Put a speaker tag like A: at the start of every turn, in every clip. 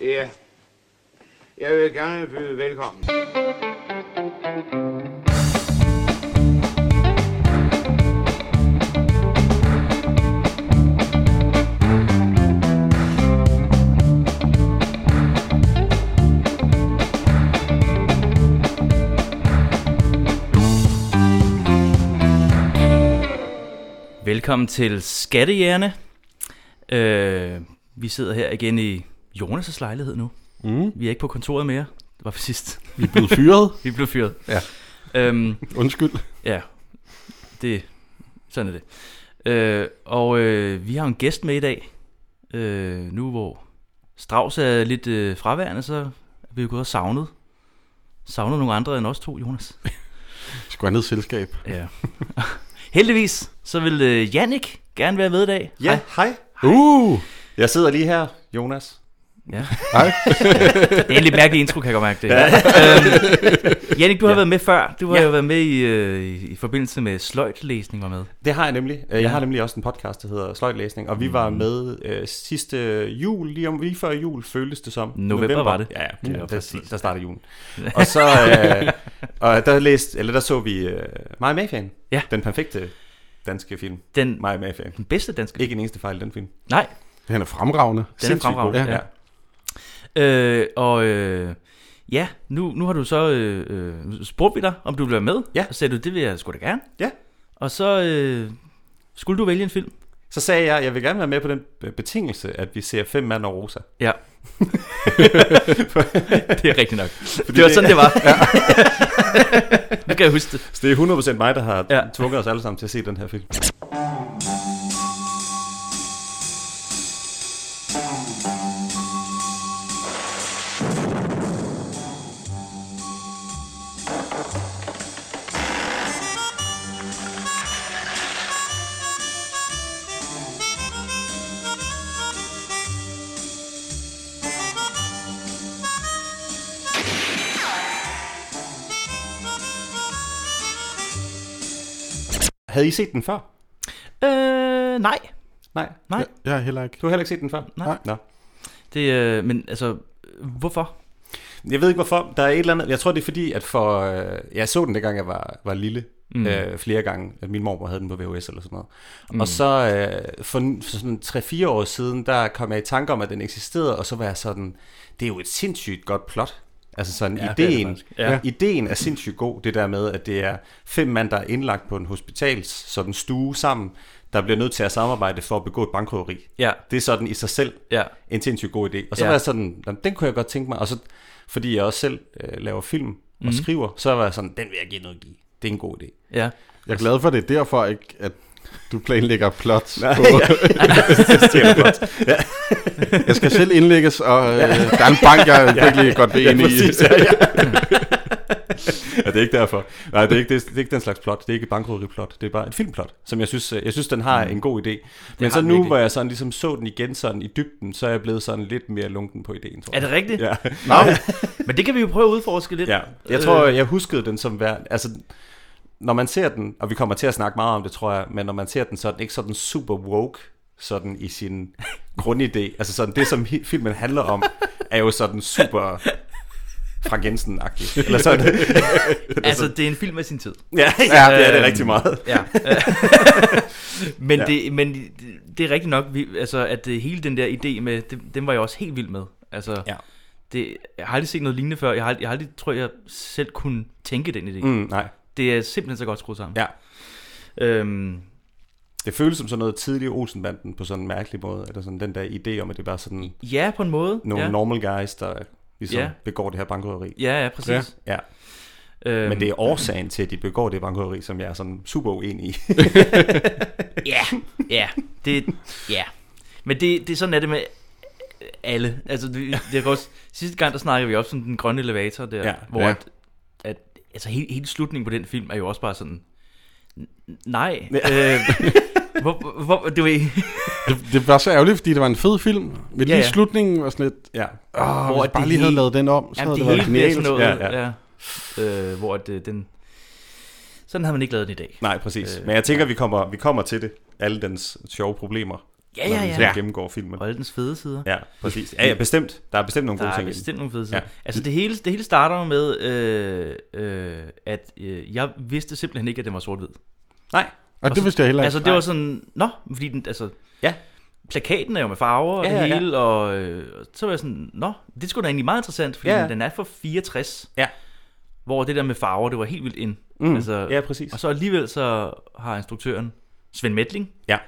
A: Ja. Jeg vil gerne byde velkommen.
B: Velkommen til Skattejægerne. Øh, vi sidder her igen i Jonas' lejlighed nu.
C: Mm.
B: Vi er ikke på kontoret mere. Det var for sidst.
C: Vi er blevet fyret.
B: Vi blev fyret.
C: Ja.
B: Øhm,
C: Undskyld.
B: ja. Det, sådan er det. Øh, og øh, vi har en gæst med i dag. Øh, nu hvor Strauss er lidt øh, fraværende, så er vi jo gået og savnet. Savnet nogle andre end os to, Jonas.
C: Skulle have noget selskab.
B: Ja. Heldigvis, så vil øh, Jannik gerne være med i dag.
D: Ja, hej.
C: Uh!
D: Jeg sidder lige her, Jonas.
B: Ja.
C: Hej.
B: Det er en lidt mærkelig intro, kan jeg godt mærke det. Ja. Øhm, Jannik, du har ja. været med før. Du har ja. jo været med i, øh, i, i forbindelse med sløjtlæsning, var med.
D: Det har jeg nemlig. Øh, Jeg har nemlig også en podcast, der hedder Sløjtlæsning, og vi var
B: Mm.
D: med øh, sidste jul, lige, om, lige før jul føltes det som.
B: November var det.
D: Ja, ja,
B: Det var
D: det
B: præcis.
D: der, der startede julen. Og så øh, og der, læste, eller der så vi øh, Maja Mafian,
B: Ja.
D: den perfekte danske film.
B: Den,
D: Maja Mafian.
B: den bedste danske.
D: Ikke en eneste fejl i den film.
B: Nej,
C: Han er fremragende.
B: den er
D: Sindssygt
B: fremragende.
C: god,
B: Ja. Ja. Øh, og øh, ja, nu, nu har du så øh, øh, nu spurgte vi dig, om du ville være med.
D: Ja.
B: Og sagde du, det vil jeg sgu da gerne.
D: Ja.
B: Og så øh, skulle du vælge en film.
D: Så sagde jeg, jeg vil gerne være med på den øh, betingelse, at vi ser Fem Mand og Rosa.
B: Ja. det er rigtigt nok. Fordi det var
D: det-
B: sådan, det var. nu kan jeg huske det.
D: Så det er 100% mig, der har
B: Ja.
D: ja. tvunget os alle sammen til at se den her film. Havde I set den før?
B: Øh, nej.
D: Nej.
B: Nej.
C: Jeg, jeg er heller ikke.
D: Du har heller ikke set den før?
B: Nej.
D: Nå.
B: Det, øh, men altså, øh, hvorfor?
D: Jeg ved ikke hvorfor. Der er et eller andet. Jeg tror, det er fordi, at for... Øh, jeg så den, dengang jeg var, var lille.
B: Mm.
D: Mm. Øh, flere gange. At min mormor havde den på VHS eller sådan noget. Mm. Og så øh, for, for sådan 3-4 år siden, der kom jeg i tanke om, at den eksisterede. Og så var jeg sådan... Det er jo et sindssygt godt plot. Altså sådan ja,
B: det er det
D: ideen,
B: faktisk. Ja.
D: ja. ideen er sindssygt god, det der med, at det er fem mand, der er indlagt på en hospitals sådan stue sammen, der bliver nødt til at samarbejde for at begå et bankrøveri.
B: Ja,
D: Det er sådan i sig selv
B: ja.
D: en sindssygt god idé. Og så
B: Ja.
D: ja. var jeg sådan, "Nå, den kunne jeg godt tænke mig. Og så, fordi jeg også selv øh, laver film og
B: Mhm.
D: mm. skriver, så var jeg sådan, den vil jeg give noget i. Det er en god idé.
B: Ja.
C: Jeg er glad for, det er derfor ikke, at du planlægger plots. på. jeg skal selv indlægges, og øh, der er en bank, jeg virkelig godt ved ind i.
D: ja, ja. ja, det er ikke derfor. Nej, det er ikke, det, er, det er ikke den slags plot. Det er ikke et bankrøveri-plot. Det er bare et filmplot, som jeg synes, øh, jeg synes den har mm. en god idé. Men
B: Mhm. har
D: så
B: den
D: nu,
B: virkelig.
D: hvor jeg sådan ligesom så den igen sådan i dybden, så er jeg blevet sådan lidt mere lunken på ideen, tror
B: Er
D: jeg.
B: det rigtigt?
D: Ja.
B: Nå, men det kan vi jo prøve at udforske lidt. Øh,
D: Ja, jeg tror, jeg huskede den som værd. Altså, når man ser den, og vi kommer til at snakke meget om det, tror jeg, men når man ser den, så er den ikke sådan super woke, sådan i sin grundidé. Altså sådan det, som hi- filmen handler om, er jo sådan super Frank Jensen-agtigt. Eller sådan. øh,
B: Altså, det er en film af sin tid.
D: Ja, ja, det er
B: Øh.
D: det rigtig meget.
B: Ja. men,
D: Ja.
B: Det, men det- det er rigtigt nok, vi, altså, at øh, hele den der idé med, det, den var jeg også helt vild med. Altså,
D: Ja.
B: det, jeg har aldrig set noget lignende før. Jeg har, ald- jeg har aldrig, tror jeg, selv kunne tænke den idé. Mm.
D: Mm, nej,
B: Det er simpelthen så godt skruet sammen.
D: ja.
B: Øhm,
D: Det føles som sådan noget tidlig Olsenbanden på sådan en mærkelig måde. Eller sådan den der idé om, at det er bare sådan
B: ja, på en måde.
D: nogle
B: ja.
D: ja. normal guys, der ligesom
B: Ja.
D: ja. begår det her bankrøveri.
B: ja, ja, præcis.
D: Ja.
B: Ja. Øhm,
D: Men det er årsagen til, at de begår det bankrøveri, som jeg er sådan super uenig i.
B: Ja, ja, det, ja. Men det, det er sådan, er det med alle. Altså, det, det er også, sidste gang, der snakkede vi også om den grønne elevator der, ja,
D: Ja,
B: hvor ja.
C: ja.
B: At, at, altså, hele, hele slutningen på den film er jo også bare sådan, "N- nej,
D: Ja.
B: øh, hvor, hvor, du ved,
C: Det, det var så ærgerligt, fordi det var en fed film. Men lige
B: Ja, ja.
C: slutningen var sådan lidt,
D: ja.
C: åh,
B: Hvor
C: hvis
B: det
C: jeg bare lige havde
B: hele-
C: lavet den om, så
B: jamen,
C: havde
B: det
C: det været
B: hele bliver
C: genialt.
B: sådan noget, ja,
D: Ja,
B: ja. Ja, øh, hvor at, øh, den, sådan har man ikke lavet den i dag.
D: Nej, præcis.
B: Øh,
D: Men jeg tænker, vi kommer, vi kommer til det. Alle dens sjove problemer.
B: Ja,
D: når
B: ja,
D: vi
B: ja.
D: sådan
B: ja.
D: gennemgår filmen.
B: Og alle dens fede sider.
D: Ja, præcis. Ja, ja, bestemt. Der er bestemt nogle
B: Der
D: gode
B: er
D: ting. i den.
B: bestemt nogle fede sider.
D: Ja.
B: Ja. Altså det hele, det hele starter jo med, øh, øh, at øh, jeg vidste simpelthen ikke, at den var sort-hvid.
D: Nej.
C: Og det vidste jeg heller ikke.
B: Altså det
D: nej.
B: var sådan, nå, fordi den, altså,
D: Ja.
B: plakaten er jo med farver og
D: Ja,
B: ja,
D: ja,
B: ja,
D: ja.
B: hele, og øh, så var jeg sådan, nå, det skulle da egentlig meget interessant, fordi
D: Ja,
B: ja,
D: ja.
B: ja. den er fra 64,
D: Ja.
B: hvor det der med farver, det var helt vildt ind.
D: Mm.
B: Altså,
D: Ja, præcis.
B: Og så alligevel så har instruktøren Svend Medling
D: Ja.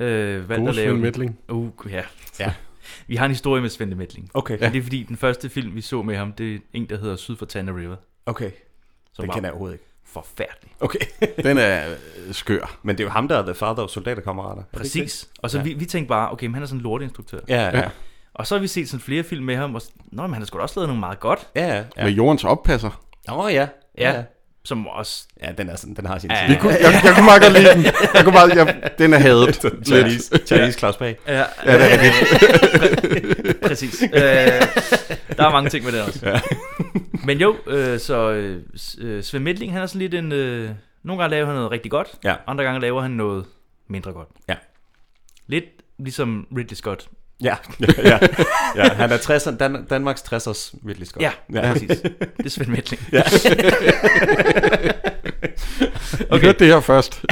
B: øh, valgt
C: God
B: at lave...
C: Svend
B: den.
C: Mætling.
B: Uh, ja.
D: Ja.
B: Vi har en historie med Svend Medling.
D: Okay.
B: Ja. Det er fordi, den første film, vi så med ham, det er en, der hedder Syd for Tana River,
D: Okay.
B: som
D: Den
B: var
D: kender jeg overhovedet ikke.
B: forfærdelig.
D: Okay.
C: Den er øh, skør.
D: Men det er jo ham, der er The Father og Soldaterkammerater. Er det ikke
B: Præcis. Og så
D: Ja.
B: ja. vi, vi tænkte bare, okay, men han er sådan en lorteinstruktør.
D: det? Ja, ja.
B: Og så har vi set sådan flere film med ham, og s- Nå, men han har sgu da også lavet nogle meget godt,
D: Ja, ja.
C: Med
D: ja.
C: jordens oppasser.
D: Nå, ja.
B: Ja. som også...
D: Ja, den, er sådan, den har sin
B: Ja.
D: tid.
C: Jeg, kunne- jeg, jeg kunne meget godt lide den. Jeg kunne meget, jeg, den er hadet. lidt.
D: Chinese, Chinese Claus Bag.
B: Ja, ja det er det. Præcis. Øh, der er mange ting med det også. Ja. Men jo, øh, så øh, S- øh, Svend Midling, han er sådan lidt en... Øh, nogle gange laver han noget rigtig godt,
D: Ja.
B: andre gange laver han noget mindre godt.
D: Ja.
B: Lidt ligesom Ridley Scott.
D: Ja, ja, ja. ja. Han er 60'eren, Dan- Danmarks 60'ers virkelig skot.
B: Ja, ja,
D: ja.
B: præcis. Det er Svend Midling.
C: Okay. I hørte det her først.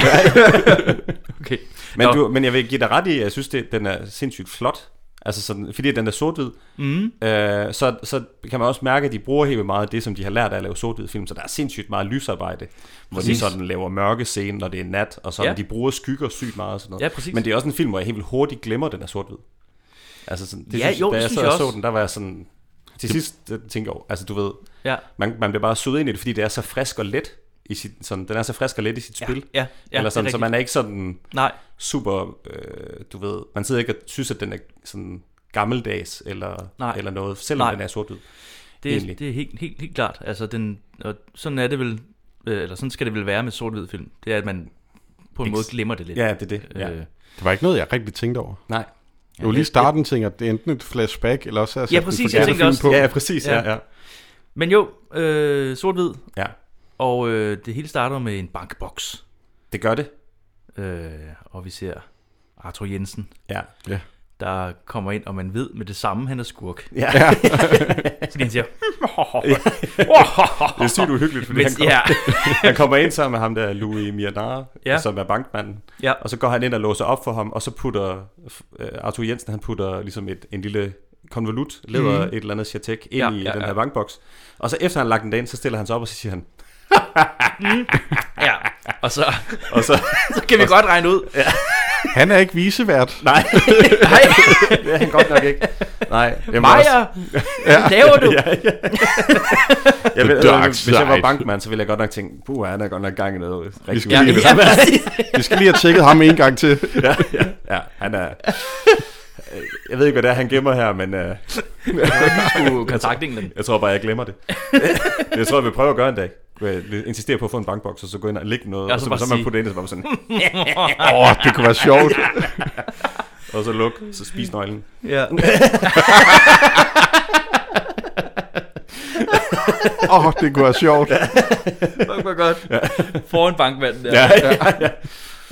B: Okay.
D: Men,
B: Nå.
D: du, men jeg vil give dig ret i, at jeg synes, det, den er sindssygt flot. Altså sådan, fordi den er sort-hvid,
B: Mm.
D: øh, så, så kan man også mærke, at de bruger helt vildt meget af det, som de har lært af at lave sort-hvid film. Så der er sindssygt meget lysarbejde, hvor de
B: Præcis.
D: sådan laver mørke scener, når det er nat, og sådan, ja.
B: Ja.
D: de bruger skygger sygt meget og sådan noget.
B: Ja, præcis.
D: Men det er også en film, hvor jeg helt vildt hurtigt glemmer, at den er sort-hvid. Altså sådan, det
B: Ja,
D: synes,
B: jo,
D: da
B: det
D: jeg
B: synes
D: sad
B: jeg
D: og så
B: også.
D: den, der var jeg sådan... Til sidst øh, tænkte jeg, over- altså du ved,
B: Ja.
D: man, man bliver bare suget ind i det, fordi det er så frisk og let. I sit, sådan, den er så frisk og let i sit spil.
B: Ja, ja,
D: Eller
B: det er
D: sådan, så
B: rigtigt.
D: man er ikke sådan
B: Nej,
D: super, øh, du ved, man sidder ikke og synes, at den er sådan gammeldags eller,
B: Nej.
D: eller noget, selvom
B: Nej.
D: den er sort ud.
B: det,
D: egentlig.
B: er- det er helt, helt, helt klart. Altså, den, og sådan er det vel, øh, eller sådan skal det vel være med sort-hvid film. Det er, at man på en
D: Ikke
B: måde
D: s-
B: glemmer det lidt.
D: Ja, det er det. Ja.
B: Øh,
C: Det var ikke noget, jeg rigtig tænkte over.
D: Nej.
C: Det var lige starten, tænker jeg, det er enten et flashback, eller også er
B: Ja, præcis, jeg tænkte også-
C: på.
D: Ja, ja, præcis. Ja,
B: Ja.
D: ja.
B: Men jo, øh, sort-hvid,
D: ja.
B: og øh, det hele starter med en bankboks.
D: Det gør det.
B: Øh, og vi ser Arthur Jensen,
D: Ja.
B: der kommer ind, og man ved med det samme, han er skurk.
D: ja.
B: Fordi han siger,
D: Det er sygt uhyggeligt, fordi han,
B: mens,
D: kom, ja.
B: ja,
D: han kommer ind sammen med ham der, Louis Mianara, ja.
B: Ja.
D: som er bankmanden.
B: ja,
D: Og så går han ind og låser op for ham, og så putter øh, Arthur Jensen, han putter ligesom et, en lille konvolut, leder
B: Mhm.
D: mm. et eller andet chatek, ind ja, i ja, den her ja. bankboks. Og så efter han har lagt den derind, så stiller han sig op, og så siger han,
B: ja. Og så,
D: og så,
B: så kan vi godt regne ud. Ja.
C: Han er ikke visevært.
D: nej,
B: Hej,
D: det er han godt nok ikke. Nej, jeg må også-
B: Maja, hvad laver du?
D: Ja, ja. jeg ved,
C: The dark
D: hvis jeg var
C: side.
D: bankmand, så ville jeg godt nok tænke, puh, han er godt nok gang i noget. Rigtig
C: Ja,
B: Ja,
D: ja.
C: lige ved
B: ja, præcis.
C: Vi skal lige have tjekket ham en gang til.
D: ja, ja, ja, han er... Øh, Jeg ved ikke, hvad det er, han gemmer her, men øh,
B: skulle kontakte England.
D: jeg tror bare, jeg glemmer det. jeg tror, jeg vil prøve at gøre en dag. Jeg insisterer på at få en bankboks, og så gå ind og lægge noget,
B: Ja,
D: og
B: så
D: så,
B: bare
D: så, man
B: sige-
D: putte det ind, og så bare sådan,
C: Åh, oh, det kunne være sjovt.
D: og så luk, så spis nøglen.
B: Ja.
C: Åh, oh, det kunne være sjovt.
B: Fuck, hvor godt. Foran bankmanden der.
D: Ja,
B: Ja.
D: ja,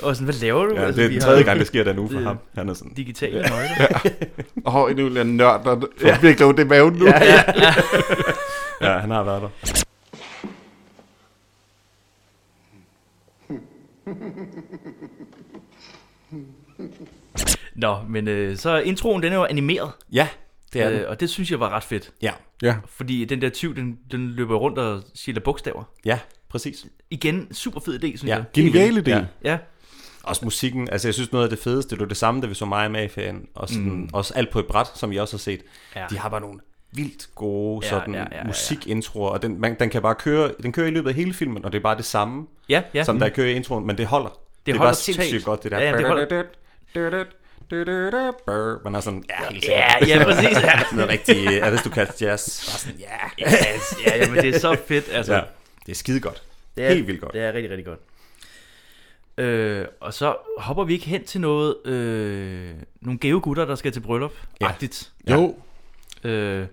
B: Og sådan, hvad laver du?
D: ja,
B: Altså,
D: det er
B: vi
D: den
B: har
D: tredje gang, det sker der nu for
B: Det-
D: ham. Han er sådan,
B: Digitale nøgler. Ja.
C: Åh, oh, nu er jeg nørd, og jeg virkelig ondt i maven nu.
D: ja, han har været der.
B: Nå, men øh, så er introen, den er jo animeret.
D: Ja, det er
B: øh,
D: den.
B: og det synes jeg var ret fedt.
D: Ja,
C: Ja,
B: Fordi den der tyv, den, den løber rundt og siger bogstaver.
D: ja, præcis.
B: Igen, super fed idé, synes
D: Ja.
B: jeg.
C: genial idé.
D: Ja.
C: Ja.
B: Ja,
D: Også musikken, altså jeg synes noget af det fedeste, det var det samme, da vi så mig med fan og sådan, mm. også alt på et bræt, som jeg også har set. Ja.
B: Ja.
D: De har bare nogle vildt gode
B: Ja,
D: sådan
B: ja, ja, ja.
D: musikintroer, og den, man, den kan bare køre, den kører i løbet af hele filmen, og det er bare det samme,
B: ja. ja. Mm.
D: ja. som der kører i introen, men det holder. Det, det er
B: holder
D: bare sindssygt
B: totalt.
D: godt, det der.
B: Ja, ja, det holder.
D: holder. Man er sådan, ja, helt
B: Ja,
D: sikkert.
B: ja, præcis. Ja.
D: Sådan noget rigtig aristokrat jazz. Bare sådan, ja.
B: Yes, ja, jamen, det er så fedt, altså.
D: ja. Det er skide godt.
B: Det er,
D: Helt vildt godt.
B: Det er rigtig, rigtig godt. Øh, og så hopper vi ikke hen til noget, øh, nogle gave gutter, der skal til bryllup.
D: Ja.
B: Agtigt.
C: Jo,
B: Øh,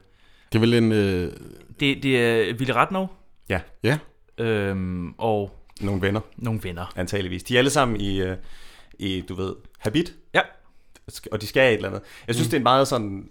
C: det er vel en... Øh,
B: det, det er Ville Ratnov
D: Ja,
C: ja,
B: øh, og
D: nogle venner,
B: nogle venner.
D: antageligvis. De er alle sammen i, øh, i du ved, habit.
B: Ja,
D: og de skal et eller andet. Jeg synes, mm. det er en meget sådan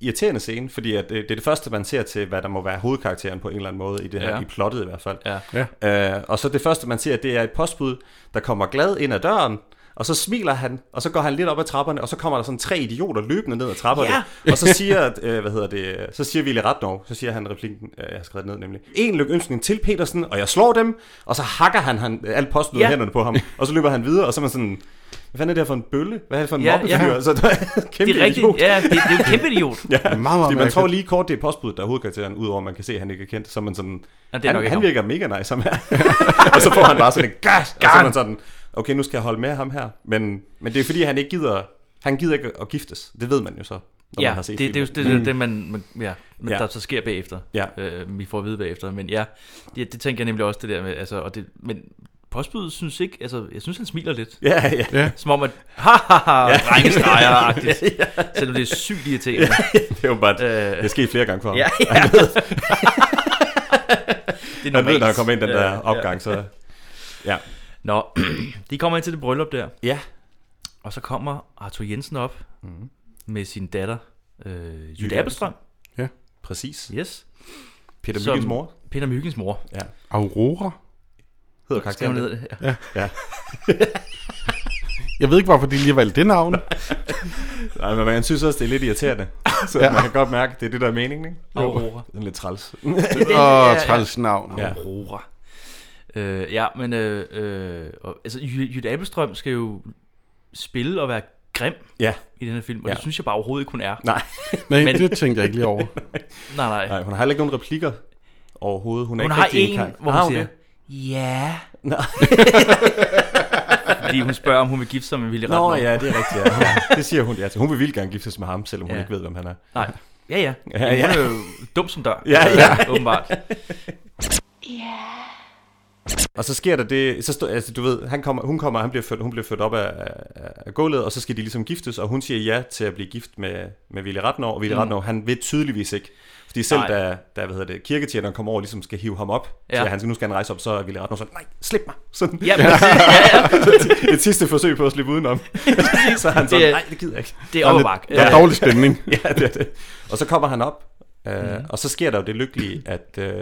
D: irriterende scene, fordi at det, det er det første, man ser til, hvad der må være hovedkarakteren på en eller anden måde, i det her,
B: Ja.
D: ja. i plottet i hvert fald.
B: Ja.
D: Ja. Øh, og så det første, man ser, det er et postbud, der kommer glad ind ad døren, og så smiler han, og så går han lidt op ad trapperne, og så kommer der sådan tre idioter løbende ned ad trapperne. Ja. Og så siger, øh, hvad hedder det, øh, så siger Ville Ratnov, så siger han replikken, øh, jeg har skrevet det ned nemlig, en lykønskning til Petersen, og jeg slår dem, og så hakker han, han øh, alt postbud ja.
B: Ja.
D: hænderne på ham, og så løber han videre, og så er man sådan, hvad fanden er det her for en bølle? Hvad er det for en
B: Ja,
D: ja,
B: ja.
D: mobbefyr? Ja. Altså, der er en kæmpe
B: Det er rigtigt.
D: idiot.
B: Ja, det, det er en kæmpe idiot.
D: Ja,
C: Meget, meget
D: fordi man
C: mærkeligt.
D: tror lige kort, det er postbuddet, der er hovedkarakteren, udover at man kan se, at han ikke er kendt. Så er man sådan,
B: Ja, det er
D: han,
B: nok ikke
D: han
B: ham.
D: virker mega nice, ham her. og så får han bare sådan en gas, og så er man sådan, okay, nu skal jeg holde med ham her. Men, men det er fordi, han ikke gider, han gider ikke at giftes. Det ved man jo så, når
B: Ja,
D: man har
B: det,
D: set
B: det, det er jo
D: filmen. Mm.
B: det, det, det man, man, ja, men
D: Ja.
B: der så sker bagefter.
D: Ja.
B: Øh, vi får at vide bagefter, men ja, det, det tænker jeg nemlig også det der med, altså, og det, men postbuddet synes ikke, altså, jeg synes han smiler lidt.
D: Ja, ja.
C: Ja.
B: Som om at, ha ha ha, drengestreger-agtigt. Selvom det er sygt irriterende.
D: Det er jo bare,
B: Øh.
D: det er sket flere gange for ham.
B: Ja,
D: Ja,
B: ja. det er
D: han ved,
B: normalt.
D: når han kommer ind den
B: Ja,
D: der
B: ja.
D: opgang, så... Ja.
B: Nå, de kommer ind til det bryllup der,
D: Ja.
B: og så kommer Arthur Jensen op med sin datter, øh, Jytte
D: Mhm. Jytte
B: Appelstrøm.
D: Præcis.
B: Yes.
D: Peter
B: Som-
D: Myggens mor
B: Peter Myggens mor.
C: Aurora?
D: hedder
B: Skal hun
D: karakteren.
B: ned? Ja.
C: Jeg ved ikke, hvorfor de lige valgte det navn.
D: Nej, men man synes også, det er lidt irriterende. Så ja. man kan godt mærke, det er det, der er meningen, ikke?
B: Aurora.
D: Den er lidt træls.
C: Åh, oh, træls navn.
D: Ja.
B: Aurora. Øh, ja, men øh, øh, og, altså, Jy- Jytte Appelstrøm skal jo spille og være grim
D: Ja.
B: i den her film, og
D: Ja.
B: det synes jeg bare overhovedet ikke, hun er.
D: Nej.
C: Nej,
B: Men-
C: Men... det tænkte jeg ikke lige over.
B: Nej, nej.
D: Nej, hun har heller ikke nogen replikker overhovedet. Hun, er
B: Hun
D: ikke
B: har
D: rigtig Ah,
B: en,
D: indkaldt.
B: hvor
D: Har
B: hun siger,
D: det?
B: ja.
D: Nå.
B: Fordi hun spørger, om hun vil gifte sig med Willy
D: Nå
B: Ratner.
D: ja, det er rigtigt. Ja. ja. Det siger hun ja til. Hun vil vildt gerne giftes med ham, selvom hun
B: Ja.
D: ikke ved, hvem han er.
B: Nej. Ja, ja.
D: Ja,
B: Hun
D: ja.
B: er jo dum som dør.
D: Ja, ja.
B: Øh, Åbenbart.
D: Og så sker der det, så stå, altså, du ved, han kommer, hun kommer, han bliver født, hun bliver født op af, af, af, gulvet, og så skal de ligesom giftes, og hun siger ja til at blive gift med, med Ville Ratnov, og Ville mm. Ratnov, han vil tydeligvis ikke. Fordi selv
B: Nej.
D: da, da hvad hedder det, kirketjeneren kommer over og ligesom skal hive ham op,
B: Ja.
D: ja. så han skal, nu skal han rejse op, så er Ville Ratnov sådan, nej, slip mig. Sådan,
B: Ja, præcis.
D: et sidste forsøg på at slippe udenom. så er han sådan,
B: Det er-
D: nej, det gider jeg ikke.
B: det er
C: Der er,
B: overbak.
C: lidt, der er dårlig stemning.
D: ja, det er det. Og så kommer han op, øh, mm-hmm. og så sker der jo det lykkelige, at øh,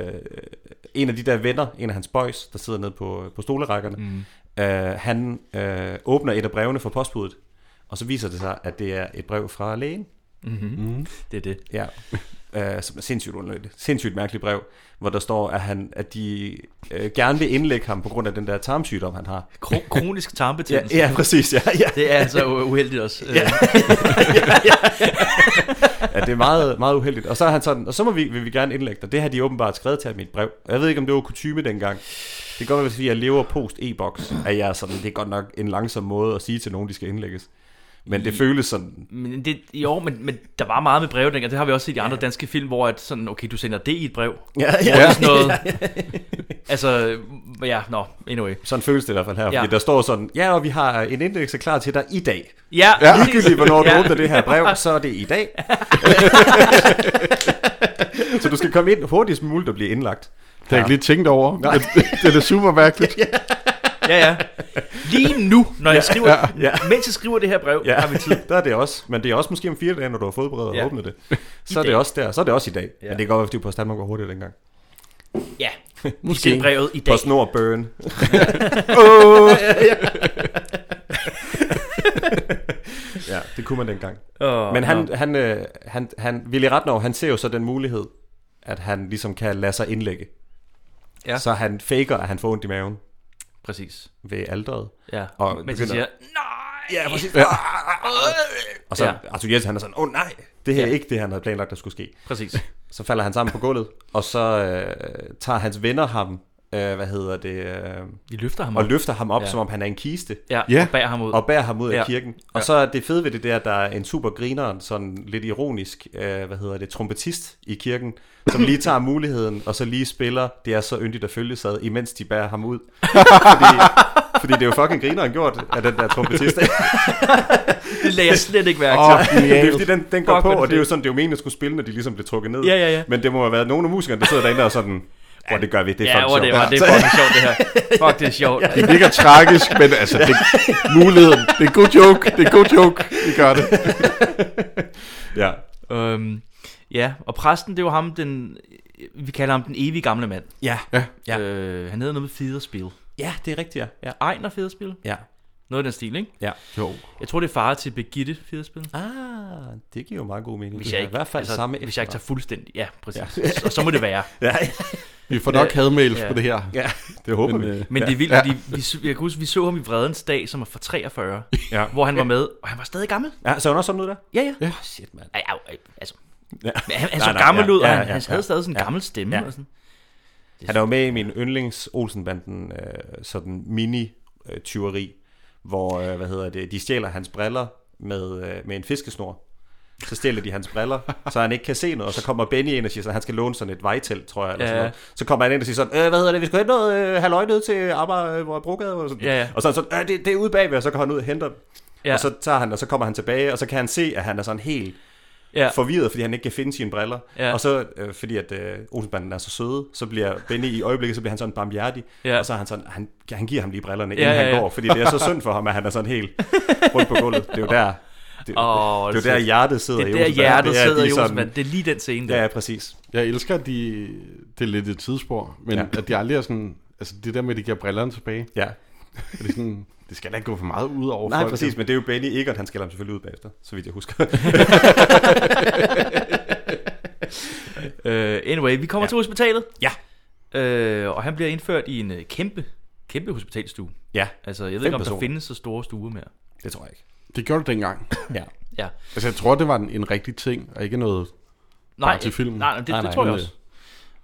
D: en af de der venner, en af hans boys, der sidder nede på, på stolerækkerne, mm. øh, han øh, åbner et af brevene fra postbuddet, og så viser det sig, at det er et brev fra lægen.
B: Det er det.
D: Ja. Øh, som er sindssygt underligt. Sindssygt mærkeligt brev, hvor der står, at, han, at de øh, gerne vil indlægge ham på grund af den der tarmsygdom, han har.
B: Kro- kronisk
D: Ja,
B: tarmbetændelse.
D: ja præcis. Ja, ja.
B: Det er altså u- uheldigt også. Ja.
D: Ja, det er meget, meget uheldigt. Og så er han sådan, og så må vi, vil vi gerne indlægge dig. Det har de åbenbart skrevet til ham i et brev. Og Jeg ved ikke, om det var kutyme dengang. Det kan godt være, fordi jeg lever post e-boks, at jeg er sådan, det er godt nok en langsom måde at sige til nogen, de skal indlægges. Men det føles sådan,
B: Men det, jo, men, men der var meget med brev dengang. Det har vi også set i andre danske film, hvor at sådan, okay, du sender det i et brev.
D: ja,
B: Det er
D: ja.
B: sådan noget... altså, ja, nå, no, anyway.
D: Sådan føles det i hvert fald her, fordi
B: Ja.
D: ja. der står sådan, ja, og vi har en indlægse klar til dig i dag.
B: Ja,
C: Ja.
B: præcis.
D: Ligegyldigt, hvornår du åbner det her brev, så er det i dag. så du skal komme ind hurtigst muligt og blive indlagt.
C: Det har jeg ikke lige tænkt over. Det, det er da super mærkeligt.
B: Ja, ja. Lige nu, når jeg skriver, ja, ja.
D: ja.
B: mens jeg skriver det her brev, ja.
D: Ja,
B: har vi tid.
D: der er det også. Men det er også måske om fire dage, når du har fodberedt og
B: Ja.
D: ja. åbnet det. Så er
B: dag.
D: det også der. Så er det også i dag.
B: Ja.
D: Ja. Men det kan godt være, fordi på Danmark går hurtigt dengang.
B: Ja, Måske. til brevet i dag.
D: På snor burn. ja, det kunne man dengang.
B: Oh,
D: Men han, han, øh, han, han, Willy Ratnov, han ser jo så den mulighed, at han ligesom kan lade sig indlægge.
B: Ja.
D: Ja. Så han faker, at han får ondt i maven
B: Præcis.
D: ved alderet.
B: Ja,
D: Og
B: og mens jeg siger,
D: begynder- Ja, præcis.
C: Ja.
D: Og så
B: Ja.
D: ja. Arthur Jensen, han er sådan, åh oh, nej, det her er ikke det, han havde planlagt, der skulle ske.
B: præcis.
D: Så falder han sammen på gulvet, og så øh, tager hans venner ham, øh, hvad hedder det, øh,
B: Vi løfter ham op.
D: og løfter ham op,
B: Ja.
D: ja. som om han er en kiste,
B: Ja,
C: Ja.
B: og bærer ham ud.
D: og bærer ham ud ja.
B: Ja.
D: af kirken. Og
B: Ja.
D: så er det fede ved det der, der er en super grineren, sådan lidt ironisk, øh, hvad hedder det, trompetist i kirken, som lige tager muligheden, og så lige spiller, det er så yndigt at følge sig, imens de bærer ham ud. fordi, fordi det er jo fucking grineren gjort, at den der trompetist.
B: Det lagde jeg slet ikke mærke
C: Åh,
B: til.
D: det er
C: genialt.
D: fordi, den, den
B: hvor
D: går
B: er
D: på,
B: det
D: og det er jo
B: fedt.
D: sådan, det er jo meningen, at skulle spille, når de ligesom blev trukket ned.
B: Ja, ja, ja.
D: Men det må have været nogle af musikerne, der sidder derinde og er sådan, Hvor det gør vi, det er
B: ja,
D: fucking sjovt.
B: det var, det er fucking sjovt det her. Fuck, det er sjovt.
C: Det virker tragisk, men altså, det, muligheden, det er en god joke, det er en god joke, vi gør det.
D: Ja.
B: Øhm, ja, og præsten, det er jo ham, den, vi kalder ham den evige gamle mand.
D: Ja. Ja.
B: Øh, han hedder noget med Federspil.
D: ja, det er rigtigt, ja. ja.
B: Ejner Federspil?
D: ja.
B: Noget af den stil, ikke?
D: Ja.
C: Jo.
B: Jeg tror, det er far til Birgitte Federspil.
D: Ah, det giver jo meget god mening.
B: Hvis jeg
D: Ja,
B: ikke,
D: I hvert fald
B: altså,
D: samme
B: hvis jeg ikke tager fuldstændig. Ja, præcis. Ja. Og så må det være.
D: Ja,
C: Vi får nok hadmails
B: Ja.
C: på det her.
D: ja, det håber
C: Men,
D: vi.
C: øh,
B: Men det er vildt,
C: Ja.
B: ja. vi, vi, så- jeg kan huske, vi så ham i Vredens Dag, som er fra 43,
D: Ja.
B: hvor han var med, og han var stadig gammel.
D: ja, så er hun også sådan ud der?
B: Ja, ja.
D: Oh, shit, mand.
B: Ej, ej, ej, altså,
D: Ja.
B: men han, han
D: Nej,
B: så
D: nej,
B: gammel
D: ja,
B: ud, og
D: ja,
B: han,
D: ja,
B: han havde
D: ja,
B: stadig sådan en
D: ja,
B: gammel stemme.
D: ja.
B: Og sådan.
D: Han er jo med i min yndlings Olsenbanden øh, sådan mini øh, tyveri, hvor øh, hvad hedder det, de stjæler hans briller med, øh, med en fiskesnor. Så stjæler de hans briller, så han ikke kan se noget, og så kommer Benny ind og siger, at han skal låne sådan et vejtelt, tror jeg, eller
B: Ja.
D: sådan noget. Så kommer han ind og siger sådan, øh, hvad hedder det, vi skal hente noget øh, halvøj ned til Amager, øh, hvor jeg brugade, og sådan.
B: Ja, ja.
D: Og så er han sådan, øh, det, det er ude bagved, og så går han ud og henter dem.
B: Ja.
D: Ja. Og så tager han, og så kommer han tilbage, og så kan han se, at han er sådan helt
B: Ja.
D: ja. forvirret, fordi han ikke kan finde sine briller.
B: Ja.
D: Ja. Og så, øh, fordi at øh, Olsenbanden er så søde, så bliver Benny i øjeblikket, så bliver han sådan barmhjertig.
B: Ja.
D: Ja. Og så er han sådan, han, han giver ham lige brillerne,
B: Ja,
D: inden
B: ja,
D: ja, ja.
B: ja.
D: han går. Fordi det er så synd for ham, at han er sådan helt rundt på gulvet. Det er jo der, det,
B: Åh,
D: oh, det er jo der
B: altså,
D: hjertet sidder
B: Det
D: i
B: er der
D: Olsenbanden.
B: hjertet
D: Det er, at
B: sidder
D: de
B: i
D: sådan-
B: Olsenbanden. Det er lige den scene der.
D: Ja, ja, præcis.
C: Jeg elsker, at de, det er lidt et tidsspor, men ja.
D: Ja.
C: at de aldrig er sådan, altså det der med, at de giver brillerne tilbage,
D: Ja.
C: er det sådan, det skal da ikke gå for meget ud over
D: Nej,
C: folk.
D: præcis, men det er jo Benny Egon, han skælder ham selvfølgelig ud bagefter, så vidt jeg husker.
B: Øh, anyway, vi kommer ja.
D: Ja.
B: til hospitalet.
D: Ja.
B: Øh, og han bliver indført i en øh, kæmpe, kæmpe hospitalstue.
D: ja,
B: Altså, jeg ved
D: Fem
B: ikke, om der
D: personer.
B: findes så store stuer mere.
D: det tror jeg ikke.
C: Det gjorde du dengang.
D: Ja.
B: Ja.
C: Altså jeg tror, det var en, en rigtig ting, og ikke noget
B: Nej,
C: til filmen.
B: Nej, nej, det, nej,
D: Nej,
B: det
D: nej,
B: tror jeg
C: men,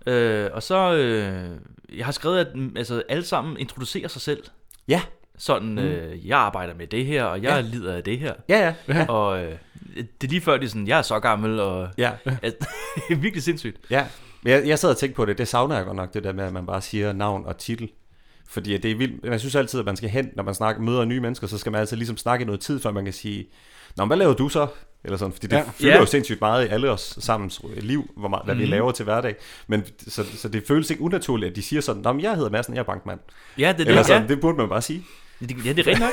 B: også. Øh, og så, øh, jeg har skrevet, at mm, altså, alle sammen introducerer sig selv.
D: Ja,
B: Sådan, mm. øh, jeg arbejder med det her, og jeg ja. lider af det her.
D: ja, ja.
B: Ja. Og øh, det er lige før, de er sådan, jeg er så gammel, og...
D: ja.
B: Altså, det er virkelig sindssygt.
D: Ja, men jeg, jeg sad og tænkte på det, det savner jeg godt nok, det der med, at man bare siger navn og titel. Fordi at det er vildt, man synes altid, at man skal hen, når man snakker, møder nye mennesker, så skal man altid ligesom snakke i noget tid, før man kan sige, Nå, men hvad laver du så? Eller sådan, fordi det
C: Ja.
D: ja. fylder
B: Ja. Mhm.
D: jo sindssygt meget i alle os sammens liv, hvor meget, hvad mm. vi laver til hverdag. Men så, så, det føles ikke unaturligt, at de siger sådan, Nå, men jeg hedder Madsen, jeg er bankmand.
B: Ja, det er
D: Eller
B: det, ja.
D: sådan, det burde man bare sige.
B: Det, ja, det er rent nok.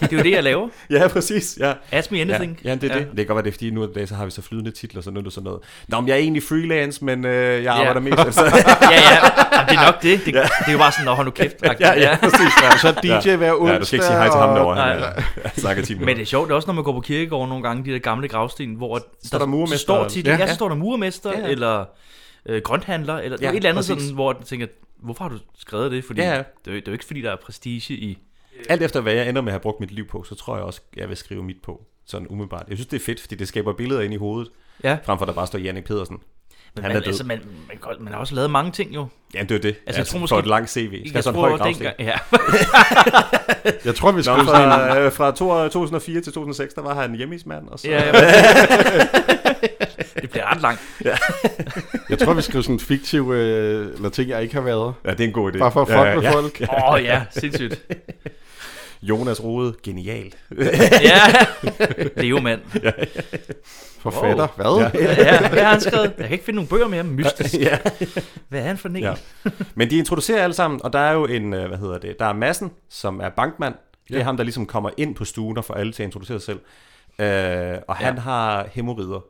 B: det er jo det, jeg laver.
D: Ja, præcis, ja.
B: Ask me anything.
D: Ja, ja, det er ja. det. Det kan godt være, det er fordi, nu om dagen, så har vi så flydende titler, så nu er det sådan noget. Nå, men jeg er egentlig freelance, men øh, jeg arbejder mest. Altså,
B: ja, ja. Jamen, det er nok det. Det, det er jo bare sådan, når hold nu kæft.
D: ja, ja, præcis. Ja.
C: Og så er DJ ja. hver onsdag.
D: Ja, du skal ikke sige hej til ham
C: og-
D: derovre.
B: Nej.
D: Han er, jeg snakker 10
B: Men
D: minutter.
B: det er sjovt, det er også når man går på kirkegården nogle gange, de der gamle gravsten, hvor
D: Står der murermester?
B: så står titlen, ja.
C: Ja.
B: ja, så står der murmester, ja,
D: Ja,
B: ja.
D: ja.
B: eller øh, grønthandler, eller ja,
D: Ja,
B: et eller andet
D: præcis.
B: sådan, hvor jeg tænker, hvorfor har du skrevet det? Fordi
D: Ja, ja.
B: ja, ja. Det, er jo, det er jo ikke, fordi der er prestige i...
D: Alt efter hvad jeg ender med at have brugt mit liv på, så tror jeg også, jeg vil skrive mit på. Sådan umiddelbart. Jeg synes, det er fedt, fordi det skaber billeder ind i hovedet,
B: Ja,
D: frem for at der bare står Jannik Pedersen.
B: men
D: Han
B: man,
D: er død.
B: altså, man, man, kan godt- man har også lavet mange ting jo.
D: Jamen, det er det.
B: Altså, jeg tror måske-
D: for et langt CV. Skal jeg sådan en
B: tror,
D: høj gravsten?
B: dengang- Ja,
C: Jeg tror, vi
D: Nå,
C: skal sådan en...
D: fra, øh, fra to- 2004 til 2006, der var han hjemmeismand, og så...
B: ja, ja. det bliver ret langt.
C: Jeg tror, vi skriver sådan en fiktiv, øh, eller ting, jeg ikke har været.
D: ja, det er en god idé.
C: Bare for at fuck
D: ja,
C: med
D: ja.
C: folk.
B: Åh oh, ja, sindssygt.
D: Jonas Rode, genial.
B: Ja, Leo mand.
C: Forfatter. Hvad?
D: Ja.
B: Ja, ja, hvad har han skrevet? Jeg kan ikke finde nogen bøger mere mystisk.
D: ja.
B: Hvad er han for en? Ja.
D: Ja. Men de introducerer alle sammen, og der er jo en, øh, hvad hedder det, der er Massen, som er bankmand. Det er
C: Ja.
D: ham, der ligesom kommer ind på stuen og får alle til at introducere sig selv. Øh, og han
B: Ja.
D: ja. har hæmorider.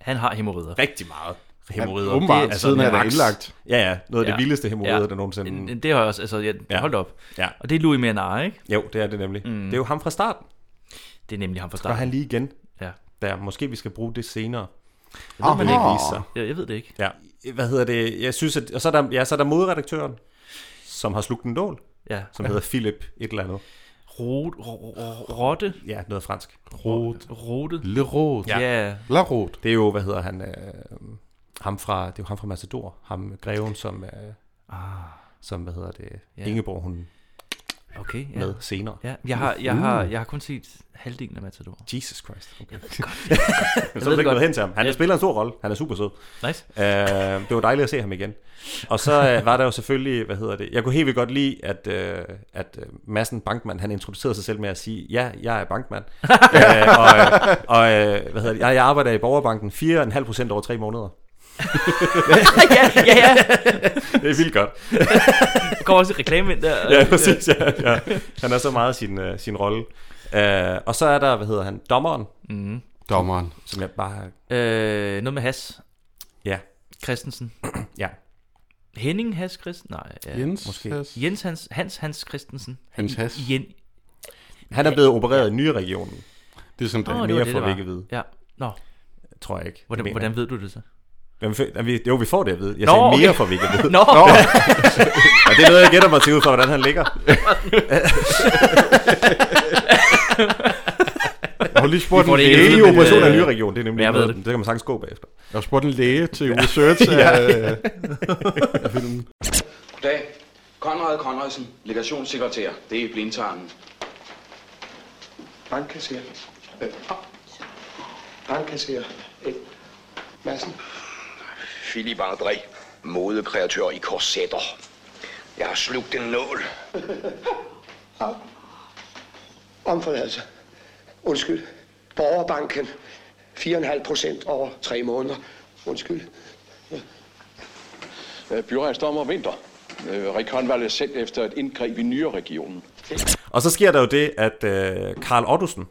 B: Han har hemorrider.
D: Rigtig meget hæmorider.
C: Ja, åbenbart,
D: Det er altså
C: siden han er
D: max.
C: indlagt.
D: Ja, ja. Noget af
B: Ja.
D: det vildeste hæmorider,
B: Ja.
D: der nogensinde...
B: En- en- Det har jeg også, altså, jeg, ja.
D: Mm. Ja.
B: hold op.
D: Ja.
B: Og det er Louis Mianara, ikke?
D: Jo, det er det nemlig. Mm. Det er jo ham fra starten.
B: Det er nemlig ham fra
D: Gør
B: starten.
D: han lige igen.
B: Ja.
D: Der, måske vi skal bruge det senere.
C: Aha.
D: Men det ikke vise sig.
B: Jeg, jeg ved det ikke.
D: Ja. Hvad hedder det? Jeg synes, at... Og så er der, ja, så er der moderedaktøren, som har slugt en nål,
B: Ja.
D: som hedder Philip et eller andet.
B: Rot, ro, ro, rotte,
D: Ja, noget fransk.
C: Rot.
B: rote.
C: Le Rot.
B: Ja. ja.
C: La Rot.
D: Det er jo, hvad hedder han, øh, ham fra, det er jo ham fra Matador, ham greven, som, øh, som hvad hedder det,
B: Ja.
D: ja. Ingeborg, hun
B: Okay, ja.
D: ja. med Uh. senere. Ja.
B: Ja, jeg har, jeg, har, jeg har kun set halvdelen af Matador.
D: Jesus Christ. Okay.
B: Jeg ved det godt.
D: Så er
B: det godt.
D: det gået hen til ham. Han
B: Ja.
D: ja. spiller en stor rolle. Han er super sød.
B: Nice.
D: Øh, det var dejligt at se ham igen. Og så øh, var der jo selvfølgelig, hvad hedder det, jeg kunne helt vildt godt lide, at, øh, at øh, Madsen Bankmann, han introducerede sig selv med at sige, ja, jeg er bankmand. øh, og øh, og øh, hvad hedder det, jeg, jeg arbejder i Borgerbanken 4,5% over tre måneder.
B: ja, ja, ja.
D: Det er vildt godt.
B: Der kommer også et reklame ind der.
D: ja, præcis. Ja, ja. Han er så meget sin, øh, sin rolle. Øh, og så er der, hvad hedder han, dommeren,
B: Mm.
C: Dommeren.
D: som jeg bare...
B: Øh, noget med Has
D: Ja,
B: Christensen.
D: ja.
B: Henning Has Christensen? Nej, ja.
C: Jens.
D: måske.
C: Has.
B: Jens Hans, Hans, Hans Christensen.
C: Hans Has.
B: Jen.
D: Han er blevet opereret i nye regionen,
C: Det er som det.
B: Åh,
C: er.
B: det
D: mere
B: var det,
D: får
B: det
D: vi
B: var.
D: ikke at vide.
B: Ja. Nå,
D: tror jeg ikke.
B: hvordan,
D: Mener.
B: hvordan ved du det så?
D: Jamen, for- jamen, vi- Jo, vi får det at vide. Jeg
B: Nå,
D: sagde Nå, mere,
B: okay.
D: for vi ikke at vide.
B: Nå, Nå.
D: Og det er noget, jeg gætter mig til ud fra, hvordan han ligger.
C: Jeg har lige spurgt
B: Vi får
C: en
B: det ikke at
C: læge.
D: Det er
B: vide,
D: jo
B: men,
D: operation af
B: øh,
D: nye region, det er nemlig
B: jeg ved
D: noget,
B: det.
D: det kan man sagtens gå bagefter.
C: Jeg har spurgt en læge til research af, øh, af filmen.
A: Goddag. Konrad Konradsen, legationssekretær. Det er blindtarmen.
E: Bankkasser. Øh, op. Bankkasser. Øh, Madsen.
A: Philip André, modekreatør i korsetter. Jeg har slugt en nål.
E: Omforladelse. altså. Undskyld. Borgerbanken. 4,5 procent over tre måneder. Undskyld.
F: Øh, Byrejsdommer Vinter. Øh, Rekonvalescent efter et indgreb i nyere regionen.
D: Og så sker der jo det, at øh, Karl Ottosen,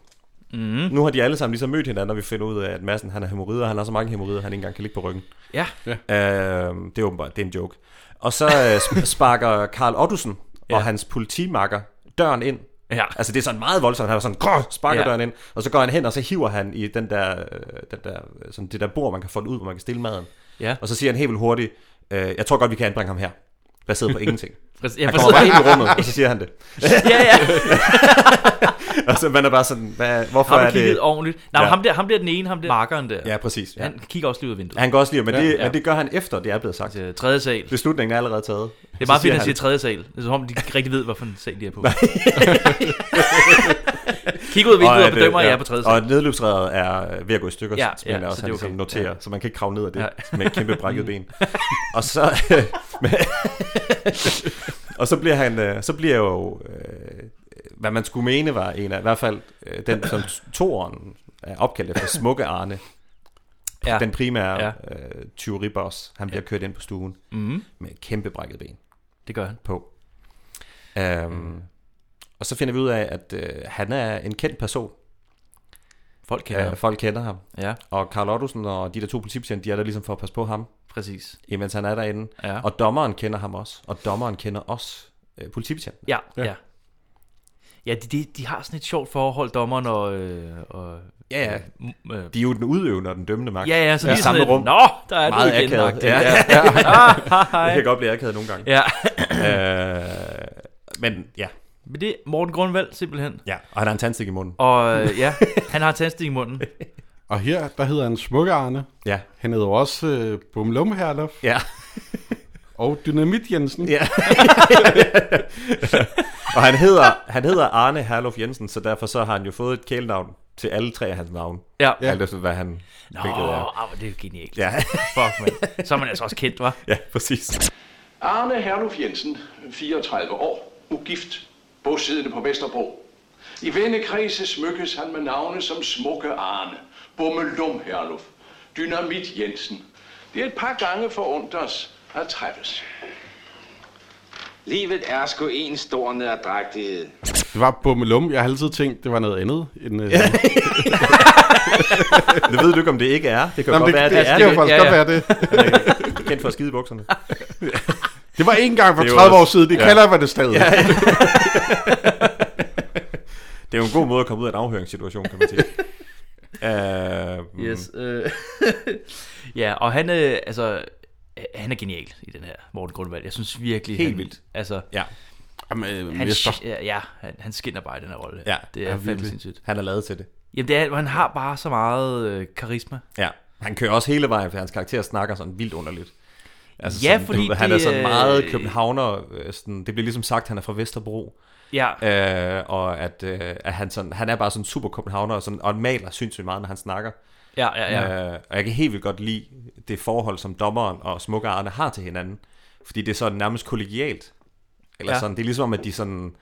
D: mm.
B: Mhm.
D: nu har de alle sammen ligesom mødt hinanden, og vi finder ud af, at Madsen han er hemorrider, han har så mange hemorrider, han ikke engang kan ligge på ryggen.
B: ja.
D: Øh, det er åbenbart, det er en joke. Og så øh, sp- sparker Karl Ottosen ja. og hans politimakker døren ind.
B: Ja.
D: Altså det er sådan meget voldsomt, han er sådan, grå, sparker
B: Ja.
D: ja. døren ind, og så går han hen, og så hiver han i den der, øh, den der sådan det der bord, man kan folde ud, hvor man kan stille maden.
B: Ja.
D: Og så siger han helt vildt hurtigt, øh, jeg tror godt, vi kan anbringe ham her, baseret på ingenting.
B: Præcis. Ja,
D: Han
B: præcis.
D: kommer bare ind i rummet, og så siger han det.
B: ja, ja.
D: Og så man er bare sådan, hvad, hvorfor
B: Har
D: er
B: du kigget
D: det...
B: ordentligt? Nej, ja.
D: Ja.
B: ham, der, ham der den ene, ham der markeren der.
D: Ja, præcis. Ja.
B: Han kigger også lige ud af vinduet.
D: Han går også lige, men, det,
B: ja.
D: ja. men det gør han efter, det er blevet sagt.
B: Øh, Tredje sal. Det
D: Beslutningen er allerede taget.
B: er bare fint, at han siger tredje sal. Det er som om, de ikke rigtig ved, hvorfor en sal de er på. Kig ud af vinduet og, bedømmer, at jeg er på tredje sal.
D: Og nedløbsrædet er ved at gå i stykker,
B: Ja,
D: ja,
B: ja,
D: ja, men
B: så
D: også
B: det er
D: han ligesom
B: okay.
D: noterer,
B: Ja.
D: så man kan ikke kravle ned af det
B: Ja.
D: ja. med et kæmpe brækket ben. og så... men- og så bliver han, øh, så bliver jo, øh, hvad man skulle mene var en af, i hvert fald øh, den, som toren er opkaldt efter, Smukke Arne,
B: ja.
D: den primære
B: Ja.
D: ja. øh, tyveriboss, han bliver kørt ind på stuen
B: mm,
D: med et kæmpe brækket ben
B: det gør han.
D: på. Um, mm. Og så finder vi ud af, at øh, han er en kendt person.
B: Folk kender
D: Ja.
B: ham.
D: Øh, folk kender ham.
B: Ja,
D: Og Karl Ottosen og de der to politibetjente, de er der ligesom for at passe på ham,
B: præcis.
D: imens han er derinde.
B: Ja.
D: Og dommeren kender ham også. Og dommeren kender også øh, politibetjenten.
B: Ja, ja. ja. Ja, de, de, de har sådan et sjovt forhold, dommeren og... Øh, og
D: Ja, ja.
B: m- øh,
D: De er jo den udøvende og den dømmende magt.
B: ja, ja, så
D: I
B: lige ja.
D: samme
B: sådan et,
D: rum.
B: Nå, der er
D: Meget
B: du igen.
D: akavet.
B: agtigt."
D: Ja, ja, ja.
B: Ah, ha,
D: Det
B: hej.
D: kan godt blive akavet nogle gange.
B: Ja,
D: Øh, men ja.
B: men det er Morten Grundvald simpelthen.
D: ja, og han har en tandstik i munden.
B: Og øh, ja, han har tandstik i munden.
C: Og her, der hedder han Smukke Arne.
D: Ja,
C: Han hedder jo også øh, Bumlum Herlof
D: ja.
C: og Dynamit Jensen.
D: Ja. og han hedder, han hedder Arne Herluf Jensen, så derfor så har han jo fået et kælenavn til alle tre af hans navne.
B: Ja.
D: Ja. Alt efter, hvad han... Nå.
B: Nå,
D: Hvilket er.
B: ah, men det er jo genialt.
D: Ja.
B: Fuck, man. Så er man altså også kendt, var.
D: ja, præcis.
F: Arne Herluf Jensen, 34 år, ugift, bosiddende på Vesterbro. I vennekredse smykkes han med navne som Smukke Arne, Bummelum Herluf, Dynamit Jensen. Det er et par gange forundt os at træffes.
G: Livet er sgu en stor nederdragtighed.
C: Det var Bummelum. Jeg har altid tænkt, det var noget andet. End, øh, ja, det,
D: Det ved du ikke, om det ikke er. Det kan
C: Nå,
D: Jamen,
C: men
D: godt
C: det,
D: være,
C: det,
D: det,
C: det, skal jo
D: er det.
C: faktisk
B: Ja,
C: godt
B: ja.
C: være det.
D: Han er Kendt for at skide i bukserne.
C: Det var en gang for
D: Det er jo
C: 30 år
D: også-
C: siden. Det
D: ja.
C: kalder jeg det stadig.
D: Det er jo en god måde at komme ud af en afhøringssituation, kan man sige. Uh,
B: Yes. Øh. ja, og han, øh, altså, øh, han er genial i den her Morten Grundvald. Jeg synes virkelig...
D: Helt
B: han,
D: vildt.
B: Altså,
D: Ja,
C: Jamen, øh,
B: han,
C: mester.
B: ja, ja, han, han skinner bare i den her rolle.
D: Ja,
B: det er
D: ja,
B: fandme
D: virkelig.
B: sindssygt.
D: han er lavet til det.
B: Jamen, det er, han har bare så meget øh, karisma.
D: Ja, han kører også hele vejen, for hans karakter snakker sådan vildt underligt. Altså
B: Ja,
D: sådan,
B: fordi
D: du, han
B: det,
D: er sådan meget
B: øh,
D: københavner. øh, Sådan, det bliver ligesom sagt, at han er fra Vesterbro.
B: Ja,
D: Øh, og at, øh, at han, sådan, han er bare sådan super københavner og, sådan, og maler sindssygt meget, når han snakker.
B: ja, ja. ja.
D: Øh, og jeg kan helt vildt godt lide det forhold, som dommeren og smukke Arne har til hinanden. Fordi det er sådan nærmest kollegialt. Eller
B: Ja.
D: ja. sådan, det er ligesom, at de sådan...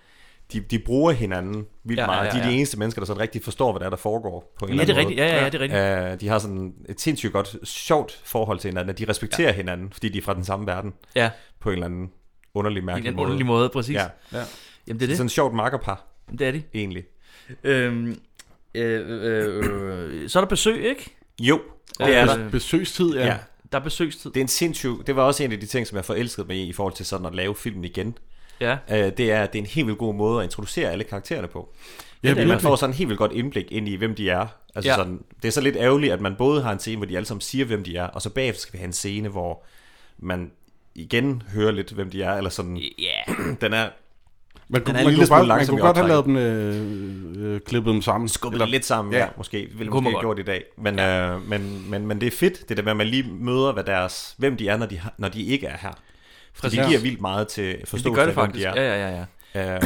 D: de, de bruger hinanden vildt
B: Ja,
D: ja,
B: ja,
D: meget. Ja,
B: ja,
D: ja, ja. De er
B: ja.
D: de eneste mennesker, der sådan rigtig forstår, hvad der, er, der foregår på en
B: Ja, det
D: eller
B: er
D: anden
B: rigtigt. Ja, ja, ja, det er rigtigt.
D: rigtigt. Uh, de har sådan et sindssygt godt, sjovt forhold til hinanden, at de respekterer ja. hinanden, fordi de er fra den samme verden,
B: Ja,
D: på en eller anden underlig
B: i
D: mærkelig
B: den
D: måde.
B: underlige måde, præcis.
D: Ja,
B: Ja.
D: ja.
B: Jamen,
D: Det er
B: det er
D: sådan et sjovt makkerpar,
B: det. Det er de.
D: egentlig.
B: Øhm, øh, øh, øh, så er der besøg, ikke?
D: Jo, det er
B: Øh,
D: der.
C: Besøgstid, ja.
D: Ja.
C: ja.
B: Der er besøgstid.
D: Det er en sindssyg, det var også en af de ting, som jeg forelskede mig i, i forhold til sådan at lave filmen igen.
B: Ja.
D: Øh, det er, at det er en helt vildt god måde at introducere alle karaktererne på.
C: Ja,
D: Ja, man
C: virkelig.
D: får sådan en helt vildt godt indblik ind i, hvem de er. Altså
B: Ja.
D: ja. sådan, det er så lidt ærgerligt, at man både har en scene, hvor de alle sammen siger, hvem de er, og så bagefter skal vi have en scene, hvor man igen hører lidt, hvem de er, eller sådan,
B: Ja.
D: den er
C: Man kunne,
D: er en
C: man
D: lille
C: kunne,
D: smule
C: godt, man
D: langsom
C: kunne
D: i
C: godt have lavet dem,
D: optrækket.
C: øh, øh, klippet dem sammen.
D: skubbet Eller, lidt sammen, ja,
C: ja.
D: ja måske. Ville
B: Kunne man
D: måske have
B: godt.
D: gjort i dag. Men, ja. øh, men, men, men det er fedt, det der med, at man lige møder, hvad deres, hvem de er, når de, har, når de ikke er her. For det
B: Præcis.
D: giver vildt meget til
B: Det
D: forståelse
B: gør det
D: af, hvem
B: faktisk.
D: de
B: Ja,
D: er.
B: ja, ja. ja.
D: Øh,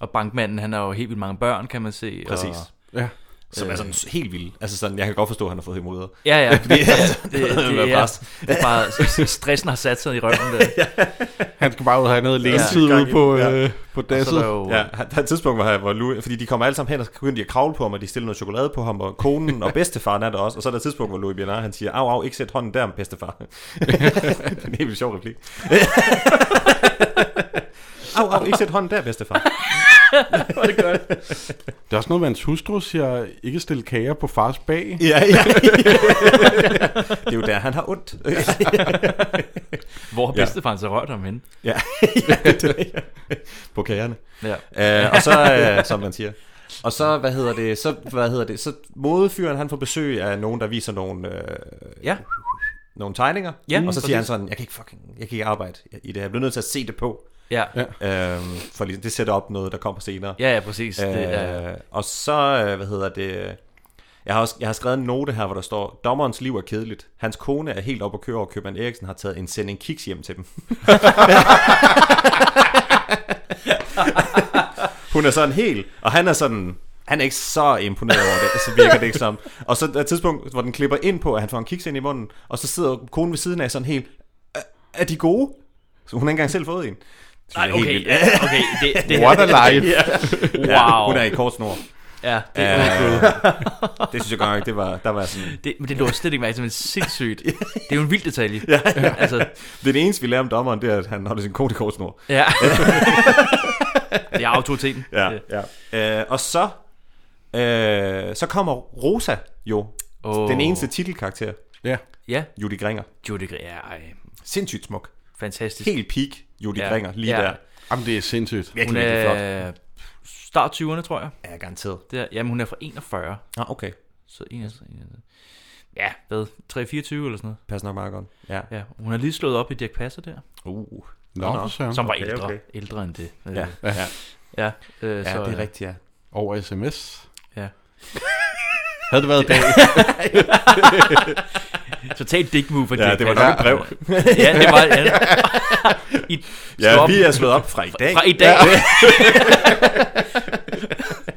B: Og bankmanden, han har jo helt vildt mange børn, kan man se.
D: præcis.
B: Og,
C: Ja.
D: Som er sådan helt vildt. øh, Altså sådan, jeg kan godt forstå, at han har fået hemorrider.
B: ja, ja. Det, det, det,
D: det
B: det,
D: var
B: er,
D: pres.
B: det er bare, s- s- stressen har sat sig i røven. Der.
C: Han skal bare ud og have noget lægetid
D: Ja.
C: ude på,
D: Ja.
C: øh, på
B: Og så er
C: dasset.
B: der jo,
D: Ja, han- der er et tidspunkt, hvor, jeg, hvor Louis, fordi de kommer alle sammen hen og begynder de at kravle på ham, og de stiller noget chokolade på ham, og konen og bedstefaren er der også. Og så er der et tidspunkt, hvor Louis Bernard, han siger, au, au, ikke sæt hånden der, bedstefar. det er en helt vildt sjov replik. au, au, ikke sæt hånden der, bedstefar.
C: Der er også noget med hans hustru, siger, ikke stille kager på fars bag.
D: Ja, ja, ja. det er jo der, han har ondt. ja,
B: hvor har
D: Ja.
B: bedstefaren så rørt ham henne?
D: ja, det er det. På kagerne.
B: Ja.
D: Øh, og så, øh, som man siger. Og så, hvad hedder det, så, hvad hedder det, så modefyren, han får besøg af nogen, der viser nogle, øh,
B: Ja.
D: nogle tegninger.
B: Ja,
D: og så
B: præcis.
D: siger han sådan, jeg kan ikke fucking, jeg kan ikke arbejde i det her. Jeg bliver nødt til at se det på.
B: Ja. Ja,
D: Øhm, for ligesom, det sætter op noget, der kommer senere.
B: ja, ja præcis. Det, er,
D: Øh, og så, øh, hvad hedder det... Jeg har, også, jeg har skrevet en note her, hvor der står, dommerens liv er kedeligt. Hans kone er helt oppe at køre, og købmand Eriksen har taget en sending kiks hjem til dem. Hun er sådan helt, og han er sådan... Han er ikke så imponeret over det, så virker det ikke som. Og så er der et tidspunkt, hvor den klipper ind på, at han får en kiks ind i munden, og så sidder konen ved siden af sådan helt, "Er- er de gode? Så hun har ikke engang selv fået en. Det
B: nej,
D: er helt
B: okay.
D: vildt.
B: Ja, okay det, det,
C: What a life.
D: Ja,
B: wow.
D: hun er i kort snor.
B: Ja, det,
D: Øh, det synes jeg godt nok, det var, der var sådan...
B: det, men det lå jeg slet ikke mærke til, men sindssygt. Det er jo en vild detalje. Ja, ja. Altså,
D: Det er det eneste, vi lærer om dommeren, det er, at han holder sin kone i kort snor.
B: ja. det er autoriteten.
D: ja. Øh, og så, øh, så kommer Rosa jo.
B: Åh.
D: Oh. Den eneste titelkarakter,
C: Ja.
B: Ja,
D: Judy Gringer.
B: Judy Greer, ja, ej,
D: Sindssygt smuk.
B: fantastisk.
D: Helt peak Judy
B: Ja.
D: ja. Gringer, lige
B: Ja.
D: ja. der.
C: Jamen, det er sindssygt.
D: Virkelig,
B: Hun
D: virkelig flot.
B: er start 20'erne, tror jeg.
D: Ja, garanteret.
B: Det er, jamen, hun er fra 41.
D: Ah, okay.
B: Så 41, 41. Ja, hvad? 3, 24 eller sådan noget.
D: Passer nok meget godt. Ja.
B: Ja, hun har lige slået op i Dirk Passer der,
D: Uh.
C: Nå,
D: Nå, nå.
C: for søren.
B: som var
D: okay,
B: ældre,
D: okay.
B: ældre end det. Øh,
D: Ja, ja, ja,
B: ja, øh,
D: ja
B: så,
D: det er
B: øh,
D: rigtigt, ja.
C: Over sms.
B: Ja.
C: Havde det været i dag?
B: Totalt dick move for
D: Ja,
B: Dirch
D: det var
B: Passer.
D: nok et brev.
B: ja, det var... Ja. I,
D: Ja,
B: stop.
D: vi er slået op fra i dag.
B: Fra i dag.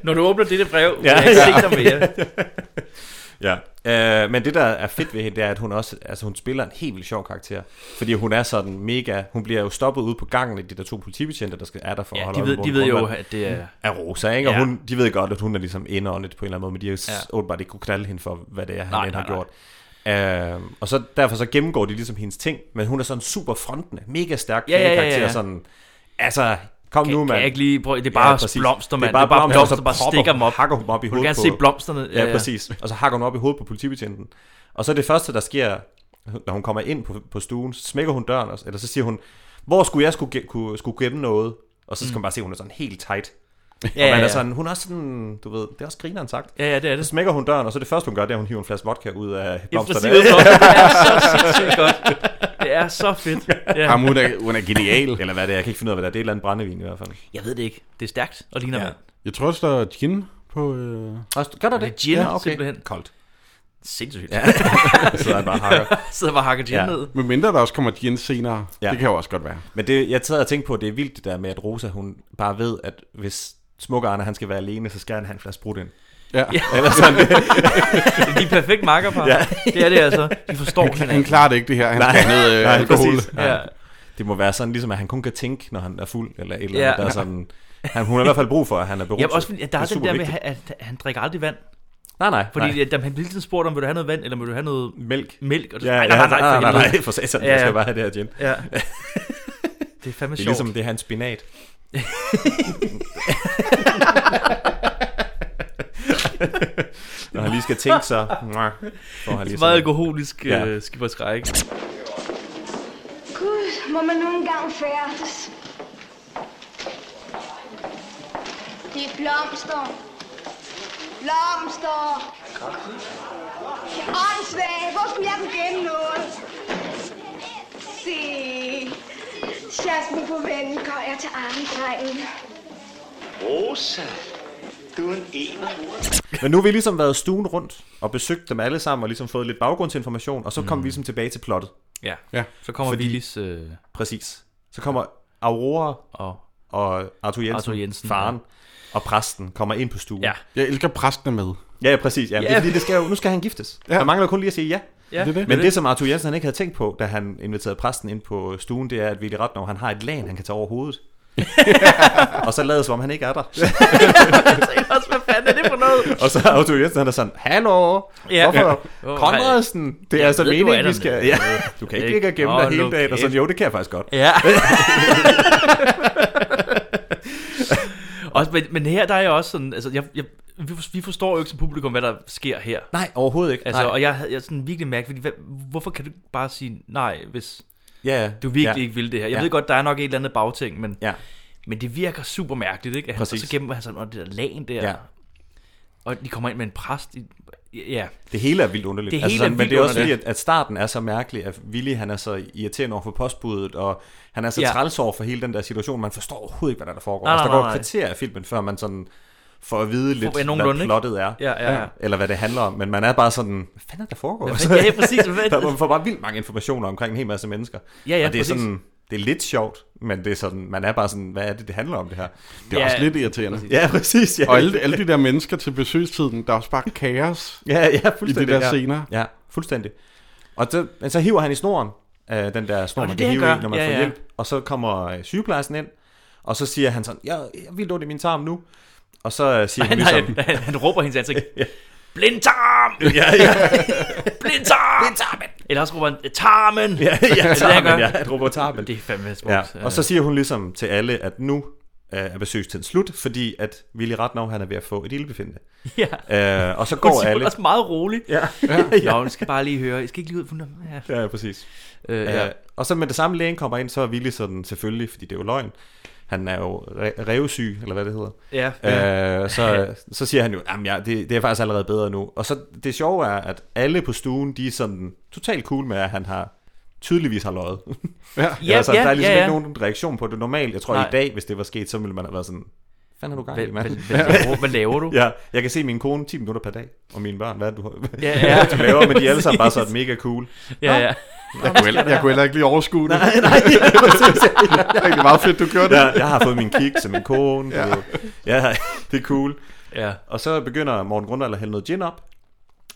B: Når du åbner dette brev, ja, jeg ikke se dig mere.
D: Ja, øh, men det der er fedt ved hende, det er, at hun også, altså hun spiller en helt vildt sjov karakter. Fordi hun er sådan mega, hun bliver jo stoppet ude på gangen af de der to politibetjente, der skal, er der for
B: Ja,
D: at holde
B: de
D: øje
B: ved,
D: med,
B: de
D: hvor
B: ved jo,
D: hun
B: at det er...
D: er Rosa, ikke? Og
B: Ja.
D: hun, de ved godt, at hun er ligesom indåndet på en eller anden måde, men de har s-
B: Ja.
D: åbenbart ikke kunne knalde hende for, hvad det er, han
B: Nej,
D: end har
B: nej, nej.
D: gjort. Øh, og så derfor så gennemgår de ligesom hendes ting, men hun er sådan super frontende, mega stærk
B: Ja, ja, ja, ja,
D: karakter,
B: ja.
D: sådan, altså, kom
B: Kan,
D: nu,
B: kan
D: mand.
B: jeg ikke lige prøve, det er bare
D: præcis.
B: ja, blomster, mand.
D: Det er bare, blomster,
B: blomster,
D: så
B: bare
D: propper
B: stikker dem
D: hun-
B: op.
D: Hakker hun op i
B: Du vil
D: hovedet
B: gerne se
D: på-
B: blomsterne.
D: Ja, ja, præcis. Øh, Og så hakker hun op i hovedet på politibetjenten. Og så det første, der sker, når hun kommer ind på, på stuen, så smækker hun døren, og- eller så siger hun, hvor skulle jeg skulle, ge- kunne, skulle gemme noget? Og så skal man bare se, at hun er sådan helt tight.
B: Ja,
D: og man
B: ja,
D: er
B: ja.
D: sådan, hun er også sådan, du ved, det er også grineren sagt.
B: Ja, ja, det er
D: Så
B: det.
D: smækker hun døren, og så det første, hun gør, det er, at hun hiver en flaske vodka ud af
B: Det er præcis,
D: blomsterne.
B: det er så sindssygt godt. Det er så fedt. Ja.
C: Jamen, hun er, hun er genial.
D: Eller hvad det er, jeg kan ikke finde ud af, hvad det er. Det er et eller andet brændevin i hvert fald.
B: Jeg ved det ikke. Det er stærkt og ligner
D: Ja.
B: mand.
C: Jeg tror også, der er gin på... Øh...
D: Og gør der
B: det? Gin,
D: ja,
B: simpelthen.
D: Koldt.
B: Sindssygt.
D: Ja. Så er han bare hakker.
B: Sidder bare og hakker gin
D: Ja.
B: ned.
C: Med mindre der også kommer gin senere.
D: Ja.
C: Ja. Det kan jo også godt være.
D: Men det, jeg sad og tænkte på, at det er vildt det der med, at Rosa, hun bare ved, at hvis smukke Arne, han skal være alene, så skal han have en flaske brudt ind.
C: Ja.
D: Eller sådan det.
B: De er perfekt makkerpar.
D: Ja.
B: Det er det altså. De forstår
C: Han
B: hinanden.
C: klarer det ikke, det her. Han
D: Nej,
C: skal have noget øh,
D: nej,
C: alkohol.
D: præcis.
B: Ja.
D: Det må være sådan, ligesom at han kun kan tænke, når han er fuld, eller et eller
B: Ja.
D: andet, ja. der er sådan... Han, hun har i hvert fald brug for, at han er beruset.
B: Ja, også fordi, at der er,
D: Det
B: den der med,
D: supervigtigt.
B: at han drikker aldrig vand.
D: Nej, nej,
B: Fordi
D: nej.
B: nej. han bliver hele tiden spurgt om, vil du have noget vand, eller vil du have noget
D: Mælk.
B: mælk? Og så,
D: Ja,
B: "Ej,
D: ja, nej, nej, nej, nej, nej, for satan,
B: Ja,
D: jeg skal
B: ja.
D: bare have det her gin. Det
B: Ja. Det er fandme
D: er
B: sjovt.
D: ligesom, det er hans spinat. Når han lige skal tænke sig, får han lige
B: meget
D: sådan,
B: alkoholisk
D: ligesom- Ja.
B: ja. øh, skib og skræk.
H: Gud, må man nu engang færdes? Det er blomster. Blomster. Åndssvag, hvor skulle jeg kunne gemme noget? Se. Jasmin på vennen går jeg til armdrengen.
E: Rosa, du er en ener.
D: Men nu har vi ligesom været stuen rundt og besøgt dem alle sammen og ligesom fået lidt baggrundsinformation, og så
B: Mm.
D: kom vi ligesom tilbage til plottet.
B: Ja.
C: Ja.
B: Så kommer
D: Fordi-
B: Fordi... Willis øh,
D: Præcis. Så kommer Aurora
B: og...
D: og Arthur Jensen,
B: Arthur Jensen,
D: faren og præsten, kommer ind på stuen.
B: Ja.
C: Jeg elsker præsten er med.
D: Ja, ja, præcis. Ja.
B: Ja.
D: Det, er fordi, det skal jo, nu skal han giftes. Ja.
C: Ja.
D: Han mangler kun lige at sige ja.
B: Ja.
C: Det er det.
D: Men det, som Arthur Jensen han ikke havde tænkt på, da han inviterede præsten ind på stuen, det er, at Willy Ratnov, han har et lagen, han kan tage over hovedet. og så lader som om han ikke er der.
B: også, hvad fanden er det for noget?
D: Og så er Arthur Jensen, han er sådan, Hallo,
B: Ja.
D: hvorfor?
B: Ja.
D: Konradsen, det er altså
B: ved, du er
D: meningen,
B: der,
D: vi skal...
B: men-
D: Ja. Du kan ikke
B: Ikke?
D: ligge og gemme
B: Nå,
D: dig hele
B: nu
D: dagen. Og sådan,
B: kæft.
D: jo, det kan jeg faktisk godt.
B: Ja. også, men, men her der er jeg også sådan, altså, jeg, jeg, vi, for- vi forstår jo ikke som publikum, hvad der sker her.
D: Nej, overhovedet ikke.
B: Altså,
D: nej.
B: og jeg havde jeg sådan virkelig mærket, fordi, hvad, hvorfor kan du ikke bare sige nej, hvis
D: ja, ja.
B: du virkelig
D: ja.
B: ja. ikke vil det her? Jeg
D: Ja.
B: ja. ved godt, der er nok et eller andet bagting, men,
D: Ja.
B: men det virker super mærkeligt, ikke? At Han, og
D: Præcis.
B: så gemmer han sådan under det der lagen der,
D: Ja.
B: og de kommer ind med en præst. I, ja,
D: Det hele er vildt underligt.
B: Det
D: altså,
B: hele
D: sådan,
B: er
D: men
B: vildt
D: det er også fordi,
B: underligt.
D: at, at starten er så mærkelig, at Willy han er så irriterende over for postbuddet, og han er så ja.
B: Ja.
D: træls over for hele den der situation. Man forstår overhovedet ikke, hvad der, der foregår.
B: Nej,
D: altså,
B: nej,
D: der går
B: nej,
D: et
B: nej.
D: kvarter af filmen, før man sådan får at vide lidt,
B: Får- ja,
D: hvad
B: nogenlunde, ikke?
D: plottet er.
B: Ja, ja, ja.
D: Eller hvad det handler om. Men man er bare sådan, hvad fanden er der foregår? Altså,
B: fanden- ja, præcis, hvad-
D: der, man får bare vildt mange informationer omkring en hel masse mennesker.
B: Ja, ja,
D: og det er,
B: præcis.
D: sådan, det er lidt sjovt, men det er sådan, man er bare sådan, hvad er det, det handler om det her?
C: Det er
B: Ja.
C: ja. også lidt irriterende. Ja.
D: Ja, præcis. Ja.
C: Og alle, alle de der mennesker til besøgstiden, der er også bare kaos.
D: Ja, ja, fuldstændig.
C: der
D: ja.
C: scener.
D: Ja, fuldstændig. Og så, men så hiver han i snoren, øh, den der snor,
B: Nå,
D: man
B: det
D: kan
B: er det,
D: hive
B: han
D: i,
B: gør.
D: når man
B: Ja,
D: får
B: ja.
D: hjælp. Og så kommer øh, sygeplejersken ind, og så siger han sådan, jeg, jeg vil ondt i min tarm nu. Og så øh, siger han
B: han, han,
D: ligesom,
B: han, han råber hendes ansigt. Blindtarm!
D: ja, ja,
B: Blindtarm!
D: tarmen!
B: Eller også råber han, tarmen!
D: Ja, ja,
B: det, han
D: tarmen,
B: gør.
D: ja, han råber tarmen.
B: Det er fandme smukt.
D: Ja, og så siger hun ligesom til alle, at nu øh, er besøgstiden slut, fordi at Willy Ratnov, han er ved at få et ildbefindende.
B: ja.
D: Øh, og så
B: Hun
D: går
B: siger
D: alle...
B: det også meget roligt.
D: Ja,
B: Ja. Nå, nu skal jeg bare lige høre. Jeg skal ikke lige ud. for- Ja.
D: ja, præcis.
B: Øh, ja.
D: Ja. Og så med det samme lægen kommer ind, så er Willy sådan selvfølgelig, fordi det er jo løgn. Han er jo re- revsyg, eller hvad det hedder.
B: ja.
D: Ja. Øh, så, så siger han jo, at ja, det, det er faktisk allerede bedre nu. Og så det sjove er, at alle på stuen, de er sådan totalt cool med, at han har tydeligvis har løjet.
C: Ja.
B: Ja,
D: altså, der er
B: ja,
D: ligesom
B: ja, ja.
D: ikke nogen reaktion på det. Normalt, jeg tror
B: Nej.
D: i dag, hvis det var sket, så ville man have været sådan, hvad fanden har du gang i,
B: Hvad, hvad,
D: mand?
B: hvad, laver, hvad laver du?
D: Ja, jeg kan se min kone 10 minutter per dag, og mine børn, hvad er det, du,
B: Ja,
D: ja,
B: ja.
D: ja. du laver, men de er alle sammen bare sådan mega cool.
B: ja, ja.
C: Jeg, kunne heller, jeg kunne heller ikke lige overskue det.
D: Nej, nej, præcis, ja.
C: Det er egentlig meget fedt, du gjorde det.
D: jeg, jeg har fået min kiks og min kone. Ja. ja, det er cool.
B: ja.
D: Og så begynder Morten Grundvald at hælde noget gin op.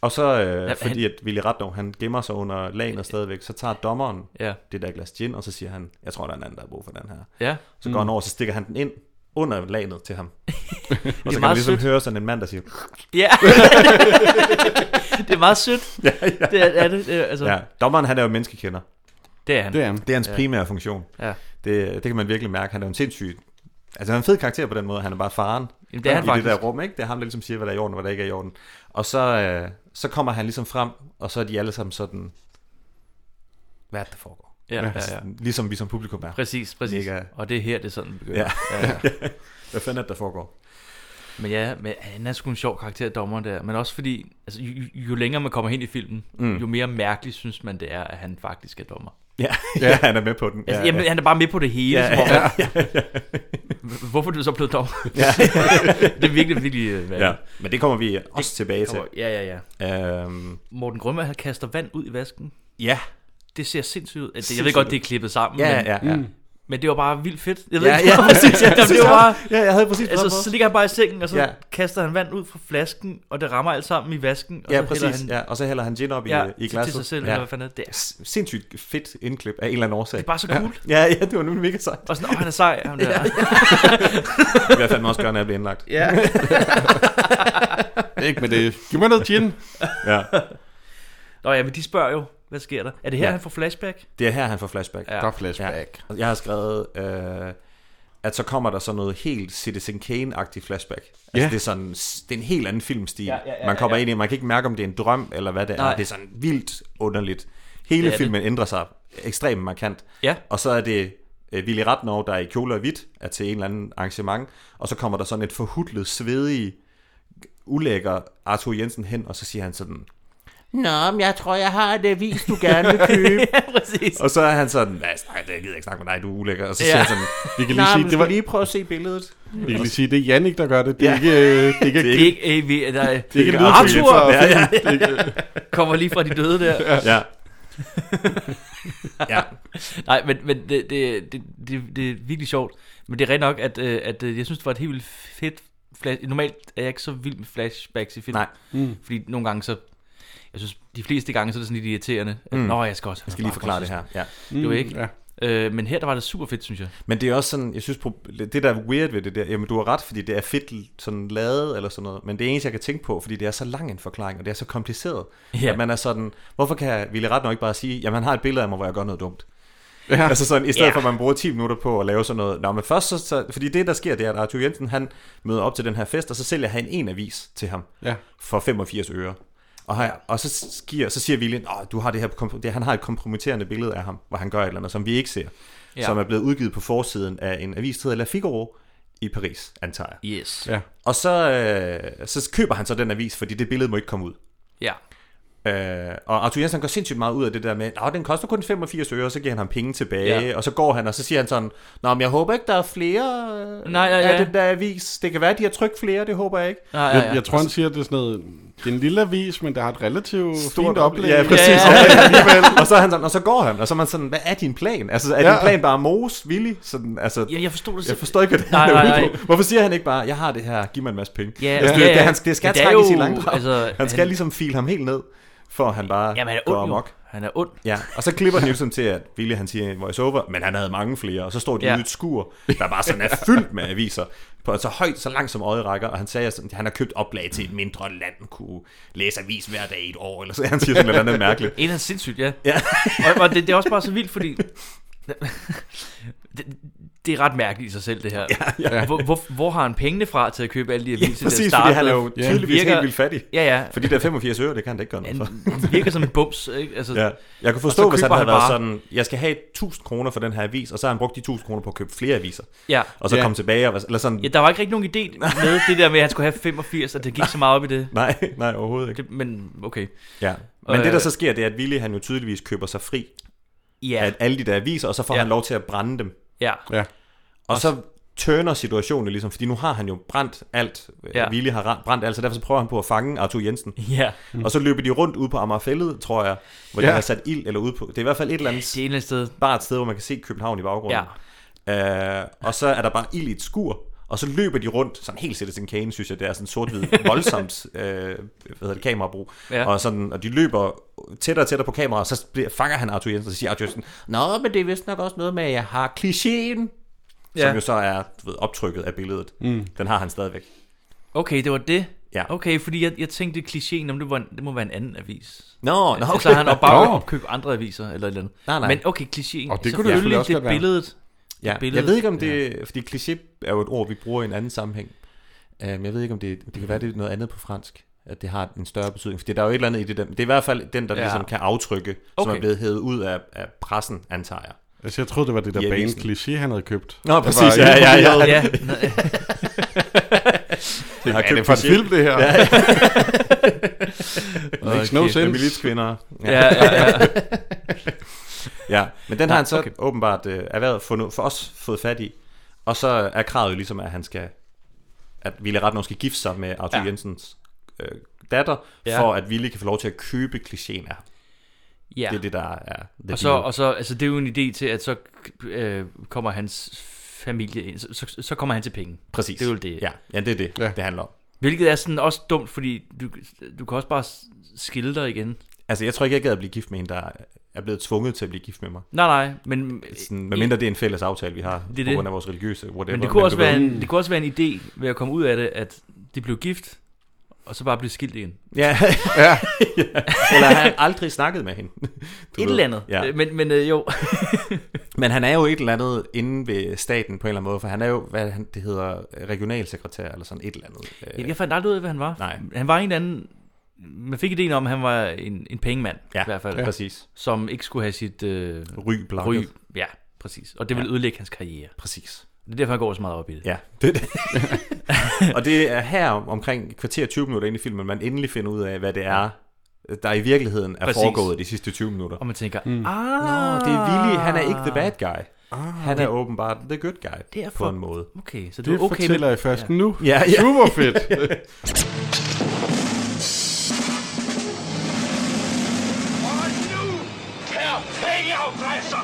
D: Og så, øh, ja,
B: han-
D: fordi at Willy Ratnov, han gemmer sig under lagene stadigvæk, så tager dommeren
B: Ja.
D: det der glas gin, og så siger han, jeg tror, der er en anden, der har brug for den her.
B: ja.
D: Så går han over, så stikker han den ind under lagnet til ham. og så kan man
B: meget
D: ligesom
B: sødt.
D: høre sådan en mand, der siger,
B: Ja. det er meget sødt. Ja, ja. Det er, er det, det er, altså, ja.
D: ja, dommeren han er jo menneskekender.
B: det er han.
C: Det er han.
D: Det er hans ja. primære funktion.
B: Ja.
D: Det, det kan man virkelig mærke. Han er jo en sindssyg... Altså, han er en fed karakter på den måde. Han er bare faren
B: Jamen, det er han
D: i
B: faktisk.
D: det der rum, ikke? Det er ham, der ligesom siger, hvad der er i orden, og hvad der ikke er i orden. Og så, øh, så kommer han ligesom frem, og så er de alle sammen sådan... Hvad er det, der foregår?
B: Ja, ja, ja.
D: Altså, Ligesom vi som publikum er.
B: Præcis, præcis.
D: Mega.
B: Og det er her, det er sådan det begynder.
D: Ja.
B: Ja.
D: Hvad fanden er det, der foregår?
B: Men ja, men han er sgu en sjov karakter, dommer der. Men også fordi, altså, jo, jo- jo længere man kommer hen i filmen, mm. jo mere mærkeligt synes man, det er, at han faktisk er dommer.
D: Ja, ja. han er med på den.
B: Altså, ja, jamen, han er bare med på det hele.
D: Ja,
B: Ja, ja, ja, ja. Hvorfor er du så blevet dommer? Ja. det er virkelig, virkelig øh,
D: ja.
B: mærkeligt.
D: Men det kommer vi også tilbage til.
B: Ja, ja, ja.
D: Øhm,
B: Morten Grønberg, han kaster vand ud i vasken.
D: ja,
B: Det ser sindssygt ud. Altså, Jeg ved godt, det er klippet sammen,
D: ja,
B: men,
D: ja, ja.
B: Men det var bare vildt fedt. Jeg ved
D: Ja,
B: ikke,
D: ja,
B: præcis. Ja, det, det var bare,
D: ja, jeg havde præcis
B: altså, så ligger han bare i sengen, og så
D: Ja.
B: ja. kaster han vand ud fra flasken, og det rammer alt sammen i vasken. Og
D: Ja,
B: så
D: præcis.
B: hælder
D: Han, ja, og så hælder han gin op
B: ja,
D: i, i
B: til
D: glasset.
B: sig selv,
D: ja.
B: ja. eller hvad fanden er det er.
D: S- Sindssygt fedt indklip af en eller anden årsag.
B: Det er bare så cool.
D: Ja, ja, det var nu mega sejt.
B: Og sådan, åh, han er sej, ham der. ja,
D: Det vil jeg fandme også gøre, når jeg bliver indlagt. Ja.
C: Ikke med det. Giv mig noget gin.
D: ja.
B: Nå ja, men de spørger jo, hvad sker der? Er det her,
D: Ja.
B: ja. han får flashback?
D: Det er her, han får flashback.
B: Ja.
C: Der er flashback.
D: Ja. Og Altså, Jeg har skrevet, øh, at så kommer der sådan noget helt Citizen Kane-agtig flashback. Altså,
C: Ja.
D: det, er sådan, det er en helt anden filmstil.
B: Ja, ja, ja,
D: man kommer
B: ja, ja.
D: ind i, man kan ikke mærke, om det er en drøm, eller hvad det er.
B: Nej.
D: Det er sådan vildt underligt. Hele
B: Det er
D: filmen det. ændrer sig ekstremt markant.
B: Ja.
D: Og så er det øh, Willy Ratnov, der er i kjole og hvidt, er til en eller anden arrangement, og så kommer der sådan et forhudlet, svedige, ulækker Arthur Jensen hen, og så siger han sådan, Nå, men jeg tror, jeg har det vis, du gerne vil købe.
B: ja, præcis.
D: Og så er han sådan, nej, nej, det gider jeg ikke snakke med dig, du er ulækker. Og så
B: Ja.
D: siger han sådan,
C: Vi kan
D: nej,
C: lige sige,
D: men du
C: det
D: skal
C: var,
D: lige prøve at se billedet.
C: vi kan lige sige, det er Jannik, der gør det. Det er
D: Ja.
C: ikke, øh, det er ikke,
B: Det er ikke, øh, vi, der, er-
C: det er ikke
D: det er
C: lydfilen
B: Arthur.
C: fra-
D: Ja, ja,
C: Det er ikke-
B: kommer lige fra de døde der.
D: Ja. ja.
B: Nej, men, men det, det, det, det, det er virkelig sjovt. Men det er rent nok, at, øh, at øh, jeg synes, det var et helt vildt fedt flash. Normalt er jeg ikke så vild med flashbacks i film.
D: Nej.
B: Mm. Fordi nogle gange så... Jeg synes, de fleste gange, så er det sådan lidt irriterende. At,
D: Mm.
B: Nå, jeg skal også... Jeg
D: Jeg skal lige forklare det her. Mm, Ja.
B: Det var ikke.
C: Ja.
B: Øh, men her, der var det super fedt, synes jeg.
D: Men det er også sådan, jeg synes, prob- det der er weird ved det der, jamen du har ret, fordi det er fedt sådan lavet eller sådan noget, men det er eneste, jeg kan tænke på, fordi det er så lang en forklaring, og det er så kompliceret,
B: Ja.
D: at man er sådan, hvorfor kan Ville Ratnov ikke bare sige, jamen han har et billede af mig, hvor jeg gør noget dumt. Ja. Altså sådan, i stedet
B: Ja.
D: for at man bruger 10 minutter på at lave sådan noget. Nå, men først så, så, fordi det der sker, det er, at Arthur Jensen, han møder op til den her fest, og så sælger han en avis til ham
C: Ja.
D: for 85 øre. Og, her, og så, giver, så siger William, at du har det her, komprom- det, han har et kompromitterende billede af ham, hvor han gør et eller andet, som vi ikke ser. Ja.
B: Ja.
D: Som er blevet udgivet på forsiden af en avis, der hedder La Figaro i Paris, antager jeg.
B: Yes.
C: Ja.
D: Og så, øh, så køber han så den avis, fordi det billede må ikke komme ud.
B: Ja.
D: Øh, og Arthur Jensen gør sindssygt meget ud af det der med, at den koster kun 85 øre, og så giver han ham penge tilbage, ja.
B: Ja.
D: og så går han, og så siger han sådan, Nå, men jeg håber ikke, der er flere øh,
B: Nej, ja,
D: af
B: ja.
D: den der avis. Det kan være, de har trykt flere, det håber jeg ikke.
B: Nej, ja,
C: Jeg,
B: ja.
C: jeg tror, han siger, det er sådan noget, det er en lille avis, men der har et relativt fint oplæg.
D: Ja, præcis.
B: Ja,
D: Ja, ja. alligevel. og, så er han sådan, og så går han, og så er man sådan, hvad er din plan? Altså, er ja.
C: Ja.
D: din plan bare mos, villig? Sådan, altså,
B: Ja, jeg forstod det
D: jeg
B: selv.
D: forstår ikke, hvad det
B: Nej,
D: er
B: nej,
D: ude
B: nej.
D: på. Hvorfor siger han ikke bare, jeg har det her, giv mig en masse penge?
B: Ja,
D: altså,
B: ja,
D: det, det,
B: ja.
D: han, det skal
B: Men det er
D: trækkes i
B: jo-
D: langdrag.
B: altså,
D: han skal
B: han-
D: ligesom file ham helt ned, for han bare
B: Jamen, han er
D: går
B: ond jo.
D: amok.
B: Han er ond.
D: Ja, og så klipper den jo sådan til, at Ville han siger en voiceover, men han havde mange flere, og så står de ja.
B: Ja.
D: ude i et skur, der bare sådan er fyldt med aviser, på så højt, så langt som øjet rækker, og han sagde, sådan, at han har købt oplag til et mindre land, kunne læse avis hver dag i et år, eller så han siger sådan noget andet mærkeligt.
B: En er sindssygt, ja.
D: Ja.
B: og, og det, det er også bare så vildt, fordi... det, det er ret mærkeligt i sig selv, det her. Ja, ja. Hvor, hvor, hvor har han pengene fra til at købe alle de aviser? til at
D: Præcis, fordi
B: starte
D: han er jo
B: med?
D: tydeligvis virker...
B: virker-
D: helt vildt fattig.
B: Ja, ja.
D: Fordi der er 85 øre, det kan han da ikke gøre noget for.
B: Han han virker som en bums, ikke? Altså,
D: Ja.
B: ja.
D: Jeg kunne
B: Og
D: forstå,
B: så
D: hvis han
B: køber
D: havde
B: han
D: været
B: bare-
D: sådan, jeg skal have 1000 kroner for den her avis, og så har han brugt de 1000 kroner på at købe flere aviser,
B: ja.
D: og så
C: Ja.
D: komme tilbage, og, eller sådan,
B: Ja, der var ikke rigtig nogen idé med det der med, at han skulle have 85, og det gik så meget op i det.
D: nej, nej, overhovedet ikke.
B: det men okay.
D: Ja. Men
B: Og,
D: det, der
B: øh,
D: så sker, det er, at Willy, han jo tydeligvis køber sig fri
B: Ja,
D: af alle de der aviser, og så får ja.
B: Ja.
D: han lov til at brænde dem.
B: ja.
C: Ja.
D: Og så tørner situationen ligesom, fordi nu har han jo brændt alt. Ja.
B: Ja.
D: Willy har ra- brændt alt, så derfor så prøver han på at fange Arthur Jensen.
B: Ja,
D: Mm. Og så løber de rundt ude på Amagerfællet, tror jeg, hvor ja. de
C: Ja.
D: har sat ild eller ude på. Det er i hvert fald et eller andet
B: det er et eller andet sted.
D: bare et sted, hvor man kan se København i baggrunden. Ja. Øh, og så er der bare ild i et skur, og så løber de rundt, sådan helt Citizen Kane, synes jeg, det er sådan sort-hvid, voldsomt øh, hvad hedder det, kamerabrug. Ja.
B: Ja.
D: Og, sådan, og de løber tættere og tættere på kameraet, og så bliver, fanger han Arthur Jensen, og så siger Arthur Jensen, Nå, men det er vist nok også noget med, at jeg har klichéen, ja. som
B: Ja.
D: jo så er du ved, optrykket af billedet. Mm. Den har han stadigvæk.
B: Okay, det var det.
D: Ja.
B: Okay, fordi jeg, jeg tænkte klichéen, om det, var en, det må være en anden avis.
D: Nå, nå,
B: Okay. Så har han op bare
C: Nå.
B: opkøbt andre aviser eller et eller andet.
D: Nej, nej.
B: Men okay, klichéen.
C: Og det kunne det
B: selvfølgelig,
C: selvfølgelig også
B: det
C: godt være.
B: billedet.
D: Ja, jeg
B: billedet.
D: ved ikke om det, ja. fordi kliché er jo et ord, vi bruger i en anden sammenhæng. Um, jeg ved ikke om det, det kan være, det er noget andet på fransk, at det har en større betydning. Fordi der er jo et eller andet i det der, det er i hvert fald den, der ja.
B: Ja.
D: ligesom kan aftrykke, okay. som
B: Okay.
D: er blevet hævet ud af, af pressen, antager jeg. Altså,
C: Altså, jeg troede, det var det der
D: I
C: bane
D: avisen.
C: kliché, han havde købt.
D: Nå,
C: præcis, ja, ja, ja.
B: Ja,
D: Jeg har
C: Er det
D: købt
C: for en
D: kliché.
C: film, det her? Ja, Makes no
D: Med
C: sense.
D: militskvinder. Ja.
B: ja, ja, ja.
D: ja. Men den har han så okay.
B: okay.
D: åbenbart øh, erhvervet fundet, for os fået fat i. Og så er kravet jo ligesom, at han skal, at Ville Ratnov skal gifte sig med Arthur ja.
B: Ja.
D: Jensens øh, datter, ja.
B: Ja.
D: for at Ville kan få lov til at købe klichéen af ham.
B: Ja.
D: Det er det, der er the
B: Og så,
D: deal.
B: og så, altså det er jo en idé til, at så øh, kommer hans familie ind, så, så, så kommer han til penge.
D: Præcis.
B: Det er jo det.
D: Ja, ja det er det, ja. det handler om.
B: Hvilket er sådan også dumt, fordi du, du kan også bare skille dig igen.
D: Altså, jeg tror ikke, jeg gad at blive gift med en, der er blevet tvunget til at blive gift med mig.
B: Nej, nej, men,
D: Sådan, med mindre det er en fælles aftale, vi har, det
B: Øh, det.
D: på grund af vores religiøse whatever.
B: men det, kunne også
D: du ved-
B: være en, det kunne også være en idé ved at komme ud af det, at de blev gift, og så bare blive skilt igen.
D: Ja. ja. Eller han aldrig snakket med hende. Du
B: Et
D: ved.
B: eller andet.
D: Ja.
B: Øh, Men, men øh, jo,
D: Men han er jo et eller andet inde ved staten på en eller anden måde, for han er jo, hvad han, det hedder, regionalsekretær eller sådan et eller andet.
B: jeg,
D: Øh,
B: jeg fandt aldrig ud af, hvad han var.
D: Nej.
B: Han var en eller anden... Man fik ideen om, at han var en, en pengemand,
D: ja,
B: i hvert fald,
D: Ja. Præcis.
B: som ikke skulle have sit øh,
D: Ry
B: ry.
D: blanket.
B: Ja, præcis. Og det ville ødelægge hans karriere.
D: Præcis.
B: Det er derfor, han går så meget op i det.
D: Ja, det er det. og det er her om, omkring et kvarter 20 minutter ind i filmen, man endelig finder ud af, hvad det er, der i virkeligheden er
B: Præcis.
D: Præcis. foregået de sidste 20 minutter.
B: Og man tænker, mm. ah,
D: Nå, det er Willy, han er ikke the bad guy. Han Ah, er åbenbart the good guy,
B: Det er
D: på
B: for-
D: en måde.
B: okay, så du
C: Det
B: er okay
C: fortæller
B: med...
C: jeg først ja. nu.
D: Ja, ja.
C: Super fedt.
I: Og nu, her pengeafgræsser,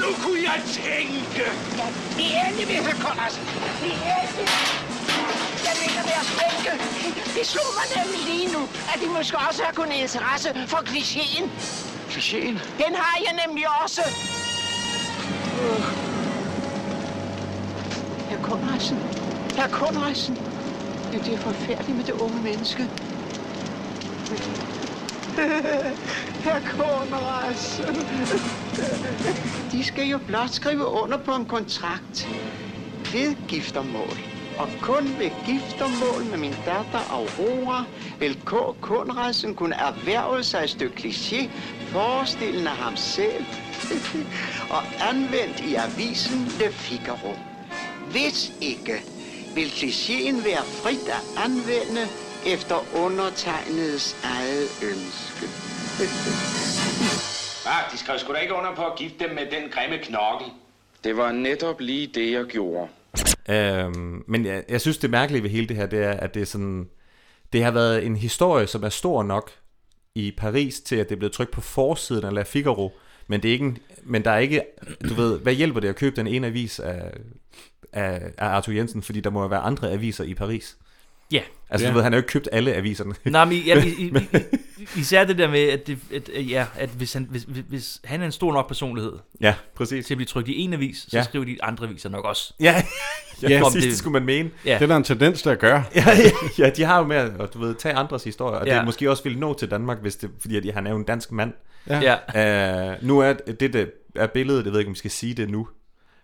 I: nu kunne jeg tænke.
E: Vi er endelig ved, herr Connorsen. Vi er endelig. Jeg mener med at spænke. Det slog mig nemlig lige nu, at de måske også har kunnet interesse for klichéen.
I: Klichéen?
E: Den har jeg nemlig også. Herr Connorsen. Herr Connorsen. Ja, det er forfærdeligt med det unge menneske. Herr Connorsen. De skal jo blot skrive under på en kontrakt ved giftermål. Og kun ved giftermål med min datter Aurora vil K. Kunradsen kunne erhverve sig et stykke kliché, forestillende ham selv, og anvendt i avisen Le Figaro. Hvis ikke, vil klichéen være frit at anvende efter undertegnedes eget ønske.
J: Ah, de skrev sgu da ikke under på at gifte dem med den grimme knokkel. Det var netop lige det, jeg gjorde.
D: Øhm, men jeg, jeg synes, det mærkelige ved hele det her, det er, at det er sådan... Det har været en historie, som er stor nok i Paris til, at det er blevet trykt på forsiden af La Figaro, men, det er ikke en, men der er ikke... Du ved, hvad hjælper det at købe den ene avis af, af, af Arthur Jensen, fordi der må jo være andre aviser i Paris.
B: Ja.
D: Altså, ja. du ved, han har jo ikke købt alle aviserne.
B: Nej, men ja, i, i, i, især det der med, at, det, at, at, ja, at hvis, han, hvis, hvis- hvis han er en stor nok personlighed
D: ja, præcis.
B: til at blive trykt i en avis, så ja.
D: Ja.
B: skriver de andre aviser nok også.
D: Ja, ja,
B: Om
D: præcis,
B: det-
D: det skulle man mene.
B: Ja.
C: Det er der en tendens til at gøre.
D: Ja, ja, ja, de har jo med at du ved, tage andres historier, og ja.
B: Ja.
D: det måske også ville nå til Danmark, hvis det, fordi at han er jo en dansk mand.
C: Ja.
B: Ja.
D: Uh, nu er det, det er billedet, jeg ved ikke, om vi skal sige det nu,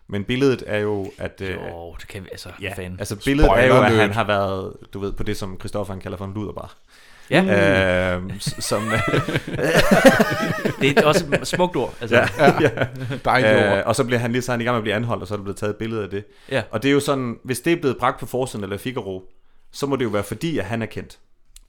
D: men billedet er jo, at... Uh,
B: Jo, det kan vi, altså,
D: ja,
B: ja, fanden. Altså,
D: altså billedet er jo, at
C: Spoiler
D: han
C: alert.
D: har været, du ved, på det, som Christoffer han kalder for en luderbar.
B: ja,
D: Mm. Uh, som,
B: det er også et smukt ord. Altså, ja.
C: Dejligt øh,
D: uh, og så bliver han lige så er han i gang med at blive anholdt, og så er der blevet taget et billede af det.
B: Ja.
D: Og det er jo sådan, hvis det er blevet bragt på forsiden eller Figaro, så må det jo være fordi, at han er kendt.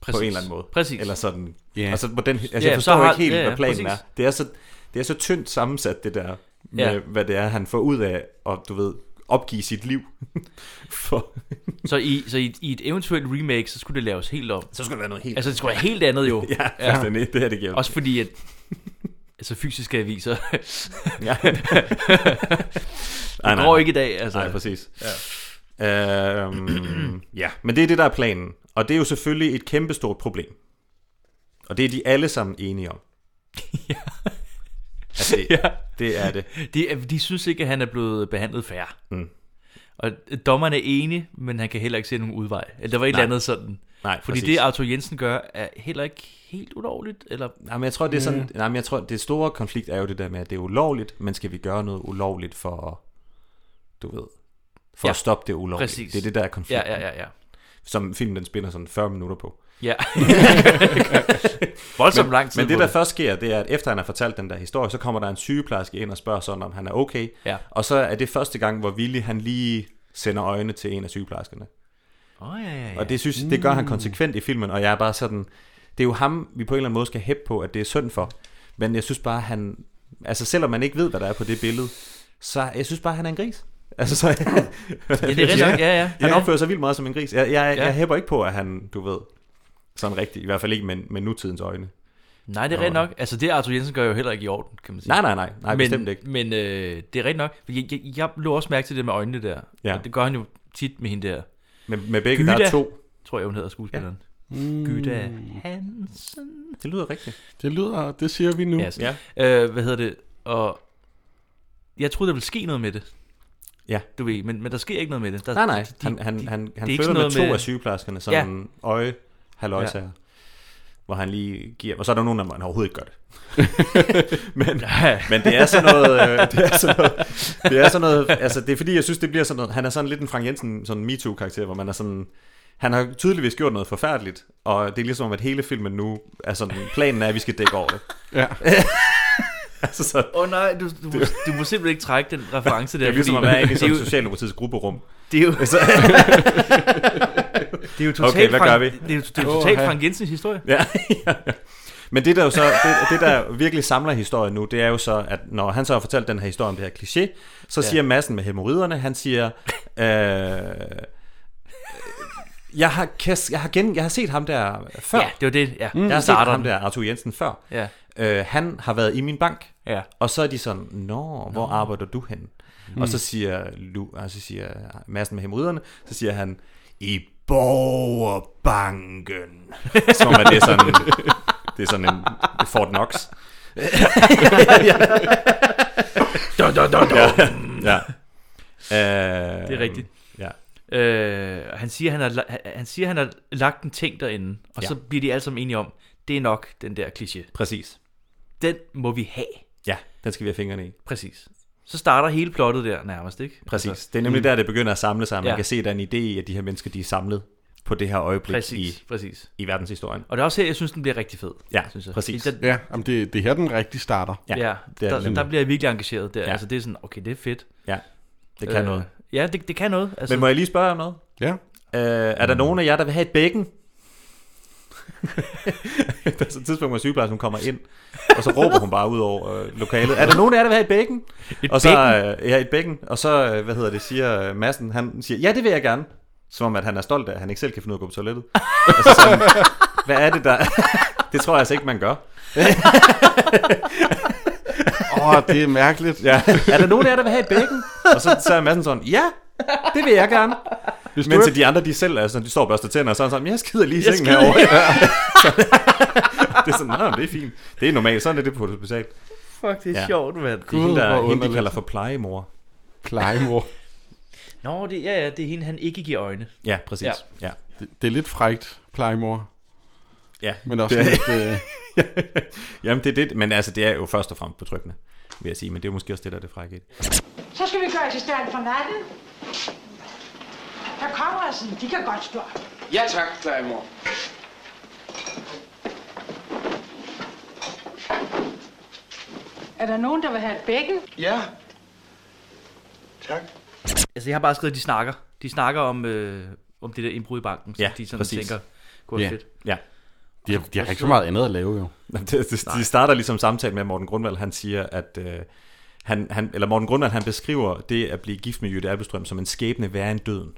B: Præcis.
D: på en eller anden måde.
B: Præcis.
D: Eller sådan.
C: Ja.
D: Yeah. Altså, på den, altså,
B: Ja,
D: yeah, jeg forstår
B: så har-
D: har, ikke helt,
B: ja, ja,
D: hvad planen
B: præcis.
D: er. Det er, så, det er så tyndt sammensat, det der, med
B: Ja.
D: hvad det er, han får ud af at, du ved, opgive sit liv. For,
B: Så, i, så i, i et eventuelt remake, så skulle det laves helt om.
D: så skal det være noget helt... Altså,
B: Altså, det skulle være helt andet jo.
D: ja, ja. det her, det giver.
B: Også fordi, at altså, fysiske aviser
D: ja.
B: det går ikke i dag. Altså.
D: Nej, præcis. Ja. Øhm, ja, men det er det, der er planen. Og det er jo selvfølgelig et kæmpestort problem. Og det er de alle sammen enige om. ja. Altså, det, ja. det er det.
B: De, de synes ikke, at han er blevet behandlet fair. Mm. Og dommeren er enig, men han kan heller ikke se nogen udvej. Eller der var et eller andet sådan.
D: Nej,
B: Fordi
D: præcis.
B: det, Arthur Jensen gør, er heller ikke helt ulovligt. Eller,
D: Nej, men jeg tror, det er sådan, mm. nej, men jeg tror, det store konflikt er jo det der med, at det er ulovligt, men skal vi gøre noget ulovligt for, at- du ved,
B: Ja,
D: for ja. at stoppe det ulovligt.
B: præcis.
D: Det er det, der er konflikt,
B: ja, ja, ja, ja.
D: som filmen den spænder sådan 40 minutter på.
B: ja. Voldsomt lang tid
D: Men det,
B: på
D: der først sker, det er, at efter han har fortalt den der historie, så kommer der en sygeplejerske ind og spørger sådan, om han er okay.
B: Ja.
D: Og så er det første gang, hvor Willy, han lige sender øjne til en af sygeplejerskerne.
B: Åh, ja, ja, ja.
D: Og det synes det gør
B: Mm.
D: han konsekvent i filmen, og jeg er bare sådan, det er jo ham, vi på en eller anden måde skal hæppe på, at det er synd for. Men jeg synes bare, han, altså selvom man ikke ved, hvad der er på det billede, så jeg synes bare, han er en gris. Altså, så,
B: Ja, det er rigtigt. nok. Ja, ja.
D: han
B: ja.
D: opfører sig vildt meget som en gris. Jeg, jeg,
B: Ja.
D: jeg hæpper ikke på, at han, du ved, sådan rigtigt, i hvert fald ikke med, med nutidens øjne.
B: Nej, det er rigtigt nok. Altså, det Arthur Jensen gør jo heller ikke i orden, kan man sige.
D: Nej, nej, nej. Nej,
B: men,
D: bestemt ikke.
B: Men øh, det er rigtigt nok. Fordi Jeg, jeg, jeg lå også mærke til det med øjnene der.
D: Ja.
B: Og det gør han jo tit med hende der.
D: Med, med begge, der er
B: Gyda,
D: to.
B: Tror jeg, hun hedder skuespilleren. Ja. Mm. Gyda Hansen.
D: Det lyder rigtigt.
C: Det lyder, det siger vi nu.
B: Yes. Ja. Øh, hvad hedder det? Og jeg troede, der ville ske noget med det.
D: Ja.
B: Du ved, men, men der sker ikke noget med det. Der,
D: Nej, nej.
B: de- de-
D: Han, han, han, han
B: det er ikke
D: følger
B: sådan
D: med
B: noget
D: to
B: med-
D: af sygeplejerskerne, sådan ja. øje haløjsager, ja. hvor han lige giver... Og så er der nogen, der han overhovedet ikke gør det. men, men det er sådan noget... øh, Det er sådan noget, det er sådan noget altså, det er fordi, jeg synes, det bliver sådan noget... Han er sådan lidt en Frank Jensen, sådan en MeToo-karakter, hvor man er sådan... Han har tydeligvis gjort noget forfærdeligt, og det er ligesom, at hele filmen nu er sådan... Planen er, at vi skal dække over det.
C: Ja.
D: altså sådan...
B: Åh oh, nej, du, du, må, du må simpelthen ikke trække den reference der.
D: Det er ligesom at
B: fordi-
D: være inde i
B: det er
D: sådan
B: jo-
D: Socialdemokratiets grupperum.
B: Det er jo, det er jo totalt
D: Okay, hvad gør
B: Frank,
D: vi?
B: Det er jo, det er jo totalt
C: Åha.
B: Frank Jensens historie.
D: Ja, ja, ja. Men det der, jo så, det, det der virkelig samler historien nu, det er jo så, at når han så har fortalt den her historie om det her kliché, så ja. siger massen med hemorriderne, han siger, øh, jeg, har, kæs- jeg, har gen, jeg har set ham der før.
B: Ja, det var det. Ja, mm,
D: jeg
B: der
D: har set
B: starter
D: ham
B: den.
D: der, Arthur Jensen, før.
B: Ja.
D: Øh, han har været i min bank.
B: Ja.
D: Og så er de sådan, nå, hvor nå. arbejder du hen? Mm. Og så siger, Lu, og så siger massen med hemorriderne, så siger han, i borgerbanken. Som at det er sådan, det er sådan en Fort Knox. ja. Øh,
B: Det er rigtigt.
D: Ja.
B: Øh, og han siger, han har, la- han- han siger, han har lagt en ting derinde, og ja.
D: Ja.
B: så bliver de alle sammen enige om, det er nok den der kliché.
D: Præcis.
B: Den må vi have.
D: Ja, den skal vi have fingrene i.
B: Præcis. Så starter hele plottet der nærmest, ikke? Altså,
D: Præcis. Det er nemlig der, det begynder at samle sig. Man
B: Ja.
D: kan se, der er en idé i, at de her mennesker, de er samlet på det her øjeblik
B: Præcis,
D: i,
B: præcis.
D: i verdenshistorien.
B: Og det er også her, jeg synes, den bliver rigtig fed.
D: Ja,
B: synes jeg.
D: præcis.
B: Fordi Der,
C: Ja, jamen det, det er her, den rigtig starter.
B: ja, ja
D: det er ligesom det
B: der,
D: nemlig.
B: der bliver jeg virkelig engageret der. Ja.
D: Ja.
B: Altså, det er sådan, okay, det er fedt.
D: Ja, det kan øh, noget.
B: Ja, det, det kan noget. Altså,
D: Men må jeg lige spørge om noget?
C: Ja.
D: Øh,
B: Mm.
D: er der nogen af jer, der vil have et bækken? der er så Altså, et tidspunkt, hvor sygeplejersken hun kommer ind, og så råber hun bare ud over øh, lokalet. Er der nogen af jer, der vil have et bækken? Et og så, øh, ja, et bækken. Og så, øh, hvad hedder det, siger øh, Madsen, han siger, ja, det vil jeg gerne. Som om, at han er stolt af, at han ikke selv kan finde ud af at gå på toilettet. altså, sådan, hvad er det der... det tror jeg altså ikke, man gør.
C: Åh, oh, det er mærkeligt.
D: Ja. Er der nogen af jer, der vil have et bækken? Og så, så er Madsen sådan, ja, det vil jeg gerne.
C: Hvis du
D: Men
C: er-
D: til de andre, de selv er sådan, de står og børster tænder, og så er han sådan, jeg skider lige i
B: Jeg
D: sengen
B: skider
D: herovre. det er sådan, nej, men det er fint. Det er normalt, sådan er det på et hospital. Det
B: Fuck, det er
D: Ja.
B: sjovt, mand.
D: er
C: Gud,
D: hende,
C: hvor
D: der, hende, de
C: underligt.
D: kalder for plejemor.
C: Plejemor.
B: Nå, det, ja, ja, det er hende, han ikke giver øjne.
D: Ja, præcis.
B: Ja.
D: Ja. Ja.
C: Det, det er lidt frægt, plejemor.
D: ja.
C: Men også
D: Det er-
C: lidt... Øh,
D: Jamen, det er det. Men altså, det er jo først og fremmest betryggende, vil jeg sige. Men det er jo måske også det, der er det frække. i det.
K: Så skal vi gøre assistent for natten. Herr Conradsen, de kan godt stå op.
L: Ja tak, plejemor.
K: Er der nogen, der vil have et bækken?
M: Ja. Tak.
B: Altså, jeg har bare skrevet, at de snakker. De snakker om, øh, om det der indbrud i banken, som
D: Ja,
B: de sådan
D: præcis.
B: tænker, kunne være
C: Ja.
B: fedt.
D: Ja.
C: de, har, de har ikke så meget andet at lave, jo.
D: Nå, Det, det, de starter ligesom samtalen med at Morten Grundvald, han siger, at øh, han, han, eller Morten Grundvald, han beskriver det at blive gift med Jytte Albestrøm som en skæbne værre end døden.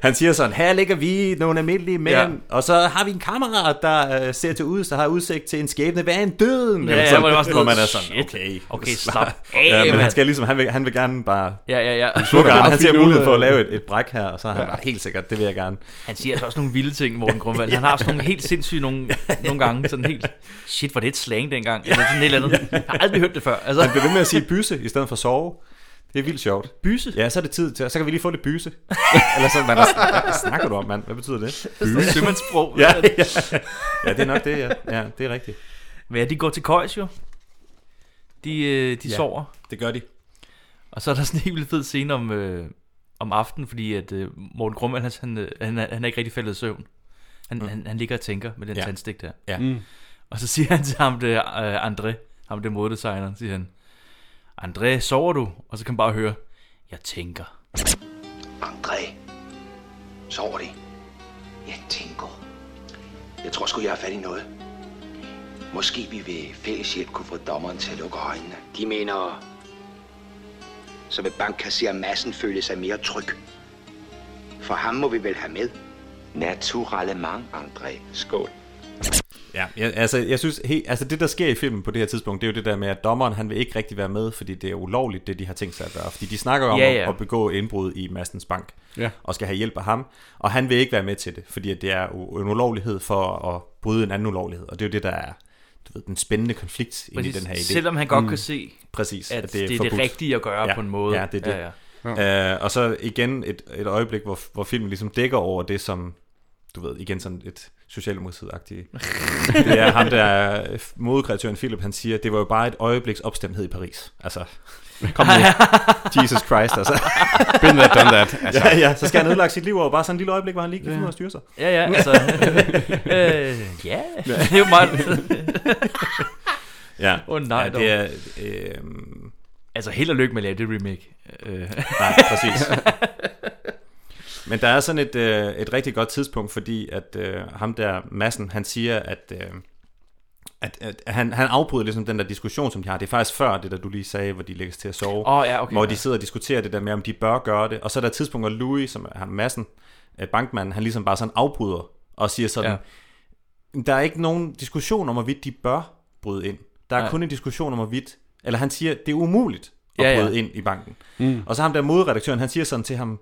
D: han siger sådan, her ligger vi, nogle almindelige mænd,
B: Ja.
D: ja. og så har vi en kammerat, der øh, ser til ud, så har udsigt til en skæbne værre end døden.
B: Ja,
D: Eller
B: ja,
D: sådan,
B: hvor det var sådan
D: hvor man
B: noget,
D: er
B: shit.
D: sådan, okay.
B: Okay, slap af,
D: ja, men han,
B: mand.
D: skal ligesom, han, vil, han vil gerne bare...
B: Ja, ja, ja.
D: Slukker,
C: meget
D: han ser
C: fint ud
D: mulighed
C: af-
D: for
B: øh.
D: at lave et, et bræk her, og så er han bare, helt sikkert, det vil jeg gerne.
B: Han siger altså også nogle vilde ting, Morten Grundvald. Han har sådan nogle helt sindssyge nogle, nogle gange. Sådan helt, shit, var det et slang dengang? Eller sådan et eller andet. Jeg har aldrig hørt det før. Altså,
D: Han bliver ved med at sige byse, i stedet for sove. Det er vildt sjovt.
B: byse.
D: Ja, så er det tid til, så kan vi lige få lidt byse. Eller sådan, man, hvad snakker du om, mand? Hvad betyder det?
B: Byse. Sømandssprog.
D: Ja, ja. ja, det er nok det, ja. ja det er rigtigt.
B: Men ja, de går til køjs jo. De, øh, de
D: Ja.
B: sover.
D: Det gør de.
B: Og så er der sådan en helt vildt fed scene om, øh, om aftenen, fordi at øh, Morten Grumman, han, han, øh, han, er- han er ikke rigtig faldet i søvn. Han, mm. han, han ligger og tænker med den ja.
D: Ja.
B: tandstik der.
D: Ja.
B: Mm. Og så siger han til ham, det er, øh, André, ham det modedesigneren, siger han, André, sover du? Og så kan man bare høre, jeg tænker.
E: André. Sover de? Jeg tænker. Jeg tror sgu, jeg har fat i noget. Måske vi ved fælles hjælp kunne få dommeren til at lukke øjnene.
L: De mener...
E: Så vil bankkasserer massen føle sig mere tryg. For ham må vi vel have med. Naturalement, André.
L: Skål.
D: Ja, jeg, altså, jeg synes, he, altså det der sker i filmen på det her tidspunkt, det er jo det der med, at dommeren han vil ikke rigtig være med, fordi det er ulovligt, det de har tænkt sig at gøre. Fordi de snakker jo om
B: Ja,
D: ja,
B: ja.
D: ja. At, at begå indbrud i Mastens Bank,
C: Ja.
D: og skal have hjælp af ham, og han vil ikke være med til det, fordi at det er u- en ulovlighed for at bryde en anden ulovlighed, og det er jo det, der er du ved, den spændende konflikt inde i
B: Præcis.
D: den her idé. Mm.
B: Selvom han godt kan se,
D: Præcis,
B: at det er det
D: forbudt.
B: rigtige at gøre
D: ja,
B: på en måde.
D: Ja, det er det.
B: Ja, ja.
D: Øh, og så igen et, et øjeblik, hvor, hvor filmen ligesom dækker over det, som, du ved, igen sådan et socialdemokratiet-agtigt. det er ham, der er modekreatøren Philip, han siger, det var jo bare et øjebliks opstemthed i Paris. Altså, kom nu. Jesus Christ, altså.
C: Been there, done that, altså.
D: Ja, ja, så skal han ødelægge sit liv over bare sådan et lille øjeblik, hvor han lige kan finde ud af at styre sig.
B: Ja, ja, altså, øh, ja, det er jo meget...
D: ja.
B: Åh, nej,
D: ja,
B: dog.
D: det er, øh,
B: Altså, held og lykke med at lave det remake. Øh.
D: Nej, præcis. Men der er sådan et, øh, et rigtig godt tidspunkt, fordi at øh, ham der, Massen, han siger, at, øh, at, at han, han afbryder ligesom den der diskussion, som de har. Det er faktisk før det, der du lige sagde, hvor de lægges til at sove.
B: Åh, ja, okay,
D: hvor
B: ja.
D: de sidder og diskuterer det der med, om de bør gøre det. Og så er der et tidspunkt, hvor Louis, som er ham Massen, øh, bankmanden, han ligesom bare sådan afbryder og siger sådan,
B: Ja.
D: ja. Der er ikke nogen diskussion om, hvorvidt de bør bryde ind. Der er
B: Nej.
D: Nej. kun en diskussion om, hvorvidt... Eller han siger, det er umuligt at
B: Ja,
D: ja,
B: ja.
D: bryde ind i banken. Mm. Og så ham der moderedaktøren, han siger sådan til ham,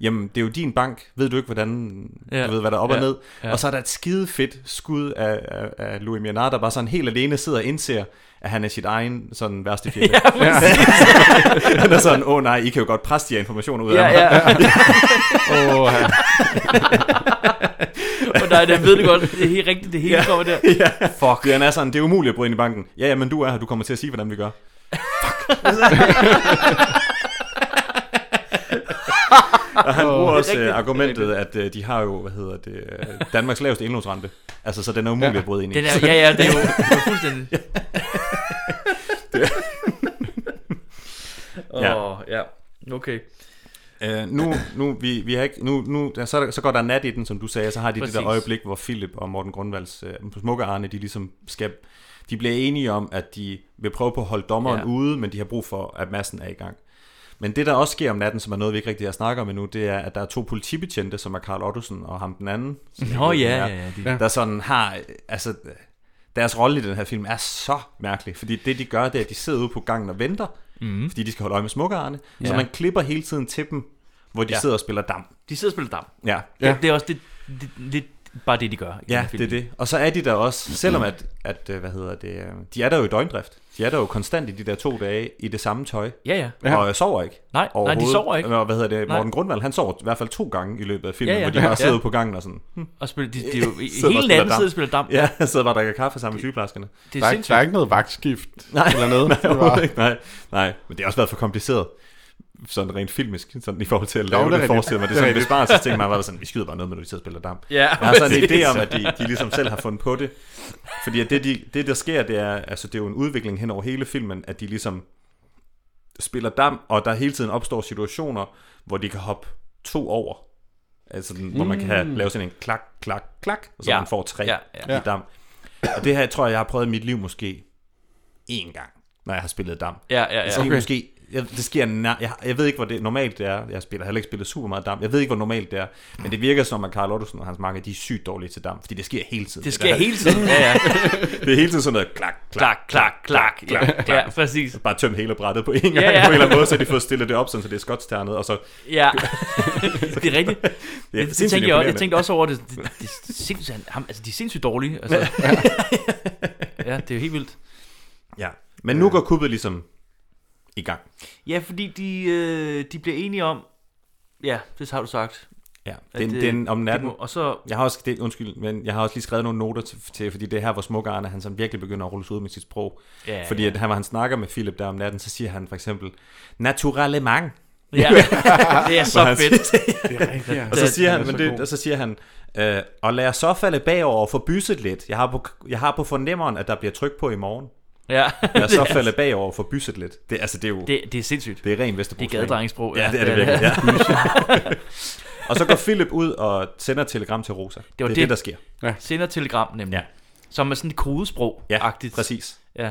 D: jamen, det er jo din bank, ved du ikke, hvordan,
B: Ja.
D: ja. du ved, hvad der er op
B: Ja.
D: og ned.
B: Ja.
D: Og så er der et skide fedt skud af, af, af Louis Mianard, der bare sådan helt alene sidder og indser, at han er sit egen sådan værste fjende. Ja, han er sådan, åh oh, nej, I kan jo godt presse de her informationer ud
B: Ja,
D: af mig.
B: ja.
C: Åh, ja.
B: Og nej, det ved det godt. Det er helt rigtigt, det hele ja. kommer der.
D: ja. Fuck. Det, han er sådan, det er umuligt at bryde ind i banken. Ja, ja, men du er her, du kommer til at sige, hvordan vi gør. Fuck. Og han bruger også
B: rigtigt.
D: rigtigt, argumentet, at øh, de har jo, hvad hedder det, øh, Danmarks laveste indlånsrente. Altså, så den er umulig at bryde ind i.
B: Den er, ja, ja, det er jo det er fuldstændig...
D: Ja.
B: Åh, ja. Okay.
D: Øh, nu, nu, vi, vi har ikke, nu, nu ja, så, er der- så går der nat i den, som du sagde, og så har de Præcis. det
B: Præcis.
D: der øjeblik, hvor Philip og Morten Grundvalds øh, smukke Arne, de ligesom skal, de bliver enige om, at de vil prøve på at holde dommeren
B: Ja.
D: ja. ude, men de har brug for, at massen er i gang. Men det, der også sker om natten, som er noget, vi ikke rigtig har snakket om endnu, det er, at der er to politibetjente, som er Karl Ottosen og ham den anden. som jeg
B: Nå
D: ved, hvem
B: ja,
D: er,
B: ja, ja, de-
D: Der sådan har, øh, altså, øh, deres rolle i den her film er så mærkelig, fordi det, de gør, det er, at de sidder ude på gangen og venter, mm. fordi de skal holde øje med smukkerarne, ja.
B: Mhm. Ja.
D: så man klipper hele tiden til dem, hvor de ja. sidder og spiller dam.
B: De sidder og spiller dam.
D: Ja.
B: Ja. Det, det er også det, det, lidt bare det, de gør. i den
D: Ja,
B: her film.
D: det er det. Og så er de der også, selvom at, at øh, hvad hedder det, øh, de er der jo i døgndrift. De er der jo konstant i de der to dage i det samme tøj.
B: Ja, ja.
C: Ja.
D: Ja. Og øh, sover ikke.
B: Nej, nej, de
D: overhovedet.
B: sover ikke.
D: Og hvad hedder det,
B: Nej.
D: Morten Grundvald, han sover i hvert fald to gange i løbet af filmen,
B: Ja,
D: ja,
B: ja.
D: ja. hvor de
B: Ja.
D: bare sidder ja. på gangen og sådan. hm.
B: Og spiller, de, de, er jo,
D: Sidder
B: hele
D: og spiller
B: natten sidder og spiller dam.
D: Ja, jeg sidder bare og drikker kaffe sammen med sygeplejerskerne.
B: Det
C: Der
B: er
C: er, ikke, der
B: sindssygt.
C: er ikke noget vagtskift
D: Nej,
C: eller noget.
D: nej,
C: Det var-
D: overhovedet ikke, nej, nej, men det har også været for kompliceret. Sådan rent filmisk, sådan i forhold til at
C: det er
D: lave det,
C: rigtigt.
D: forestiller mig. Det er sådan en
C: Det er
D: besparelse ting, man var sådan, vi skyder bare noget, men vi sidder og spiller damp.
B: Ja,
D: jeg har sådan en
B: præcis.
D: idé om, at de, de ligesom selv har fundet på det. Fordi at det, de, det, der sker, det er, altså det er jo en udvikling hen over hele filmen, at de ligesom spiller damp, og der hele tiden opstår situationer, hvor de kan hoppe to over. Altså, den, hvor man kan have, lave sådan en klak, klak, klak, og så
B: Mm. Ja.
D: man får tre
B: Ja,
D: ja,
B: ja.
D: ja. i damp. Og det her tror jeg, jeg har prøvet i mit liv måske én gang, når jeg har spillet dam.
B: Ja, ja, ja.
D: Det sker
C: Okay.
D: okay. måske, jeg, det sker, nær- jeg, jeg ved ikke, hvor det normalt det er. Jeg spiller heller ikke spillet super meget dam. Jeg ved ikke, hvor normalt det er. Men det virker som, at Carl Ottesen og hans mange, de er sygt dårlige til dam, fordi det sker hele tiden.
B: Det
D: der-
B: sker hele tiden. Ja, ja.
D: Det er hele tiden sådan noget klak, klak,
B: Klak, klak, klak. Ja, ja præcis.
D: bare tøm hele brættet på en gang,
B: Ja,
D: ja,
B: ja.
D: ja. på en eller anden måde, så de får stillet det op, sådan, så det er skotsternet, og så...
B: Ja, det er rigtigt.
D: Det er
B: Det, det
D: sindssygt
B: tænkte jeg, også, jeg
D: imponerende.
B: tænkte også over det. det, det, det er sindssygt, han- ham, altså, de er sindssygt dårlige. Altså. ja, det er jo helt vildt.
D: Ja. Men nu går kuppet ligesom i gang.
B: Ja, fordi de, øh, de bliver enige om... Ja, det har du sagt.
D: Ja.
B: At,
D: Den,
B: øh,
D: den, om
B: de
D: natten,
B: må- Og så...
D: Jeg har også, det, undskyld, men jeg har også lige skrevet nogle noter til, til fordi det er her, hvor smukke Arne, han sådan virkelig begynder at rulle sig ud med sit sprog.
B: Ja,
D: fordi
B: ja.
D: At, han, hvor han snakker med Philip der om natten, så siger han for eksempel, naturalement.
B: Ja, det er så
D: Hvor han
B: fedt.
D: Og så
B: Det-
D: siger
C: den
D: han,
C: er
D: men
C: så
D: det,
C: god.
D: og så siger han øh, og lad os så falde bagover og få bysset lidt. Jeg har, på, jeg har på fornemmeren, at der bliver tryk på i morgen.
B: Ja,
D: Lad os så falde bagover og få bysset lidt. Det, altså, det er jo...
B: det, det er sindssygt.
D: Det er ren Vesterbro.
B: Det er gadedrengesprog,
D: Ja,
B: ja.
D: det er det virkelig. Ja. og så går Philip ud og sender et telegram til Rosa. Det,
B: var
D: var det er
B: det.
D: det, det der sker.
B: Sender telegram nemlig.
D: Ja.
B: Som er sådan et kodesprog-agtigt.
D: Ja, præcis.
B: Ja.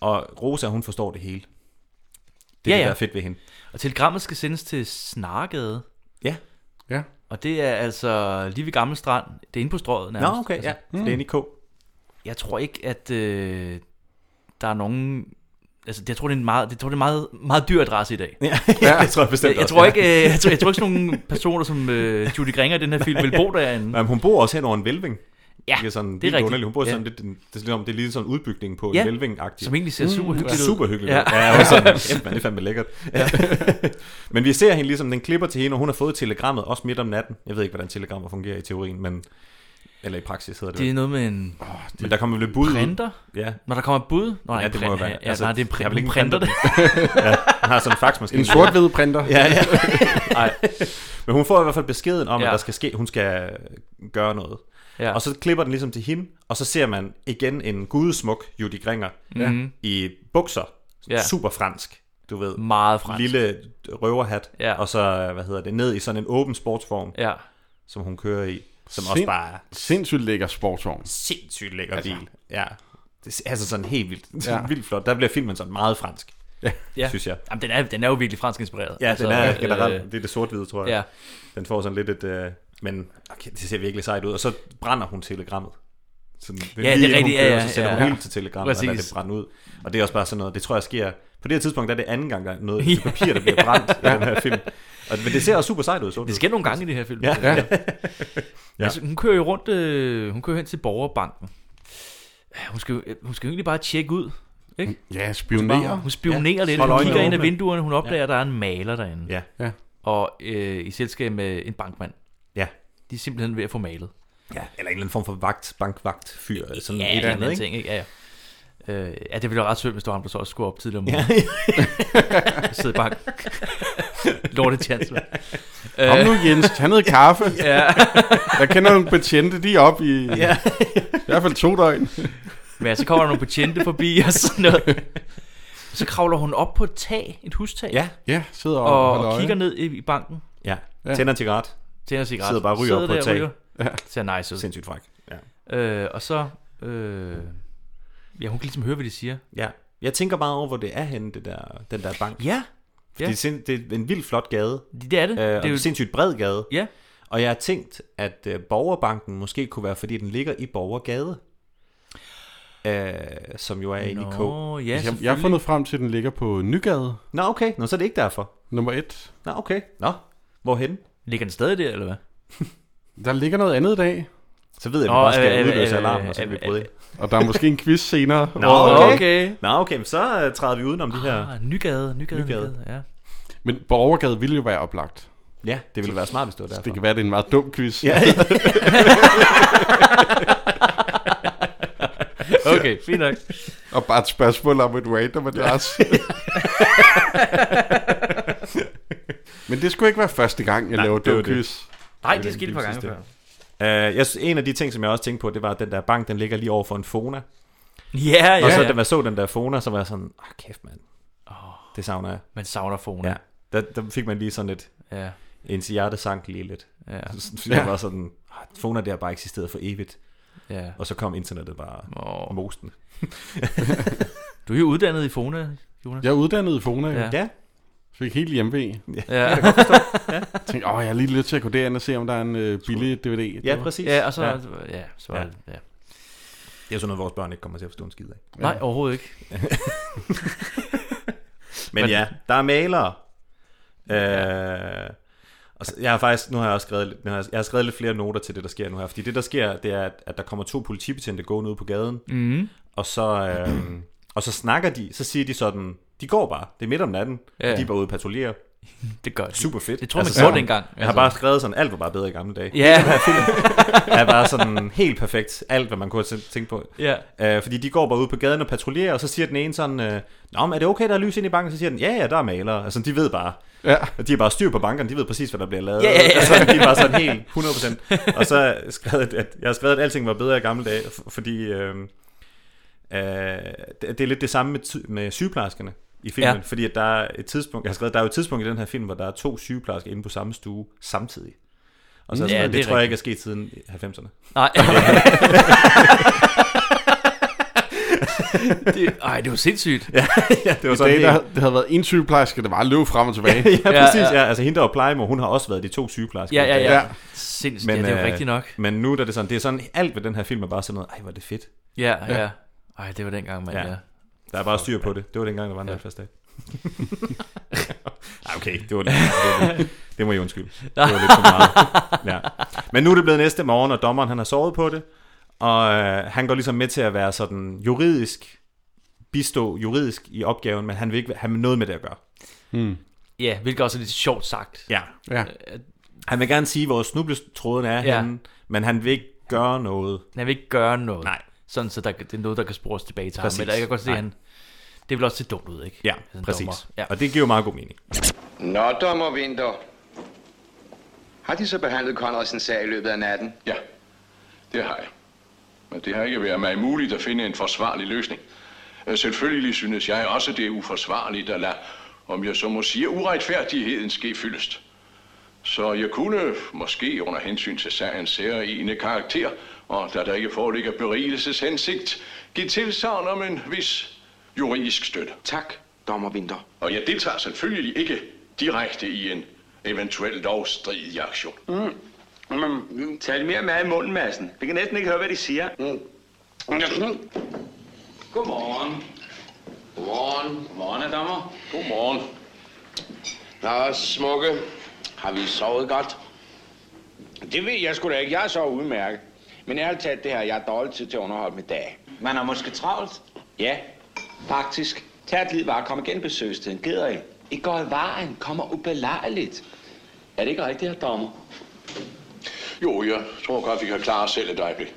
D: Og Rosa, hun forstår det hele. Det
B: Ja,
D: er ja, det,
B: ja.
D: der er fedt ved hende.
B: Og telegrammet skal sendes til Snargade.
D: Ja.
C: Ja.
B: Og det er altså lige ved Gamle Strand. Det er inde på strøget
D: Nå,
B: nærmest.
D: okay,
B: altså,
D: ja. Mm. Det er inde i K.
B: jeg tror ikke, at øh, der er nogen... Altså, jeg tror, det er en meget, jeg tror, det er en meget, meget dyr adresse i dag.
D: Ja, ja, det tror jeg bestemt
B: Jeg, jeg
D: også,
B: tror
D: ja.
B: ikke, øh, jeg tror, jeg tror ikke sådan nogle personer som øh, Judy Gringer i den her film vil bo derinde.
D: Men hun bor også hen over en vælving.
B: Ja,
D: det er, sådan,
B: det er
D: vildt
B: rigtigt.
D: Underligt. Hun bor
B: Ja.
D: sådan lidt, det er lidt, om- det er lige sådan en udbygning på
B: Ja,
D: en vælving -agtig.
B: som egentlig ser super hyggeligt ud.
D: Mm, Super hyggeligt.
B: Ja.
D: Ja, ja jeg var sådan, shit, man, det er fandme lækkert. Ja. men vi ser hende ligesom, den klipper til hende, og hun har fået telegrammet også midt om natten. Jeg ved ikke, hvordan telegrammer fungerer i teorien, men... Eller i praksis hedder det.
B: Det er
D: vel.
B: noget med en...
D: Oh, men der kommer lidt bud ud.
B: Printer?
D: Ja.
B: Når der kommer et bud? Nå, nej,
D: ja,
B: en
D: det må jo
B: print-
D: være. Altså,
B: ja, nej, det er en print-
D: jeg vil ikke
B: printer,
D: printe
B: det.
D: den. ja, han har sådan en faxmaskine.
C: En sort-hvid printer.
D: Ja, ja. Nej. Men hun får i hvert fald beskeden om, ja.
C: Ja.
D: at der skal ske, hun skal gøre noget.
B: Ja.
D: Og så klipper den ligesom til hende, og så ser man igen en gudesmuk Judy Gringer
B: Ja.
D: i bukser.
B: Ja.
D: Ja. Super fransk, du ved.
B: Meget fransk.
D: Lille røverhat,
B: Ja.
D: og så, hvad hedder det, ned i sådan en åben sportsform,
B: Ja.
D: som hun kører i. Som
C: Sind-
D: også bare er
C: Sindssygt lækker sportsvogn.
D: sindssygt lækker altså. bil. Ja. Det er altså sådan helt vildt,
C: Ja.
D: ja. vildt flot. Der bliver filmen sådan meget fransk, ja. synes jeg.
B: Jamen, den er, den er jo virkelig fransk inspireret.
D: Ja, den er generelt,
B: øh,
D: det er det sort-hvide, tror jeg.
B: ja.
D: Den får sådan lidt et, øh, men okay, det ser virkelig sejt ud. Og så brænder hun telegrammet. Sådan,
B: Ja,
D: lige
B: det er
D: inden hun
B: rigtigt, ja,
D: kører,
B: ja,
D: Så sætter
B: ja,
D: hun
B: ja.
D: hele til telegrammet, og lader
B: Præcis.
D: det brænde ud. Og det er også bare sådan noget, det tror jeg sker, på det her tidspunkt der er det anden gang, der er noget ja. papir, der bliver brændt i den her film. Og, men det ser også super sejt ud. sort-hvid.
B: Det sker nogle gange i det her film.
D: Ja. ja.
B: ja. Altså, hun kører jo rundt, øh, hun kører hen til borgerbanken. Hun skal, jo- øh, hun skal jo egentlig bare tjekke ud. Ikke?
C: Ja,
B: Hun, skal
C: spionerer.
B: bare- hun spionerer
C: Ja.
B: lidt,
C: Holder
B: hun
C: øjnene
B: kigger ind ad
C: åbne.
B: vinduerne, hun opdager, at der er en maler derinde.
D: Ja.
C: Ja.
B: Og øh, i selskab med en bankmand.
D: Ja.
B: De er simpelthen ved at få malet.
D: Ja, eller en eller anden form for vagt, bankvagt fyr, eller sådan
B: ja,
D: et eller andet,
B: ting, ikke?
D: ikke?
B: Ja, ja. Øh, ja, det ville være ret sødt, hvis du ham, der så også skulle op tidligere om morgenen.
D: Ja.
B: Sidde bare... Lorte chance, mand.
C: Kom
B: Øh,
C: nu, Jens, tag noget kaffe.
B: Ja.
C: Jeg kender nogle betjente, de er oppe i, ja. i hvert fald to døgn.
B: Men ja, så kommer der nogle betjente forbi og sådan noget. Så kravler hun op på et tag, et hustag.
D: Ja.
C: Ja, sidder og
B: og,
C: holder
B: og
C: øje.
B: kigger ned i, i banken.
D: Ja. Ja. Tænder en cigaret.
B: Tænder en cigaret.
D: Sidder bare og ryger op på
B: der
D: et tag.
B: og ryger.
D: Ja.
B: Ser nice ud.
D: Sindssygt fræk.
B: Ja. Øh, og så... Øh, ja, hun kan ligesom høre, hvad de siger.
D: Ja. Jeg tænker bare over, hvor det er henne, det der, den der bank.
B: Ja.
D: Fordi
B: Ja.
D: det, er sind, det er en vildt flot gade.
B: Det er det. Det
D: Øh,
B: er
D: det er og
B: jo-
D: en sindssygt bred gade.
B: Ja.
D: Og jeg har tænkt, at øh, Borgerbanken måske kunne være, fordi den ligger i Borgergade. Øh, som jo er inde i K.
C: jeg, jeg har fundet frem til, at den ligger på Nygade.
D: Nå, okay. Nå, så er det ikke derfor.
C: Nummer et.
D: Nå, okay. Nå, hvorhen?
B: Ligger den stadig der, eller hvad?
C: Der ligger noget andet i dag.
D: Så ved jeg, at vi
B: Nå,
D: bare skal
B: øh, øh,
D: udløse
B: øh,
D: alarmen, og så
B: øh,
D: kan vi
B: øh,
D: bryde ind.
C: Og der er måske en quiz senere.
D: Nå, okay. Nå, okay, men så øh, træder vi udenom de her...
B: Ah, Nygade, Nygade,
D: Nygade.
B: Nygade, ja.
C: Men Borgergade ville jo være oplagt.
D: Ja, det ville være smart, hvis det var
C: Så
D: derfor.
C: det kan være, det er en meget dum quiz.
D: Ja.
B: Okay, fint nok.
C: Og bare et spørgsmål om et random adresse. Men det skulle ikke være første gang, jeg
D: Nej,
C: laver
D: det var
C: dum
D: det.
C: quiz.
B: Nej,
D: Det
B: det
D: er
B: er skidt
D: den
B: par gange
D: sidste.
B: før.
D: Øh, jeg, synes- en af de ting, som jeg også tænkte på, det var, at den der bank, den ligger lige over for en Fona.
B: Ja, ja,
D: Og så
B: ja.
D: da man så den der Fona, så var jeg sådan, åh kæft mand, det savner jeg.
B: Man savner Fona.
D: Ja, der, der fik man lige sådan et,
B: Ja.
D: ens hjerte sank lige lidt.
B: Ja.
D: Så, så jeg var Altså, sådan, "Ah, Fona der har bare eksisteret for evigt.
B: Ja.
D: Og så kom internettet bare
B: Åh.
D: oh. mosten.
B: Du er jo uddannet i Fona, Jonas.
C: Jeg er uddannet i Fona,
B: Ja.
C: ja.
D: Ja,
C: Fik helt hjemme Ja.
B: Ja.
C: Jeg tænkte, åh, jeg er lige lidt til at gå derind og se, om der er en øh, billig DVD.
D: ja præcis.
B: Ja, og så...
D: Ja.
B: Ja, så...
D: Ja.
B: Ja.
D: Det er jo sådan noget, vores børn ikke kommer til at forstå en skid af.
B: Nej, overhovedet ikke.
D: Men,
B: Men-
D: Men ja, der er malere. Øh, og så, jeg har faktisk, nu har jeg også skrevet, lidt- nu har jeg, jeg har skrevet lidt flere noter til det, der sker nu her. Fordi det, der sker, det er, at, at der kommer to politibetjente gående ud på gaden.
B: Mhm.
D: Og, så, øh, og så snakker de, så siger de sådan, de går bare, det er midt om natten,
B: Ja.
D: ja. og de er bare ude og patruljere.
B: Det gør det.
D: Super fedt.
B: Det tror man gjorde
D: sådan-
B: dengang.
D: Jeg har
B: Altså.
D: bare skrevet sådan, alt var bare bedre i gamle dage.
B: Ja.
D: er bare sådan helt perfekt. Alt, hvad man kunne have tæ- tænkt på.
B: Ja.
D: Øh, fordi de går bare ud på gaden og patruljerer, og så siger den ene sådan, øh, Nå, men er det okay, der er lys ind i banken? Så siger den, ja, ja, der er malere. Altså, de ved bare.
C: Ja.
D: Og de har bare styr på bankerne, de ved præcis, hvad der bliver lavet.
B: Ja, ja, ja.
D: Altså, de er bare sådan helt 100%. Og så har jeg skrevet, at jeg har skrevet, at alting var bedre i gamle dage, f- fordi øh, øh, det- det er lidt det samme med, ty- med sygeplejerskerne i filmen,
B: Ja.
D: ja. fordi at der er et tidspunkt, jeg har skrevet, der er jo et tidspunkt i den her film, hvor der er to sygeplejersker inde på samme stue samtidig. Og så er jeg
B: Mm. Ja,
D: sådan, ja, det,
B: det er
D: det tror jeg ikke er
B: rigtigt.
D: sket siden 90'erne.
B: Nej. det, ej, det var sindssygt. Ja,
D: ja, det var
C: I dag,
D: helt-
C: der, det havde været en sygeplejerske, der bare løb frem og tilbage.
D: ja,
B: Ja,
D: præcis.
B: ja.
D: Ja, ja. altså hende der var plejemor, hun har også været de to sygeplejersker.
B: ja, ja.
C: Ja.
B: ja. Sindssygt, men, ja, det er jo
D: øh,
B: rigtigt nok.
D: Men nu der er det sådan, det er sådan, alt ved den her film er bare sådan noget, ej, hvor er det fedt.
B: Ja, ja. ja. Ej, det var dengang, man... Ja.
D: Der er bare styr på det. Det var dengang, der var en ja. fast dag. Ej, okay, det var lidt, det, var lidt, det må I undskylde. Det var lidt for meget. Ja. Men nu er det blevet næste morgen, og dommeren han har sovet på det, og øh, han går ligesom med til at være sådan juridisk, bistå juridisk i opgaven, men han vil ikke have noget med det at gøre.
B: Hmm. Ja, hvilket også er lidt sjovt sagt.
D: Ja. ja. Han vil gerne sige, hvor snubletråden er ja.
B: Ja.
D: henne, men han vil ikke gøre noget.
B: Han vil ikke gøre noget.
D: Nej.
B: Sådan, så der, det er noget, der kan spores tilbage til
D: Præcis.
B: ham. Eller jeg kan godt se,
D: Nej.
B: han... Det vil også se dumt ud, ikke?
D: Ja,
B: Altså, en
D: præcis.
B: dommer.
D: Ja. Og det giver jo meget god mening.
E: Nå, dommer Winter. Har de så behandlet Konradsens sag i løbet af natten?
F: Ja, det har jeg. Men det har ikke været mig muligt at finde en forsvarlig løsning. Øh, Selvfølgelig synes jeg også, det er uforsvarligt at lade, om jeg så må sige, uretfærdigheden ske fyldest. Så jeg kunne måske under hensyn til sagens særlige karakter, og da der ikke foreligger berigelses hensigt, give tilsavn om en vis juridisk støtte.
E: Tak, dommer Winter.
F: Og jeg deltager selvfølgelig ikke direkte i en eventuel lovstridig aktion.
E: Mm. Mm. Tag lidt mere mad i munden, Madsen. Vi kan næsten ikke høre, hvad de siger. Mm. Godmorgen. Godmorgen. Godmorgen, herr dommer.
N: Godmorgen. Nå, smukke. Har vi sovet godt?
E: Det ved jeg sgu da ikke. Jeg er så udmærket. Men ærligt talt det her, jeg er dårlig tid til at underholde med dag. Man er måske travlt? Ja, faktisk. Tag et lidt bare. Kom igen besøgstiden. Gider I? I går i vejen. Kommer ubelejligt. Er det ikke rigtigt, her dommer?
F: Jo, jeg tror godt, vi kan klare os selv et øjeblik.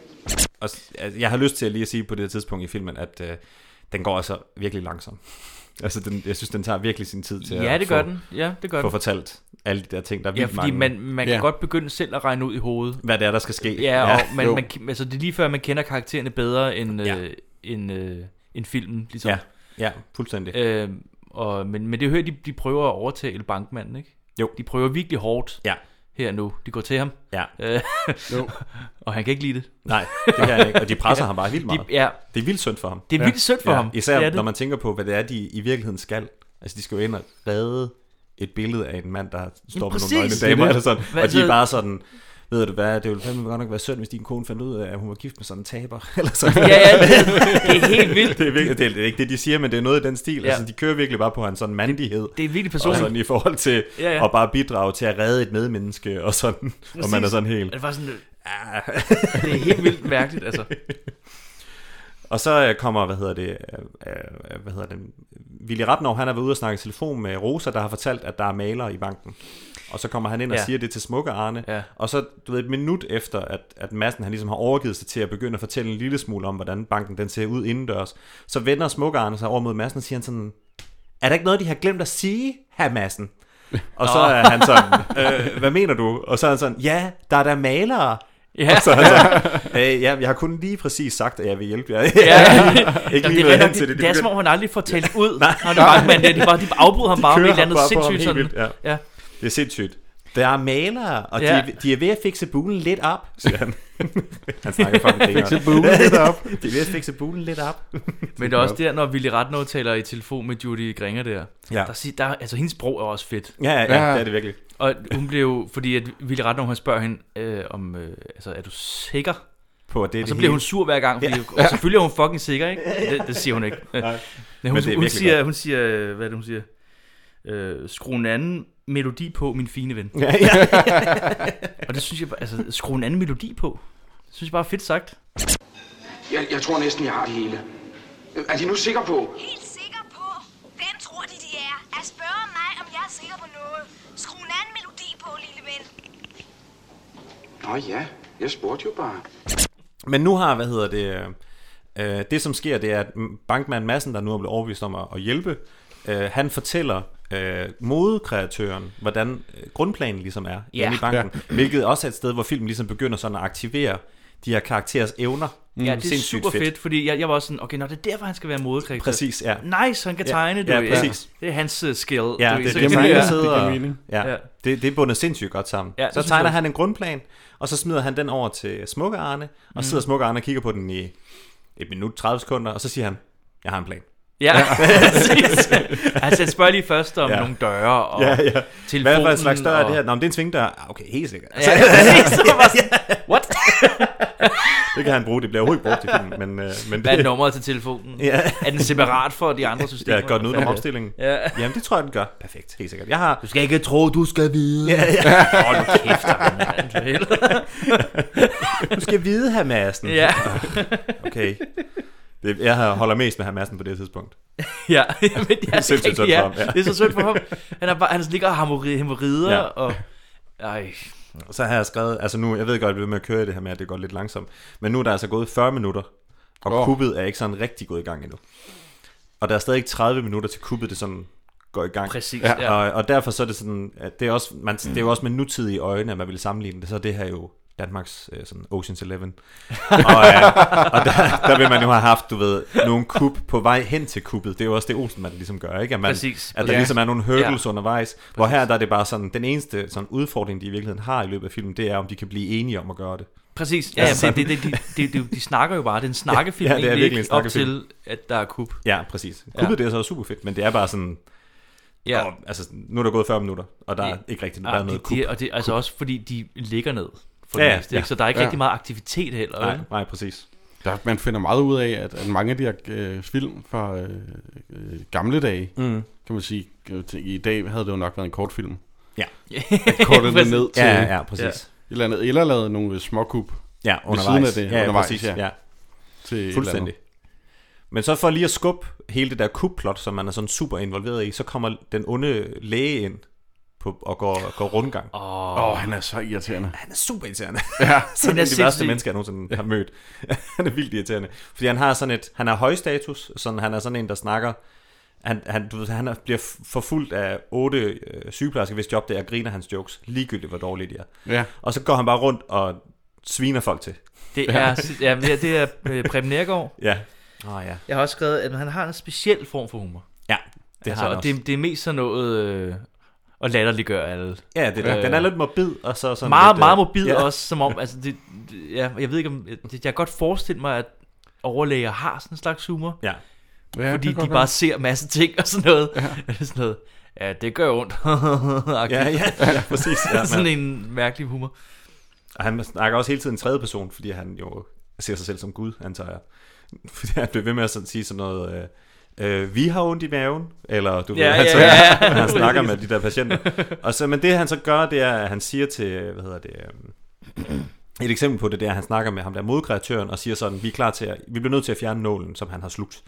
D: Og s- altså, jeg har lyst til at lige at sige på det her tidspunkt i filmen, at øh, den går altså virkelig langsom. Altså, den, jeg synes, den tager virkelig sin tid til
B: Ja,
D: at
B: det
D: få,
B: gør den. Ja, det gør
D: få
B: den.
D: fortalt alle de der ting, der er
B: Ja,
D: vildt
B: fordi
D: mange.
B: man, man kan
D: Ja.
B: godt begynde selv at regne ud i hovedet.
D: Hvad det er, der skal ske.
B: Ja, og
D: Ja,
B: man,
D: jo.
B: man, altså, det er lige før, man kender karaktererne bedre end, ja. øh, end, øh, end filmen. Ligesom.
D: Ja, ja, fuldstændig.
B: Øh, og, men, men det er jo her, de, de prøver at overtale bankmanden, ikke?
D: Jo.
B: De prøver virkelig hårdt
D: ja.
B: her nu. De går til ham.
D: Ja.
B: Øh,
D: Jo.
B: og han kan ikke lide det.
D: Nej, det kan han ikke. Og de presser ham bare vildt
B: De-
D: meget.
B: ja.
D: Det er vildt synd for ham.
B: Det er virkelig synd for ham.
D: Især
B: Det er
D: det
B: det.
D: når man tænker på, hvad det er, de i virkeligheden skal. Altså, de skal jo ind og redde et billede af en mand, der står med
B: præcis.
D: nogle nøgne
B: Det er
D: damer,
B: det.
D: eller sådan.
B: Hvad
D: og de
B: så-
D: er bare sådan, ved du hvad, det ville fandme godt nok være synd, hvis din kone fandt ud af, at hun var gift med sådan en taber. Eller sådan.
B: Ja, ja, det- det er helt vildt.
D: det, er virkelig, det, er, det er ikke det, de siger, men det er noget i den stil.
B: Ja.
D: Ja. Altså, de kører virkelig bare på hans sådan mandighed.
B: Det er virkelig
D: Og
B: personligt.
D: sådan i forhold til
B: Ja,
D: ja,
B: ja.
D: ja. at bare bidrage til at redde et medmenneske, og sådan. Præcis. Og man er
B: Præcis.
D: sådan helt...
B: Og det var sådan,
D: Ah.
B: det er helt vildt mærkeligt, altså.
D: Og så øh, kommer, hvad hedder det, øh, øh, hvad hedder det, Willy Ratnov, han har været ude og snakke i telefon med Rosa, der har fortalt, at der er malere i banken. Og så kommer han ind og
B: Ja.
D: ja. siger det til Smukke Arne.
B: Ja.
D: Og så, du ved, et minut efter, at, at Madsen han ligesom har overgivet sig til at begynde at fortælle en lille smule om, hvordan banken den ser ud indendørs, så vender Smukke Arne sig over mod Madsen og siger han sådan, er der ikke noget, de har glemt at sige, herr Madsen? Og så
B: Nå.
D: er han sådan, øh, hvad mener du? Og så er han sådan, ja, der er der malere.
B: Ja.
D: Og så er han sådan, øh, ja, jeg har kun lige præcis sagt, at jeg vil hjælpe jer.
B: Ja,
D: ikke
B: Jamen,
D: lige
B: det,
D: noget
B: er,
D: hen
B: det,
D: til det.
B: det, det er som
D: begynder-
B: om, han aldrig får talt ud,
D: Nej.
B: når det er bankmand. Det er de bare, de afbryder ham
D: De
B: bare med et
D: kører
B: eller andet
D: ham bare på ham
B: sindssygt.
D: helt
B: Sådan.
D: vildt,
B: ja.
D: Det er sindssygt. Der er malere, og
B: Ja.
D: ja. de, de er ved at fikse bulen lidt op, siger han. han snakker fucking grineren.
O: Fikse bulen lidt op.
D: de er ved at fikse bulen lidt op.
B: Men det er også der, når Willy Ratnov taler i telefon med Judy Gringer der.
D: Ja.
B: Der, sig- der, altså, hendes sprog er også fedt.
D: Ja, ja, ja, Ja. det er det virkelig.
B: Og hun blev jo, fordi at Willy Ratnov, han spørger hende, øh, om, øh, altså, er du sikker?
D: På, at det er
B: og så
D: det
B: bliver
D: hele.
B: hun sur hver gang, fordi
D: Ja.
B: ja. selvfølgelig er hun fucking sikker, ikke? Det, det siger hun ikke.
D: Nej.
B: Men
D: Men
B: hun,
D: det er
B: hun,
D: virkelig
B: siger,
D: godt.
B: hun siger, øh, hvad er det, hun siger? Øh, skru en anden melodi på, min fine ven.
D: Ja, ja.
B: og det synes jeg, bare- altså, skru en anden melodi på. Det synes jeg bare er fedt sagt.
D: Mm,
N: Jeg, jeg tror næsten, jeg har det hele. Er de nu sikre på?
H: Helt sikker på. Hvem tror de, de er? At spørge mig, om jeg er sikker på noget. Skru en anden melodi på, lille ven.
N: Nå ja, jeg spurgte jo bare.
D: Men nu har, hvad hedder det, øh, øh, det som sker, det er, at m- bankmand Madsen, der nu er blevet overbevist om at, at hjælpe, øh, han fortæller øh, modekreatøren, hvordan øh, grundplanen ligesom er
B: Ja.
D: inde i banken, ja. hvilket også er et sted, hvor filmen ligesom begynder sådan at aktivere de her karakterers evner.
B: Ja, det er
D: Sindssygt
B: super fedt, fedt fordi jeg, jeg var også sådan, okay, nå, det er derfor, han skal være modekriger.
D: Præcis, ja.
B: Nice, han kan
D: Ja,
B: tegne, du
D: ja,
B: ved.
D: præcis.
B: Det er hans uh, skill. du
D: Ja,
B: ved.
D: det,
B: Så
D: det, det,
B: kan man-
D: det,
B: Ja.
D: sidder,
B: Ja.
D: ja, det, det er bundet sindssygt godt sammen.
B: Ja,
D: Ja,
B: det
D: så
B: synes
D: tegner
B: jeg.
D: han en grundplan, og så smider han den over til Smukke Arne, og
B: Mhm.
D: sidder Smukke Arne og kigger på den i et minut, 30 sekunder, og så siger han, jeg har en plan.
B: Ja, præcis. Altså, han spørger lige først om nogle døre og
D: ja, ja. Hvad for
B: telefonen
D: en slags dør er det her?
B: og-
D: Nå, men det er en svingdør. Ah, Okay, helt sikkert.
B: Ja, præcis. Så var jeg bare sådan, what?
D: Det kan han bruge, det bliver overhovedet ikke brugt i filmen. Men, øh, men
B: Hvad er
D: det,
B: nummeret til telefonen? Er den separat for de andre systemer?
D: Ja, går den udenom
B: Ja.
D: opstillingen?
B: Ja.
D: Jamen, det tror jeg, den gør. Perfekt. Helt sikkert. Jeg har...
B: Du skal ikke tro, du skal vide.
D: Ja, ja.
B: Åh, nu kæft, mand, for helvede.
D: du skal vide, her Madsen.
B: Ja.
D: Okay. Det, jeg har- holder mest med her Madsen på det her tidspunkt.
B: Ja, men det er så
D: Sindssygt
B: rigtigt,
D: synd for
B: ja.
D: ham, ja.
B: Det er så sødt for ham. Han, er bare, han ligger og har hemorri- hemorrider,
D: Ja.
B: ja. og... Ej.
D: Og så har jeg skrevet, altså nu, jeg ved godt, at vi er med at køre i det her med, at det går lidt langsomt, men nu er der altså gået 40 minutter, og
C: Åh.
D: oh. kuppet er ikke sådan rigtig gået i gang endnu. Og der er stadig 30 minutter til kuppet, det sådan går i gang.
B: Præcis, ja.
D: Og, og derfor så er det sådan, at det er, også, man, det er jo også med nutidige øjne, at man ville sammenligne det, så er det her jo Danmarks øh, sådan Ocean's Eleven. og, øh, og der, der vil man jo have haft, du ved, nogle kub på vej hen til kuppet. Det er jo også det Olsenmand ligesom gør, ikke? At, man,
B: Præcis.
D: at der
B: Ja.
D: ligesom er nogle hurdles
B: Ja.
D: undervejs undervejs. Præcis. Hvor her der er det bare sådan, den eneste sådan udfordring, de i virkeligheden har i løbet af filmen, det er, om de kan blive enige om at gøre det.
B: Præcis, ja,
D: Altså
B: ja det,
D: sådan-
B: det, det, det, det, de snakker jo bare, det er en snakkefilm,
D: Ja, det er
B: egentlig,
D: virkelig en
B: ikke? op
D: snakkefilm.
B: til, at der er kub.
D: Ja, præcis. Kuppet ja. det er så super fedt, men det er bare sådan,
B: Ja.
D: ja. åh, altså, nu er der gået 40 minutter, og der er ikke rigtig der er
B: Ah,
D: noget
B: de,
D: kub.
B: de, Og det er altså også, fordi de ligger ned. For
D: Ja,
B: ja,
D: ja,
B: det meste, ikke?
D: ja.
B: Så der er ikke
D: Ja.
B: rigtig meget aktivitet heller.
D: Nej,
B: vel?
D: nej, præcis.
C: Der, man finder meget ud af, at, at mange af de her øh, film fra øh, øh, gamle dage,
D: Mm.
C: mm. kan man sige, øh, til- i dag havde det jo nok været en kortfilm.
D: Ja.
C: At Kortet det
D: Præcis.
C: ned til
D: Ja, ja, præcis.
C: et eller andet, eller lavet nogle øh, småkub
D: Ja,
C: ved
D: undervejs.
C: siden af det
D: ja, ja,
C: undervejs.
D: præcis, ja. ja.
C: Til et eller andet.
D: Fuldstændig. Men så for lige at skubbe hele det der kubplot, som man er sådan super involveret i, så kommer den onde læge ind på, og går, går rundgang.
B: Åh,
C: Åh, oh, han er så irriterende.
D: Han er super irriterende.
C: Ja. Han
D: sådan
C: er
D: en af de værste
C: sindssyg.
D: mennesker, jeg nogensinde har mødt. han er vildt irriterende. Fordi han har sådan et, han har høj status, sådan, han er sådan en, der snakker, han, han, du ved, han er, bliver f- forfulgt af otte øh, sygeplejersker, hvis job det er, og griner hans jokes, ligegyldigt hvor dårlige de er.
C: Ja.
D: Og så går han bare rundt og sviner folk til.
B: Det er, ja, det er, det er øh, Preben Neergaard.
D: Ja. Åh, Ah, ja.
B: Jeg har også skrevet, at han har en speciel form for humor. Altså,
D: Ja, Altså, det har han
B: og Det, det er mest sådan noget øh, at latterliggøre alle.
D: Ja, det er, øh, den er lidt morbid, og så sådan
B: meget,
D: lidt, øh,
B: meget morbid
D: ja.
B: ja. også, som om, altså, det, det- ja, jeg ved ikke om, det, jeg kan godt forestille mig, at overlæger har sådan en slags humor.
D: Ja.
C: Ja,
B: Fordi
C: det kan
B: de
C: godt
B: bare
C: være.
B: ser masse ting og sådan noget. Ja. sådan noget. Ja, det gør ondt.
D: Ja, ja, ja, præcis. Ja,
B: sådan
D: men-
B: en mærkelig humor.
D: Og han snakker også hele tiden i tredje person, fordi han jo ser sig selv som Gud, antager jeg. Fordi han bliver ved med at sådan sige sådan noget, øh, øh, vi har ondt i maven, eller du
B: Ja,
D: ved,
B: ja,
D: altså,
B: ja, ja.
D: han snakker med de
B: Præcis.
D: der patienter. Og så, men det han så gør, det er, at han siger til, hvad hedder det, øhm, et eksempel på det, det er, at han snakker med ham der modkreatøren og siger sådan, vi er klar til at, vi bliver nødt til at fjerne nålen, som han har slugt.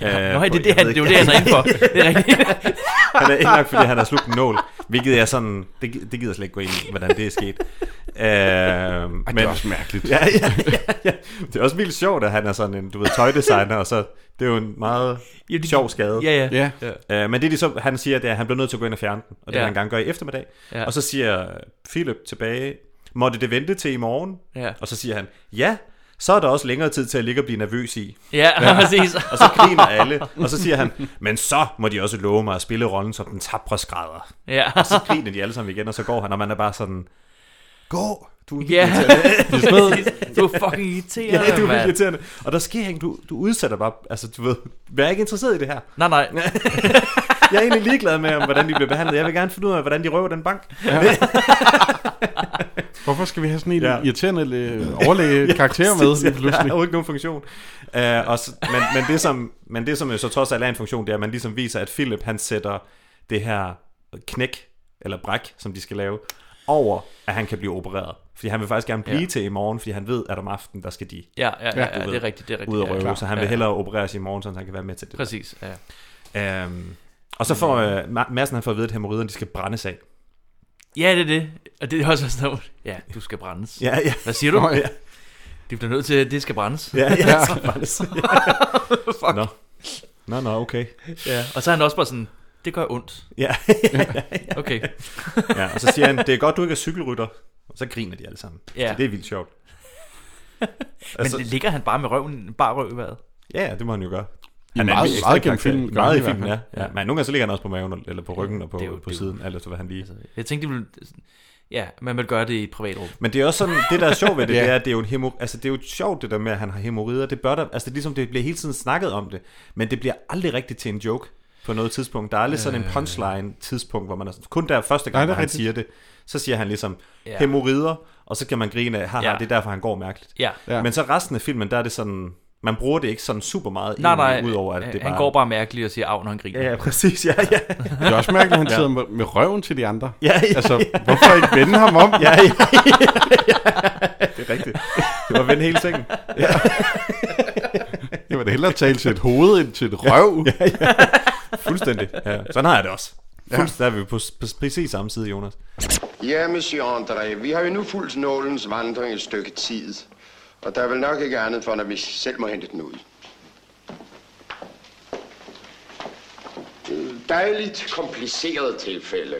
B: Ja,
D: Øh,
B: nå,
D: på-
B: det er det,
D: jeg
B: han-
D: ved
B: det er jo
D: ikke-
B: det, han er inde for. Det er rigtigt.
D: han er indlagt, fordi han har slugt en nål, hvilket er sådan, det, gi- det gider jeg slet ikke gå ind i, hvordan det er sket. Øh, Ej,
C: er også mærkeligt.
D: Ja, ja, ja, ja, Det er også vildt sjovt, at han er sådan en, du ved, tøjdesigner, og så, det er jo en meget
B: Ja,
D: ja,
B: det-
D: det, sjov skade.
B: Ja, ja.
D: ja. Øh, men det, de så, han siger, det er, at han bliver nødt til at gå ind og fjerne den, og det
B: Ja.
D: ja. han gang gør i eftermiddag.
B: Ja.
D: Ja. Og så siger Philip tilbage, måtte det vente til i morgen?
B: Ja.
D: Og så siger han, ja, så er der også længere tid til at ligge og blive nervøs i.
B: Ja, præcis.
D: Og så griner alle, og så siger han, men så må de også love mig at spille rollen som den tabre skrædder.
B: Ja.
D: Og så griner de alle sammen igen, og så går han, og man er bare sådan, gå, du er
B: Ja.
D: irriterende.
B: Du er smed. Du er fucking irriterende,
D: Ja, du er
B: mand.
D: vildt irriterende. Og der sker ikke, du, du udsætter bare, altså du ved, vær ikke interesseret i det her.
B: Nej, nej.
D: Jeg er egentlig ligeglad med, om, hvordan de bliver behandlet. Jeg vil gerne finde ud af, hvordan de røver den bank. Ja.
C: Hvorfor skal vi have sådan en
D: Ja.
C: ja. irriterende øh, overlæge karakter med lige
D: Der er
C: pludselig?
D: jo ikke nogen funktion. Uh, og så, men, men, det som, men det som jo så trods alt er en funktion, det er, at man ligesom viser, at Philip han sætter det her knæk, eller bræk, som de skal lave, over, at han kan blive opereret. Fordi han vil faktisk gerne blive
B: Ja.
D: ja. til i morgen, fordi han ved, at om aftenen, der skal de
B: Ja, ja, ja,
D: du
B: ja,
D: ved,
B: det er rigtigt, det er rigtigt.
D: ud
B: Ja,
D: og røve,
B: klar.
D: så han
B: Ja,
D: vil
B: ja.
D: hellere opereres i morgen, så han kan være med til det. der.
B: Præcis, ja.
D: Øhm, og så får øh, Ma- Madsen han får at vide, at hemorriderne de skal brændes af.
B: Ja, det er det. Og det er også sådan noget. Ja, du skal brændes.
D: Ja, ja.
B: Hvad siger du?
D: Nå, ja.
B: Det bliver nødt til, at det skal brændes.
D: Ja, ja, det skal brændes.
B: Fuck.
D: Nå. Nå, nå, okay.
B: Ja, og så er han også bare sådan, det gør ondt.
D: Ja.
B: Okay.
D: ja, og så siger han, det er godt, du ikke er cykelrytter. Og så griner de alle sammen.
B: Ja.
D: Så det er vildt sjovt.
B: Men altså, ligger han bare med røven, bare røv i vejret?
D: Ja, ja, det må han jo gøre.
C: I meget-
D: vildt
C: meget
D: ekstrem
C: gennem
D: karakter.
C: filmen gør
D: Meget
C: han
D: i
C: i hvert
D: filmen, ja.
C: fald.
D: ja. Men nogle gange så ligger han også på maven, eller på ryggen, og på, jo, på siden, alt efter hvad han lige... Altså,
B: Jeg tænkte, det ville, ja, man vil gøre det i et privatrum.
D: Men det er også sådan, det der er sjovt ved det,
B: Ja.
D: det er, at det er jo en hemo, altså det er jo sjovt det der med, at han har hemorrider. Det bør der, altså det er ligesom, det bliver hele tiden snakket om det, men det bliver aldrig rigtigt til en joke. på noget tidspunkt. Der er lidt sådan en
P: Øh.
D: punchline-tidspunkt, hvor man er sådan, kun der første
P: Nej,
D: gang,
P: det er
D: Nej, han
P: rigtigt.
D: siger det, så siger han ligesom,
P: Ja.
D: ja. hemorrider, og så kan man grine af, haha,
P: Ja.
D: ja. det er derfor, han går mærkeligt.
B: Ja. Ja.
D: Men så resten af filmen, der er det sådan, man bruger det ikke sådan super meget,
B: Nej, nej,
D: egentlig, udover at det
B: han
D: bare...
B: går bare mærkeligt og siger af, når han griner.
D: Ja, ja, præcis, ja, ja.
C: Det er også mærkeligt, at han
D: Ja.
C: sidder med, med røven til de andre.
D: Ja, ja,
C: altså,
D: ja.
C: hvorfor ikke vende ham om?
D: Ja, ja, ja, ja. Det er rigtigt. Det var at vende hele sengen. Ja.
C: Jeg vil da hellere tale til et hoved end til et røv.
D: Ja, ja. Fuldstændig. Ja. Sådan har jeg det også.
A: Ja.
D: Fuldstændig. Der er vi på, s- på s- præcis samme side, Jonas.
A: Ja, monsieur André, vi har jo nu fulgt nålens vandring et stykke tid. Og der er vel nok ikke andet for, når vi selv må hente den ud.
E: Øh, Dejligt kompliceret tilfælde.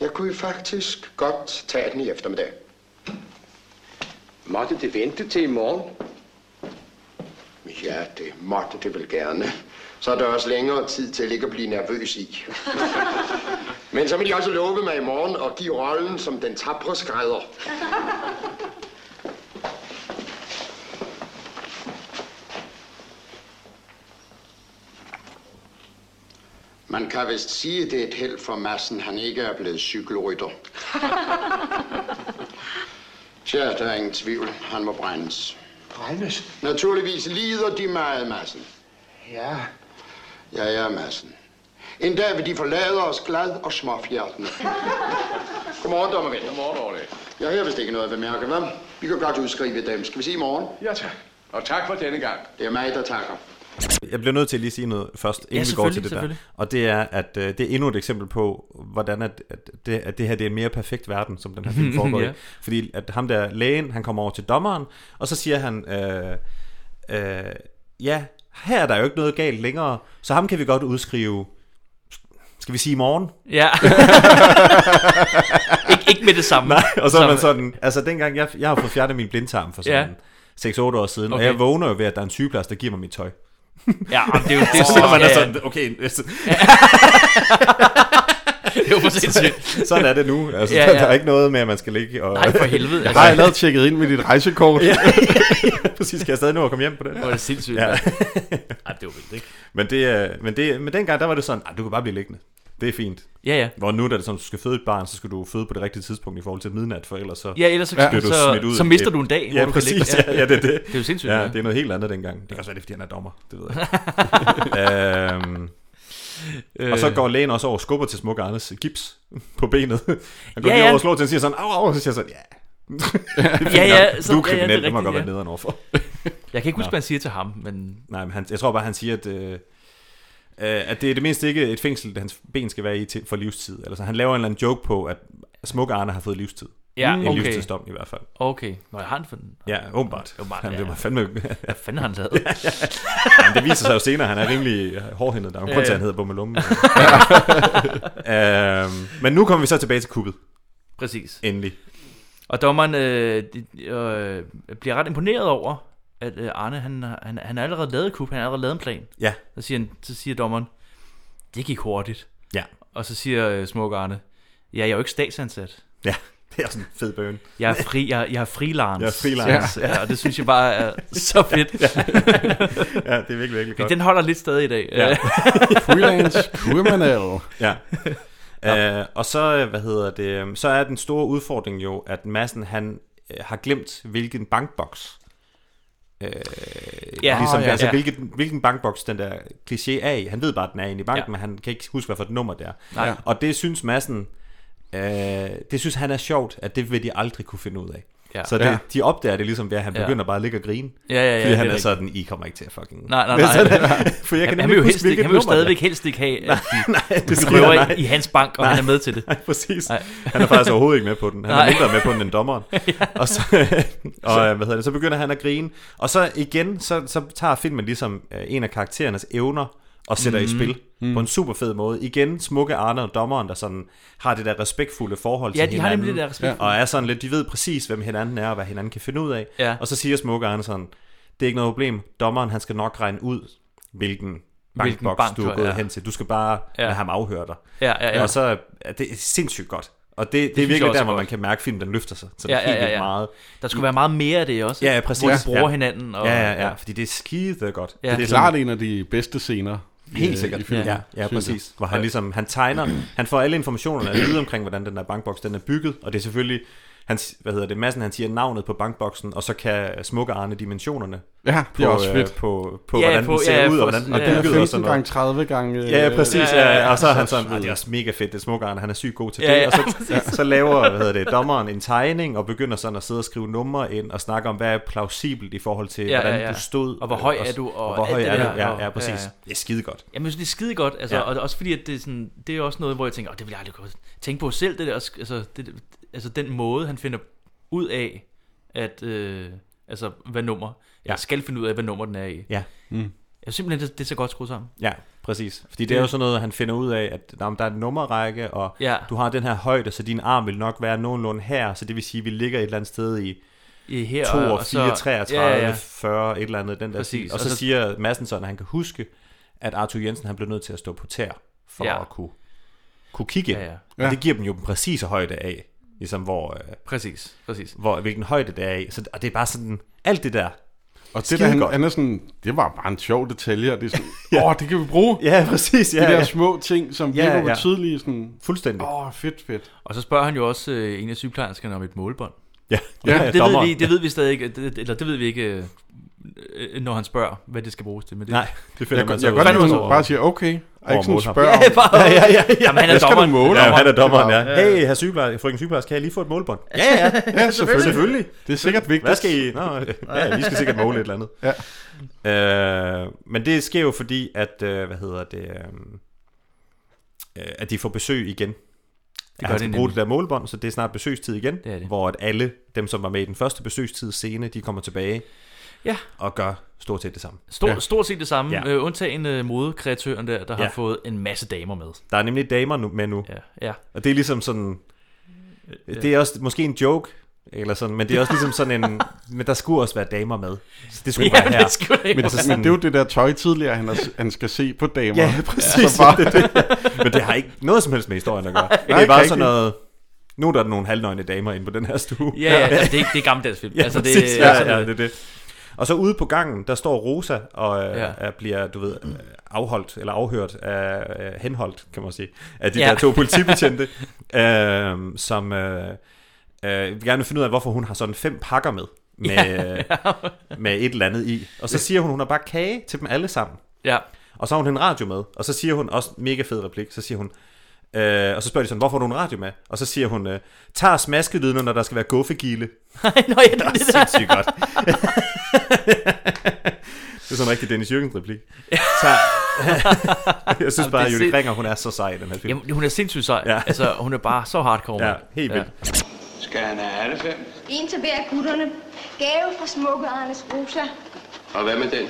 A: Jeg kunne faktisk godt tage den i eftermiddag.
E: Måtte det vente til i morgen?
A: Ja, det måtte det vel gerne. Så er der også længere tid til ikke at blive nervøs i. Men så vil de også love mig i morgen at give rollen som den tapre skrædder. Man kan vist sige, det er et held for massen, han ikke er blevet cykelrytter. Tja, der er ingen tvivl. Han må brændes.
Q: Brændes?
A: Naturligvis lider de meget, massen.
Q: Ja.
A: Ja, ja, massen. En dag vil de forlade os glad og småfjertende. Godmorgen, dommer ven.
F: Godmorgen, Orle.
A: Jeg har vist ikke noget at bemærke, hvad? Vi kan godt udskrive dem. Skal vi se i morgen?
F: Ja, tak. Og tak for denne gang.
A: Det er mig, der takker.
D: Jeg bliver nødt til at lige sige noget først, inden vi går
A: selvfølgelig,
D: til det der.
A: selvfølgelig.
D: Og det er, at øh, det er endnu et eksempel på, hvordan at, at, det, at det her det er en mere perfekt verden, som den her film foregår
B: Ja.
D: i. Fordi at ham der lægen, han kommer over til dommeren, og så siger han, øh, øh, ja, her er der jo ikke noget galt længere, så ham kan vi godt udskrive, skal vi sige i morgen?
B: Ja. Ikke- ikke med det samme.
D: Nej, og så er man
B: Som-
D: sådan, altså dengang jeg, jeg har fået fjernet min blindtarm for sådan ja. 6-8 år siden, okay. og
B: Okay.
D: jeg vågner jo ved, at der er en sygeplejerske, der giver mig mit tøj.
B: Ja, men det er jo det.
D: Så sidder man
B: Ja,
D: der
B: ja.
D: sådan, okay. altså-
B: Ja. Det er jo for sindssygt.
D: Sådan er det nu. Altså, ja,
B: Ja,
D: ja. Der,
B: ja.
D: der er ikke noget med, at man skal ligge og...
B: Nej, for helvede, altså.
C: Jeg har allerede tjekket ind med dit rejsekort.
D: ja, ja, præcis. Kan jeg stadig nå at komme hjem på den?
B: Hvor er det sindssygt,
D: Ja.
B: mand. Ej, det var vildt, ikke?
D: Men, det, er- men, det, men dengang, der var det sådan, "Ej, du kan bare blive liggende. Det er fint.
B: Ja, ja.
D: Hvor nu, da det sådan, du skal føde et barn, så skal du føde på det rigtige tidspunkt i forhold til midnat, for ellers så
B: Ja, ellers så-
D: bliver du
B: så-
D: smidt ud.
B: så mister du en dag,
D: ja,
B: hvor du kan
D: præcis,
B: ligge.
D: Ja, ja, det er det.
B: Det er jo sindssygt,
D: Ja,
B: ja.
D: det er noget helt andet dengang. Det kan også være, det er, fordi han er dommer. Det ved jeg. ikke. øhm, og så
B: Øh.
D: går lægen også over og skubber til smuk Anders gips på benet. Han går
B: Ja,
D: lige
B: ja.
D: over og slår til, og siger sådan, au, au, så siger jeg sådan, ja. Det er fint
B: Ja, ja,
D: nok.
B: så-
D: du
B: ja, ja,
D: er kriminel,
B: det er
D: det, må
B: rigtigt,
D: godt være
B: ja.
D: nederen overfor.
B: Jeg kan ikke huske,
D: Nå.
B: hvad han siger til ham, men...
D: Nej, men han, jeg tror bare, han siger, at, øh, øh, at det er det mindste ikke et fængsel, hans ben skal være i til, for livstid. Altså, han laver en eller anden joke på, at Smuk Arne har fået livstid.
B: Ja,
D: en
B: okay.
D: livstidsdom i hvert fald.
B: Okay. Nå, jeg har han for den.
D: Ja, åbenbart.
B: Åbenbart,
D: han
B: ja.
D: blev mig fandme...
B: Hvad fanden har han lavet?
D: ja, ja. Jamen, det viser sig jo senere, han er rimelig hårdhændet. Der er jo en
B: Ja,
D: grund til,
B: ja.
D: at han hedder Bummelum. øhm, men nu kommer vi så tilbage til kuppet.
B: Præcis.
D: Endelig.
B: Og dommeren øh, de- øh, bliver ret imponeret over, at øh, Arne, han, har- han, han har allerede lavet et kup, han har allerede lavet en plan.
D: Ja.
B: Så siger, han, så siger dommeren, det gik hurtigt.
D: Ja.
B: Og så siger øh, smuk Arne, ja, jeg er jo ikke statsansat.
D: Ja, det er sådan en fed bøn.
B: Jeg er, fri, jeg, jeg er freelance.
D: Jeg er freelance.
B: Ja. ja, og det synes jeg bare er så fedt.
D: Ja. Ja, det er virkelig, virkelig
B: Men
D: godt.
B: Den holder lidt stadig i dag. Øh,
D: Ja.
C: Freelance criminal.
D: Ja. Øh, og så, øh, hvad hedder det, øhm, så er den store udfordring jo, at Madsen han øh, har glemt, hvilken bankboks, øh,
B: Ja.
D: ligesom,
B: Åh, ja.
D: altså
B: Ja.
D: hvilken, hvilken bankboks den der kliché er i. Han ved bare, at den er inde i banken,
B: Ja.
D: men han kan ikke huske, hvad for et nummer det er.
B: Nej.
D: Og det synes Madsen, øh, det synes han er sjovt, at det vil de aldrig kunne finde ud af.
B: Ja.
D: Så det,
B: Ja.
D: de opdager det ligesom ved, at han
B: Ja.
D: begynder bare at ligge og grine.
B: Ja, ja, ja,
D: fordi
B: det
D: han
B: er
D: er
B: rigtigt.
D: sådan, I kommer ikke til at fucking...
B: Nej, nej,
D: Men
B: nej.
D: sådan- for jeg
B: Han-
D: kan
B: han
D: nemlig
B: vil jo
D: huske,
B: helst ikke-
D: hvilket
B: han vil jo
D: nummer det er.
B: stadigvæk helst ikke have, at de- de
D: siger
B: røver
D: han,
B: i- i hans bank, og han er med til det.
D: Nej, præcis.
B: Nej.
D: Han er faktisk overhovedet ikke med på den. Han
B: Nej.
D: er mindre med på den end dommeren. og så, og øh, hvad hedder det, så begynder han at grine. Og så igen, så, så tager filmen ligesom øh, en af karakterernes evner og sætter mm. i
B: Mhm.
D: spil mm. på en super fed måde. Igen, smukke Arne og dommeren, der sådan har det der respektfulde forhold
B: Ja,
D: til
B: de har
D: hinanden.
B: nemlig det der respektfulde.
D: Og er sådan lidt, de ved præcis, hvem hinanden er og hvad hinanden kan finde ud af.
B: Ja.
D: Og så siger smukke Arne sådan, det er ikke noget problem. Dommeren, han skal nok regne ud, hvilken
B: Hvilken
D: bankboks
B: bank
D: du
B: du
D: er
B: er,
D: gået
B: ja.
D: hen til. Du skal bare ja.
B: Ja.
D: lade ham afhøre dig.
B: Ja, ja, ja.
D: Og så er det er sindssygt godt. Og det, det,
B: synes
D: det er
B: jeg
D: virkelig
B: også
D: der,
B: er
D: hvor
B: godt.
D: man kan mærke, at filmen den løfter sig. Sådan
B: Ja, ja,
D: helt
B: ja,
D: vildt
B: ja.
D: meget.
B: Der skulle være meget mere af det også,
D: Ja, ja præcis.
B: hvor de bruger
D: ja.
B: hinanden og-
D: ja, ja, ja,
B: ja.
D: fordi det er skide godt.
C: Ja. Det er klart en af de bedste scener
D: Helt sikkert. Ja, ja, præcis. Hvor han ligesom, han tegner, han får alle informationerne at vide omkring, hvordan den der bankboks den er bygget, og det er selvfølgelig, han, s- hvad hedder det, massen han siger navnet på bankboksen, og så kan smukke Arne dimensionerne
C: Ja, det
D: på,
C: er også
D: øh,
C: fedt.
D: på, på
B: Ja,
D: hvordan
B: på-
D: den ser
B: ja,
D: ud,
B: for-
D: og hvordan den
B: ja.
D: er bygget og sådan
C: 15
D: noget.
C: gange 30 gange, øh,
D: Ja, ja, præcis. Ja,
C: ja,
D: ja,
C: ja.
D: og så er han
C: Så
D: sådan, "Ah, det er også mega fedt, det smukke Arne, han er sygt god til det.
B: Ja, ja,
D: og så,
B: præcis.
D: så laver, hvad hedder det, dommeren en tegning, og begynder sådan at sidde og skrive numre ind, og snakke om, hvad er plausibelt i forhold til,
B: Ja,
D: hvordan
B: ja, ja.
D: du stod.
B: Og hvor høj
D: øh,
B: er du, og
D: hvor
B: alt
D: høj
B: det
D: er
B: der,
D: du? Ja,
B: og-
D: ja, præcis.
B: ja, ja.
D: Det er skide godt.
B: Jamen, jeg synes, det er skide godt, altså,
D: Ja.
B: ja. og det er også fordi, at det er, sådan, det er også noget, hvor jeg tænker, oh, det vil jeg aldrig kunne tænke på selv, det der, sk- altså, det, altså den måde, han finder ud af, at, øh, altså, hvad nummer, ja. jeg skal finde ud af, hvad nummer den er i.
D: Ja. Mm.
B: Jeg synes simpelthen, det, det er så godt skruet sammen.
D: Ja, præcis. Fordi det er jo sådan noget, han finder ud af, at nå, men der er en nummerrække, og
B: Ja.
D: du har den her højde, så din arm vil nok være nogenlunde her, så det vil sige, at vi ligger et eller andet sted i,
B: I her,
D: 2,
B: og-
D: og,
B: og
D: 4,
B: så-
D: 33,
B: ja, ja, ja.
D: 40, et eller andet, den der
B: Præcis,
D: stil. Og,
B: og
D: så,
B: så-
D: siger Madsen sådan, at han kan huske, at Arthur Jensen han blev nødt til at stå på tær, for
B: Ja.
D: ja. at kunne, kunne kigge.
B: Ja, ja.
D: Og
B: Ja.
D: det giver dem jo den præcise højde af, ligesom hvor, øh,
B: Præcis, præcis.
D: hvor hvilken højde det er af. Så, og det er bare sådan, alt det der,
C: Og det der, han,
D: Skidegodt.
C: han er sådan, det var bare en sjov detalje, og det er sådan, åh, oh, det kan vi bruge.
D: Ja, præcis, ja,
C: de der
D: ja.
C: små ting, som
D: Ja,
C: ja, virker
D: ja.
C: ja. betydelige, sådan,
D: Fuldstændig.
C: åh, oh, fedt, fedt.
B: Og så spørger han jo også øh, en af sygeplejerskerne om et målbånd.
D: Ja.
B: Og det-
D: Ja,
B: det, ved
D: dommeren.
B: vi, det ved vi stadig ikke, det, eller det ved vi ikke, øh, øh, når han spørger, hvad det skal bruges til. Men det,
D: Nej, det finder
C: Jeg
D: man
C: kan-
D: så
C: jeg
D: ud
C: kan
D: af
C: godt lide, at
D: over-
C: man bare siger, okay, og
D: over
C: ikke sådan
D: målkamp.
C: spørger om-
B: Ja, bare-
D: ja, ja, ja.
B: Jamen, han er
D: Hvad skal du
B: dommeren.
D: måle?
B: Ja,
D: Ja, han er
B: det er
D: dommeren, ja.
B: bare- ja.
D: Hey, herr sygeplejerske, frøken sygeplejerske, kan jeg lige få et målbånd? Ja, ja,
C: Ja, selvfølgelig.
D: selvfølgelig.
C: Det er sikkert vigtigt.
D: Hvad skal I? Nå, øh, ja, vi skal sikkert måle et eller andet. Ja. Øh, men det sker jo fordi, at, øh, hvad hedder det, øh, øh, at de får besøg igen. Det
B: gør
D: han
B: det
D: skal
B: nemlig.
D: bruge det der målbånd, så det er snart besøgstid igen,
B: Det er det.
D: hvor at alle dem, som var med i den første besøgstid scene, de kommer tilbage
B: Ja.
D: og gør stort set det samme.
B: Stor, ja. Stort set det samme,
D: Ja.
B: ja. øh, undtagen øh, modekreatøren der, der ja.
D: Ja.
B: har fået en masse damer med.
D: Der er nemlig damer nu, med nu.
B: Ja, ja.
D: Og det er ligesom sådan... Det er også måske en joke, eller sådan, men det er også ligesom sådan en... men der skulle også være damer med. Så det skulle
B: Ja,
D: være her.
B: det skulle det.
C: Men,
D: Og så
C: det, Altså, men det er jo det der tøj tidligere, han, er, han skal se på damer.
D: Ja, præcis.
C: Så bare-
D: det, er det. Men det har ikke noget som helst med historien at gøre. Nej, det er
C: ikke
D: bare
C: rigtigt.
D: sådan noget... Nu er der nogle halvnøgne damer inde på den her stue.
B: Ja, ja, altså, det er ikke- det er gammeldags film.
D: ja,
B: Altså,
D: altså,
B: det-
D: det, præcis, ja,
B: sådan
D: ja,
B: er
D: det
B: det.
D: er det. Og så ude på gangen, der står Rosa og øh,
B: Ja.
D: ja. bliver, du ved, øh, afholdt eller afhørt, af, øh, henholdt, kan man sige, af de ja.
B: Ja.
D: der to politibetjente, øh, som øh, øh, vil gerne finde ud af, hvorfor hun har sådan fem pakker med, med, ja. med et eller andet i. Og så siger hun, hun har bare kage til dem alle sammen.
B: Ja.
D: Og så har hun en radio med, og så siger hun også mega fed replik, så siger hun, øh, og så spørger de sådan, hvorfor har du en radio med? Og så siger hun, øh, tager smaskelyden, når der skal være guffegilde. Nej,
B: nå, ja, det er det der.
D: sindssygt godt. det er sådan en rigtig Dennis Jürgens replik. Så, jeg synes
B: Jamen,
D: bare,
B: det er
D: at Julie
B: sind-
D: Kringer, hun er så sej i den her film.
B: Jamen, hun er sindssygt sej. Ja. Altså, hun er bare så hardcore.
D: Ja,
B: mand.
D: helt vildt.
R: Skal han have alle fem?
H: En til hver af gutterne. Gave fra smukke Arnes Rosa.
R: Og hvad med den?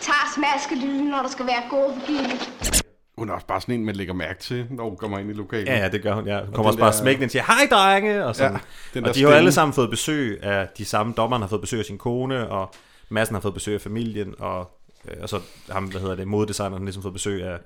H: Tager smaske lyden, når der skal være gode forgivet.
C: Hun er også bare sådan en, man lægger mærke til, når hun kommer ind i lokalet.
D: Ja, ja, det gør hun. Ja. Hun
C: Og
D: kommer også
C: den
D: bare
C: der-
D: smækken ind og siger, hej drenge! Og, sådan.
C: Ja,
D: Ja,
C: den
D: og
C: der
D: de har jo alle
C: stemme.
D: sammen fået besøg af de samme. Dommeren har fået besøg af sin kone, og massen har fået besøg af familien, og, øh, og så ham, hvad hedder det, modedesigneren har ligesom fået besøg af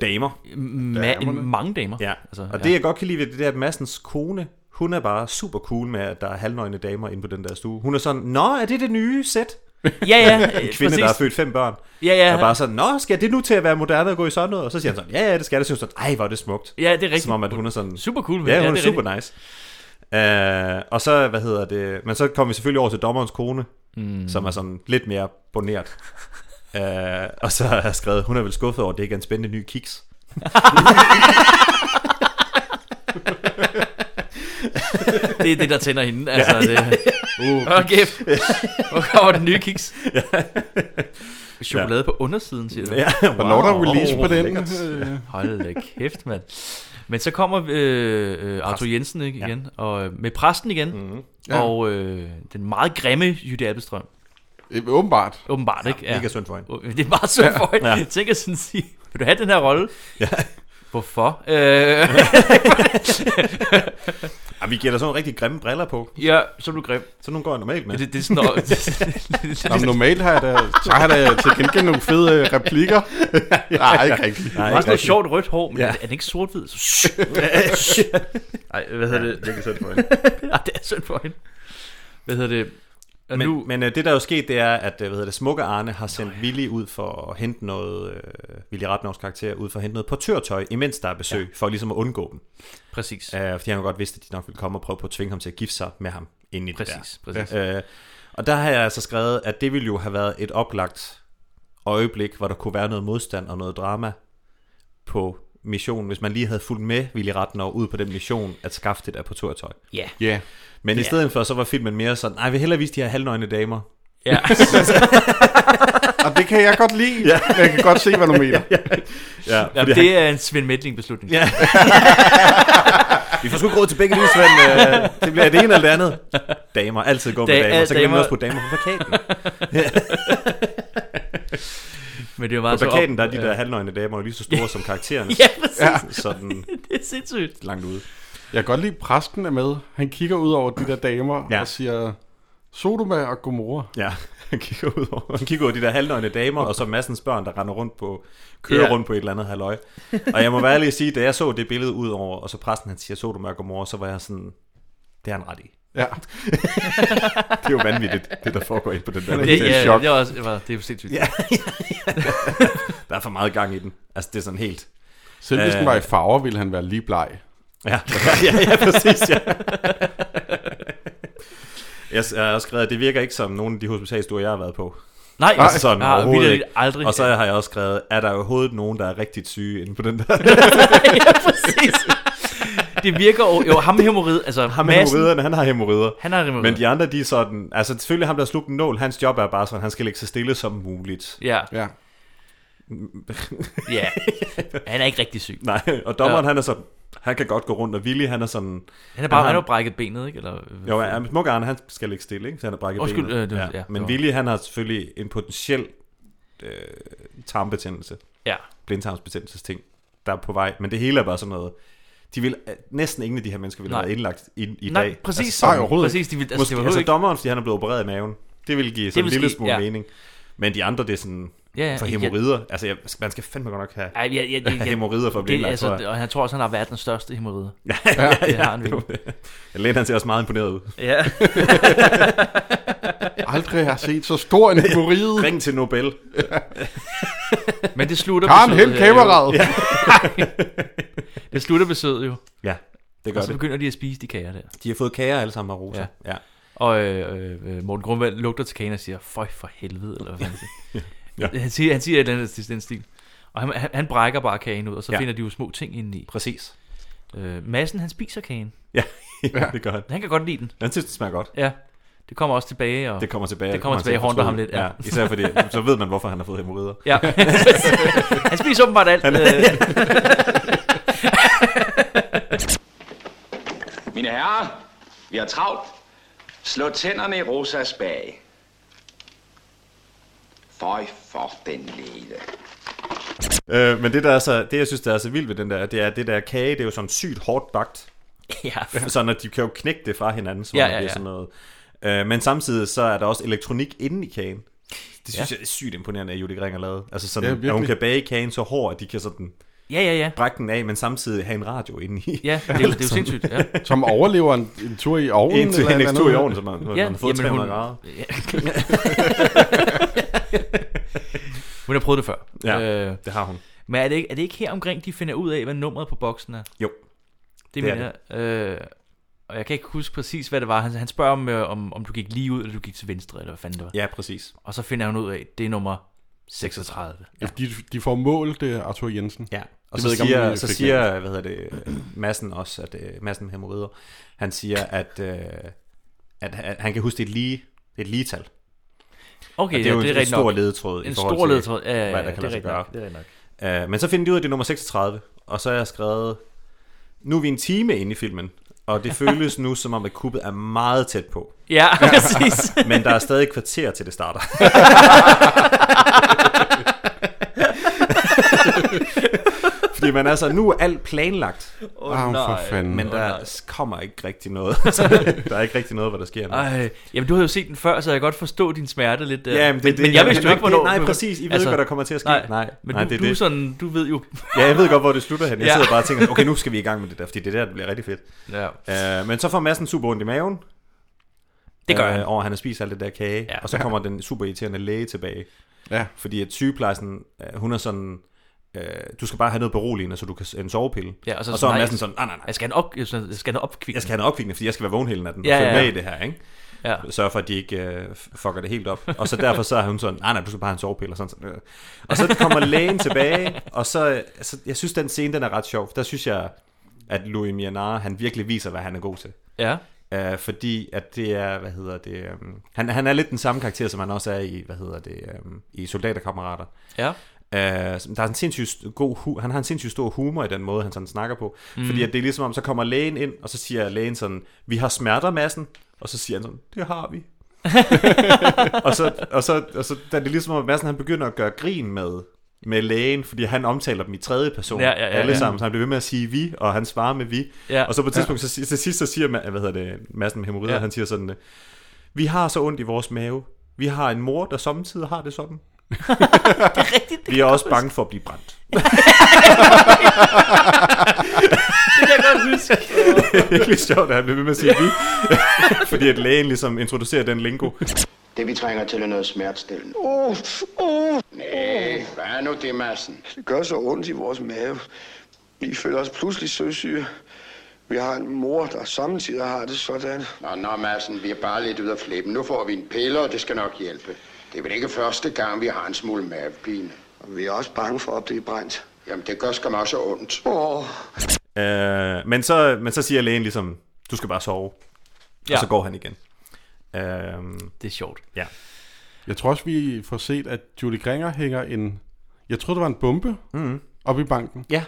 D: damer.
C: øh,
B: Ma- en- mange damer.
D: Ja,
B: altså, ja.
D: og det jeg godt kan lide ved det, det er, at Massens kone, hun er bare super cool med, at der er halvnøgne damer inde på den der stue. Hun er sådan, nå, er det det nye sæt?
B: Ja, ja, øh,
D: en kvinde, der har
B: præcis.
D: født fem børn.
B: Ja, ja.
D: Og bare sådan, nå, skal det nu til at være moderne at gå i sådan noget? Og så siger han sådan, ja, ja, det skal det. Så er hun sådan, ej, hvor er det smukt.
B: Ja, det er rigtigt.
D: Som om, at hun er sådan...
B: Super cool,
D: Ja,
B: ja,
D: hun
B: det
D: er
B: er
D: super nice. Øh, og så, hvad hedder det... Men så kommer vi selvfølgelig over til dommerens kone,
B: Mm.
D: mm. som er sådan lidt mere boneret. øh, og så har jeg skrevet, hun er vel skuffet over, at det ikke er en spændende ny kiks.
B: Det er det, der tænder hende. Altså,
D: Ja,
B: det...
D: ja, ja.
B: Uh,
D: Uh,
B: Hvor
D: kiks.
B: kæft. Hvor kommer den nye kiks?
D: Ja.
B: Chokolade på undersiden, siger du.
D: Ja, Hvornår der release på den?
B: lækkert. Hold da kæft, mand. Men så kommer øh, øh, Arthur Jensen ikke, igen, og øh, med præsten igen,
D: Mhm.
B: mm-hmm.
C: Ja.
B: og øh, den meget grimme Jytte Appelstrøm.
C: øh, Åbenbart.
B: Åbenbart, ikke?
D: mega synd for hende.
B: Øh, Det er meget synd for hende.
D: Ja.
B: Ja. Tænk at sådan sige, vil du have den her rolle? Ja. Hvorfor? Øh...
D: Ja, vi giver dig sådan nogle rigtig grimme briller på.
B: ja, så er du grim.
D: Så nu går jeg normalt med.
B: Det, det, det er sådan noget...
C: Nå, men normalt har jeg da, så har jeg da til gengæld nogle fede øh, replikker. Nej, ikke rigtigt.
B: Nej, det var sådan noget sjovt rødt hår, men ja. er den ikke sort-hvid? Så...
D: Nej,
B: hvad hedder det?
D: Det er synd for hende.
B: Ej, det er synd for hende. Hvad hedder det? Og
D: men,
B: nu-
D: nu... men øh, det der er jo sket, det er, at øh, hvad hedder det, Smukke Arne har sendt Willy ud for at hente noget, øh, Willy Ratnovs karakter, ud for at hente noget portørtøj, imens der er besøg, ja. for ligesom at undgå dem.
B: Præcis.
D: Øh, fordi han jo godt vidste, at de nok ville komme og prøve på at tvinge ham til at gifte sig med ham ind i
B: Præcis,
D: det der.
B: præcis.
D: Øh, og der har jeg altså skrevet, at det ville jo have været et oplagt øjeblik, hvor der kunne være noget modstand og noget drama på missionen, hvis man lige havde fulgt med Willy Ratnov ud på den mission at skaffe det der portørtøj.
B: Ja.
D: Ja. Men i
B: Ja.
D: stedet for, så var filmen mere sådan, nej, vi hellere vise de her halvnøgne damer.
B: Ja.
C: Og det kan jeg godt lide. Jeg kan godt se, hvad du mener.
D: Ja,
B: Ja,
D: fordi
B: Jamen,
D: han-
B: det er en Svend Mætling beslutning.
D: Ja. vi får sgu ikke råd til begge lige, Svend. Øh, Det bliver det ene eller det andet. Damer, altid gå med
B: Da-
D: damer. Så kan
B: damer.
D: man også putte damer på plakaten.
B: Men det var
D: på
B: altså
D: plakaten,
B: op-
D: der er de der
B: ja.
D: halvnøgne damer jo lige så store som karaktererne.
B: Ja, præcis.
D: Sådan
B: Det er sindssygt.
D: langt ude.
C: Jeg kan godt lide, at præsten er med. Han kigger ud over de der damer ja. og siger, Sodoma og Gomorra.
D: Ja, han kigger ud over, han kigger over de der halvnøgne damer, og så massens børn, der render rundt på, kører
B: Ja.
D: rundt på et eller andet halvøj. Og jeg må være ærlig at sige, da jeg så det billede ud over, og så præsten han siger, så du mørk og mor, så var jeg sådan, det er han ret i.
C: Ja.
D: det er jo vanvittigt, det der foregår inde på den der.
B: Det-
D: hotel.
B: ja, det var også- det var- det er jo sindssygt.
D: Ja, ja, ja. der er for meget gang i den. Altså, det er sådan helt...
C: Selv hvis den
D: Øh,
C: var i farver, ville han være lige bleg.
D: Ja, ja, ja præcis, ja. Jeg s- jeg har også skrevet, at det virker ikke som nogen af de hospitalstuer, jeg har været på.
B: Nej,
D: altså sådan
B: jeg har
D: overhovedet
B: vitterligt
D: ikke.
B: aldrig-
D: Og så har jeg også skrevet, er der overhovedet nogen, der er rigtigt syge inde på den der?
B: ja, præcis. Det virker jo, jo ham med hemorrid, altså
D: ham med
B: Madsen-
D: hemorriderne, han har hemorrider.
B: Han har hemorrider.
D: Men de andre, de er sådan... Altså selvfølgelig ham, der har slugt en nål, hans job er bare sådan, han skal ligge så stille som muligt.
B: Ja.
C: Ja.
B: Ja. Han er ikke rigtig syg.
D: Nej, og dommeren,
B: Ja.
D: ja. han er sådan... Han kan godt gå rundt, og Willy, han er sådan...
B: Han er bare- han
D: har-
B: har jo brækket benet, ikke? Eller-
D: Jo, ja, men Smuk Arne, han skal ligge stille, ikke? Så han har brækket
B: Undskyld,
D: benet.
B: øh, det var- ja, det
D: men
B: var-
D: Willy, han har selvfølgelig en potentiel øh, tarmbetændelse.
B: Ja.
D: Blindtarmsbetændelsesting, der er på vej. Men det hele er bare sådan noget... De vil, øh, næsten ingen af de her mennesker ville
B: Nej.
D: have været indlagt i, i
B: Nej,
D: dag.
B: præcis.
D: sådan-
B: Nej, overhovedet ikke. Præcis, de ville- altså, det
D: Måske,
B: var
D: altså,
B: overhovedet ikke-
D: dommeren, fordi han er blevet opereret i maven. Det vil give
B: Det
D: sådan en
B: vil
D: lille
B: ske,
D: smule
B: ja.
D: mening. Men de andre, det er sådan...
B: Ja, ja,
D: for
B: ja.
D: hemorrider. Altså, jeg, man skal fandme godt nok have,
B: Ej, ja, ja, det-
D: have
B: ja,
D: hemorrider for at blive
B: det-
D: indlagt, tror
B: altså,
D: jeg.
B: Og han tror også, han har været den største hemorrider.
D: Ja, ja, ja,
B: Det har han
D: det
B: virkelig.
D: var- Jeg lærte, han ser også meget imponeret ud.
B: Ja.
C: Aldrig har set så stor en hemorride.
D: Ring til Nobel.
B: Men det slutter
C: Karen,
B: besøget
C: hent
B: her jo.
C: kameraet.
B: Ja. det slutter besøget jo.
D: Ja, det gør
B: Og så
D: det.
B: begynder de at spise de kager der.
D: De har fået kager alle sammen af Rosa. Ja.
B: Og øh, øh, Morten Grundvald lugter til kagen og siger, føj for helvede, eller hvad han siger.
D: Ja.
B: han, siger, han siger et eller andet til den stil. Og han, han, han brækker bare kagen ud, og så ja.
D: Ja.
B: finder de jo små ting indeni.
D: Præcis.
B: Øh, Massen, han spiser kagen.
D: Ja, det gør han.
B: Han kan godt lide den.
D: Han synes, det smager godt.
B: Ja, det kommer også tilbage. Og
D: Det kommer tilbage.
B: Det kommer tilbage og håndter ham lidt.
D: Ja. ja. Især fordi, så ved man, hvorfor han har fået hemorrider.
B: Ja. Han spiser åbenbart alt.
D: Han-
S: Mine herrer, vi har travlt. Slå tænderne i Rosas bag. Føj for den lede.
D: Øh, men det, der er så, det, jeg synes, der er så vildt ved den der, det er, at det der kage, det er jo sådan sygt hårdt bagt.
B: Øh, Ja.
D: sådan, at de kan jo knække det fra hinanden, så
B: Ja,
D: ja,
B: ja,
D: ja,
B: ja.
D: det er sådan noget. Øh, men samtidig så er der også elektronik inde i kagen. Det synes
B: Ja.
D: ja. jeg er sygt imponerende, at Judy Gringer lavede. Altså sådan,
B: Ja,
D: ja,
B: virkelig.
D: at hun kan bage kagen så hård, at de kan sådan
B: Ja, ja, ja.
D: brække den af, men samtidig have en radio inde i.
B: Ja, det er jo- det er jo sindssygt, ja.
C: Som overlever en, en tur i ovnen.
D: En, til,
C: eller
D: en
C: et
D: tur i
C: andet.
D: ovnen, som man, ja, man har fået 300 grader.
B: Ja. hun har prøvet det før. Øh,
D: Ja, det har hun.
B: Men er det, ikke, er det ikke her omkring, de finder ud af, hvad nummeret på boksen er?
D: Jo.
B: Det,
D: Det er
B: det mener jeg. Øh, og jeg kan ikke huske præcis, hvad det var. Han, han spørger, om, øh, om, om du gik lige ud, eller du gik til venstre, eller hvad fanden det var.
D: Ja, præcis.
B: Og så finder han ud af, det er nummer 36.
C: Ja. De, de får målt det, Arthur Jensen.
D: Ja, og
C: Det
D: så,
C: ved jeg ikke, om
D: siger,
C: vi
D: så
C: fik
D: siger,
C: med.
D: hvad hedder det, massen også, at øh, massen med hemorrider, han siger, at, øh, at, at han kan huske det er et lige, et lige tal.
B: Okay,
D: og det
B: ja,
D: er jo
B: det er
D: en, en
B: rigtig
D: stor
B: nok.
D: ledetråd
B: En
D: i forhold
B: stor
D: til,
B: ledetråd, ja, ja, ja,
D: hvad
B: det
D: der
B: er
D: kan lade sig
B: rigtig
D: gøre.
B: nok, det er rigtig
D: Øh, men så finder de ud af, at det er nummer 36, og så har jeg skrevet, nu er vi en time inde i filmen, og det føles nu som om, at kuppet er meget tæt på.
B: Ja, præcis.
D: Men der er stadig et kvarter til det starter. Fordi man er så, nu er alt planlagt.
B: Åh,
C: Ah,
B: Au, for nej. fanden.
D: Men
B: Åh,
D: der
B: nej.
D: kommer ikke rigtig noget. der er ikke rigtig noget, hvad der sker nu.
B: Ej, jamen du havde jo set den før, så jeg kan godt forstå din smerte lidt. der.
D: Ja, men det-
B: men,
D: det-
B: men jeg
D: jeg-
B: vidste jo
D: nej,
B: ikke, hvornår... Altså,
D: nej, præcis. I ved ikke, hvad der kommer til at ske.
B: Nej,
D: Nej,
B: men
D: nej,
B: du,
D: det er
B: du, er
D: det.
B: sådan, du ved jo...
D: Ja, jeg ved godt, hvor det slutter hen. Jeg
B: Ja.
D: ja. sidder bare og tænker, okay, nu skal vi i gang med det der, fordi det er der, det bliver rigtig fedt.
B: Ja.
D: Øh, men så får massen super ondt i maven. Det gør han. Øh, over, at han har spist alt det der kage. Ja. Og så kommer den super irriterende læge tilbage.
C: Ja.
D: Fordi at sygeplejersken, øh, hun er sådan... Øh, du skal bare have noget beroligende, så du kan en sovepille.
B: Ja, og så,
D: og så er
B: nej,
D: Madsen sådan, nej, nej, nej.
B: Jeg skal have en op, jeg skal jeg skal have en opkvikken.
D: Jeg skal have noget opkvikkende, fordi jeg skal være vågen hele natten
B: Ja,
D: ja,
B: ja,
D: og følge ja,
B: ja.
D: med i det her, ikke?
B: Ja.
D: Sørge for, at de ikke øh, fucker det helt op. Og så derfor så er hun sådan, nej, nej, du skal bare have en sovepille. Og, sådan, sådan. øh. og så kommer lægen tilbage, og så, altså, jeg synes, den scene, den er ret sjov. for Der synes jeg, at Louis Mianara, han virkelig viser, hvad han er god til.
B: Ja.
D: Øh, fordi at det er, hvad hedder det, øh, han, han er lidt den samme karakter, som han også er i, hvad hedder det, øh, i Soldaterkammerater.
B: Ja.
D: Øh, der er en sindssygt god hu- han har en sindssygt stor humor i den måde, han sådan snakker på.
B: Mm.
D: Mm. Fordi at det er ligesom om, så kommer lægen ind, og så siger lægen sådan, vi har smerter, massen. Og så siger han sådan, det har vi. og, så, og, så, og så der er det ligesom om, at Madsen han begynder at gøre grin med, med lægen, fordi han omtaler dem i tredje person,
B: Ja, ja, ja,
D: alle
B: ja.
D: sammen, så han bliver ved med at sige vi, og han svarer med vi.
B: Ja.
D: Og så på et tidspunkt, ja. så, si- til sidst så siger Ma- hvad hedder det, Madsen med hemorrider,
B: Ja.
D: ja. han siger sådan, øh, vi har så ondt i vores mave, vi har en mor, der sommetider har det sådan. det er
B: rigtigt.
D: Vi er også bange for at blive brændt.
B: Det kan jeg godt huske.
D: det er virkelig sjovt, at han bliver ved med at sige vi, fordi at lægen ligesom introducerer den lingo.
A: Det vi trænger til er noget smertestillende.
Q: Åh, åh.
A: Næh, hvad er nu det, Madsen?
Q: Det gør så ondt i vores mave. Vi føler os pludselig søsyge. Vi har en mor, der samtidig har det sådan.
A: Nå, nå, Madsen, vi er bare lidt ude af flippen. Nu får vi en pille, og det skal nok hjælpe. Det er vel ikke første gang, vi har en smule mavepine.
Q: Og vi er også bange for at blive brændt.
A: Jamen, det gør skam også ondt.
Q: Åh.
D: Øh, men, så, men så siger lægen ligesom, du skal bare sove. Ja.
B: Ja.
D: Og så går han igen. Øh,
B: Det er sjovt.
D: Ja.
C: Jeg tror også, vi får set, at Julie Gringer hænger en... Jeg troede, det var en bombe mm. op i banken.
D: Ja.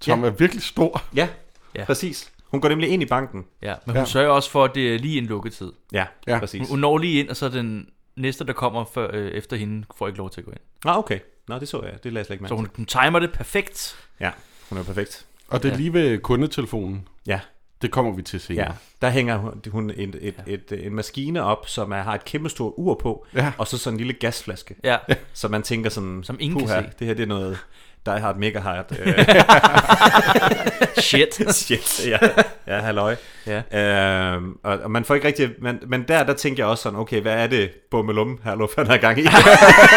C: Som
D: Mm-hmm. Ja.
C: er virkelig stor.
D: Ja,
B: Ja.
D: ja, præcis. Hun går nemlig ind i banken.
B: Ja, men hun ja.
C: Ja.
B: sørger også for, at det er lige en lukketid.
D: Ja, Ja. præcis.
B: Hun, hun når lige ind, og så den næste, der kommer før, øh, efter hende, får ikke lov til at gå ind.
D: Ah, okay. Nå, det så jeg. Det lagde jeg slet ikke mærke
B: Så hun, hun timer det perfekt.
D: Ja, hun er perfekt.
C: Og det er lige ved kundetelefonen.
D: Ja.
C: Det kommer vi til senere.
D: Ja,
B: Mm.
D: der hænger hun, hun en, et, et, et, en maskine op, som er, har et kæmpe stort ur på,
C: Ja.
D: og så sådan en lille gasflaske.
B: Ja.
D: Så man tænker sådan,
B: Som ingen kan
D: "Puha,
B: se."
D: Det her det er noget, die hard, mega hard. øh.
B: Shit.
D: Shit, ja. Ja, halløj.
B: Ja.
D: Øhm, og, og, man får ikke rigtig... Man, men der, der tænker jeg også sådan, okay, hvad er det, Bummelum, Herluf, han har gang i?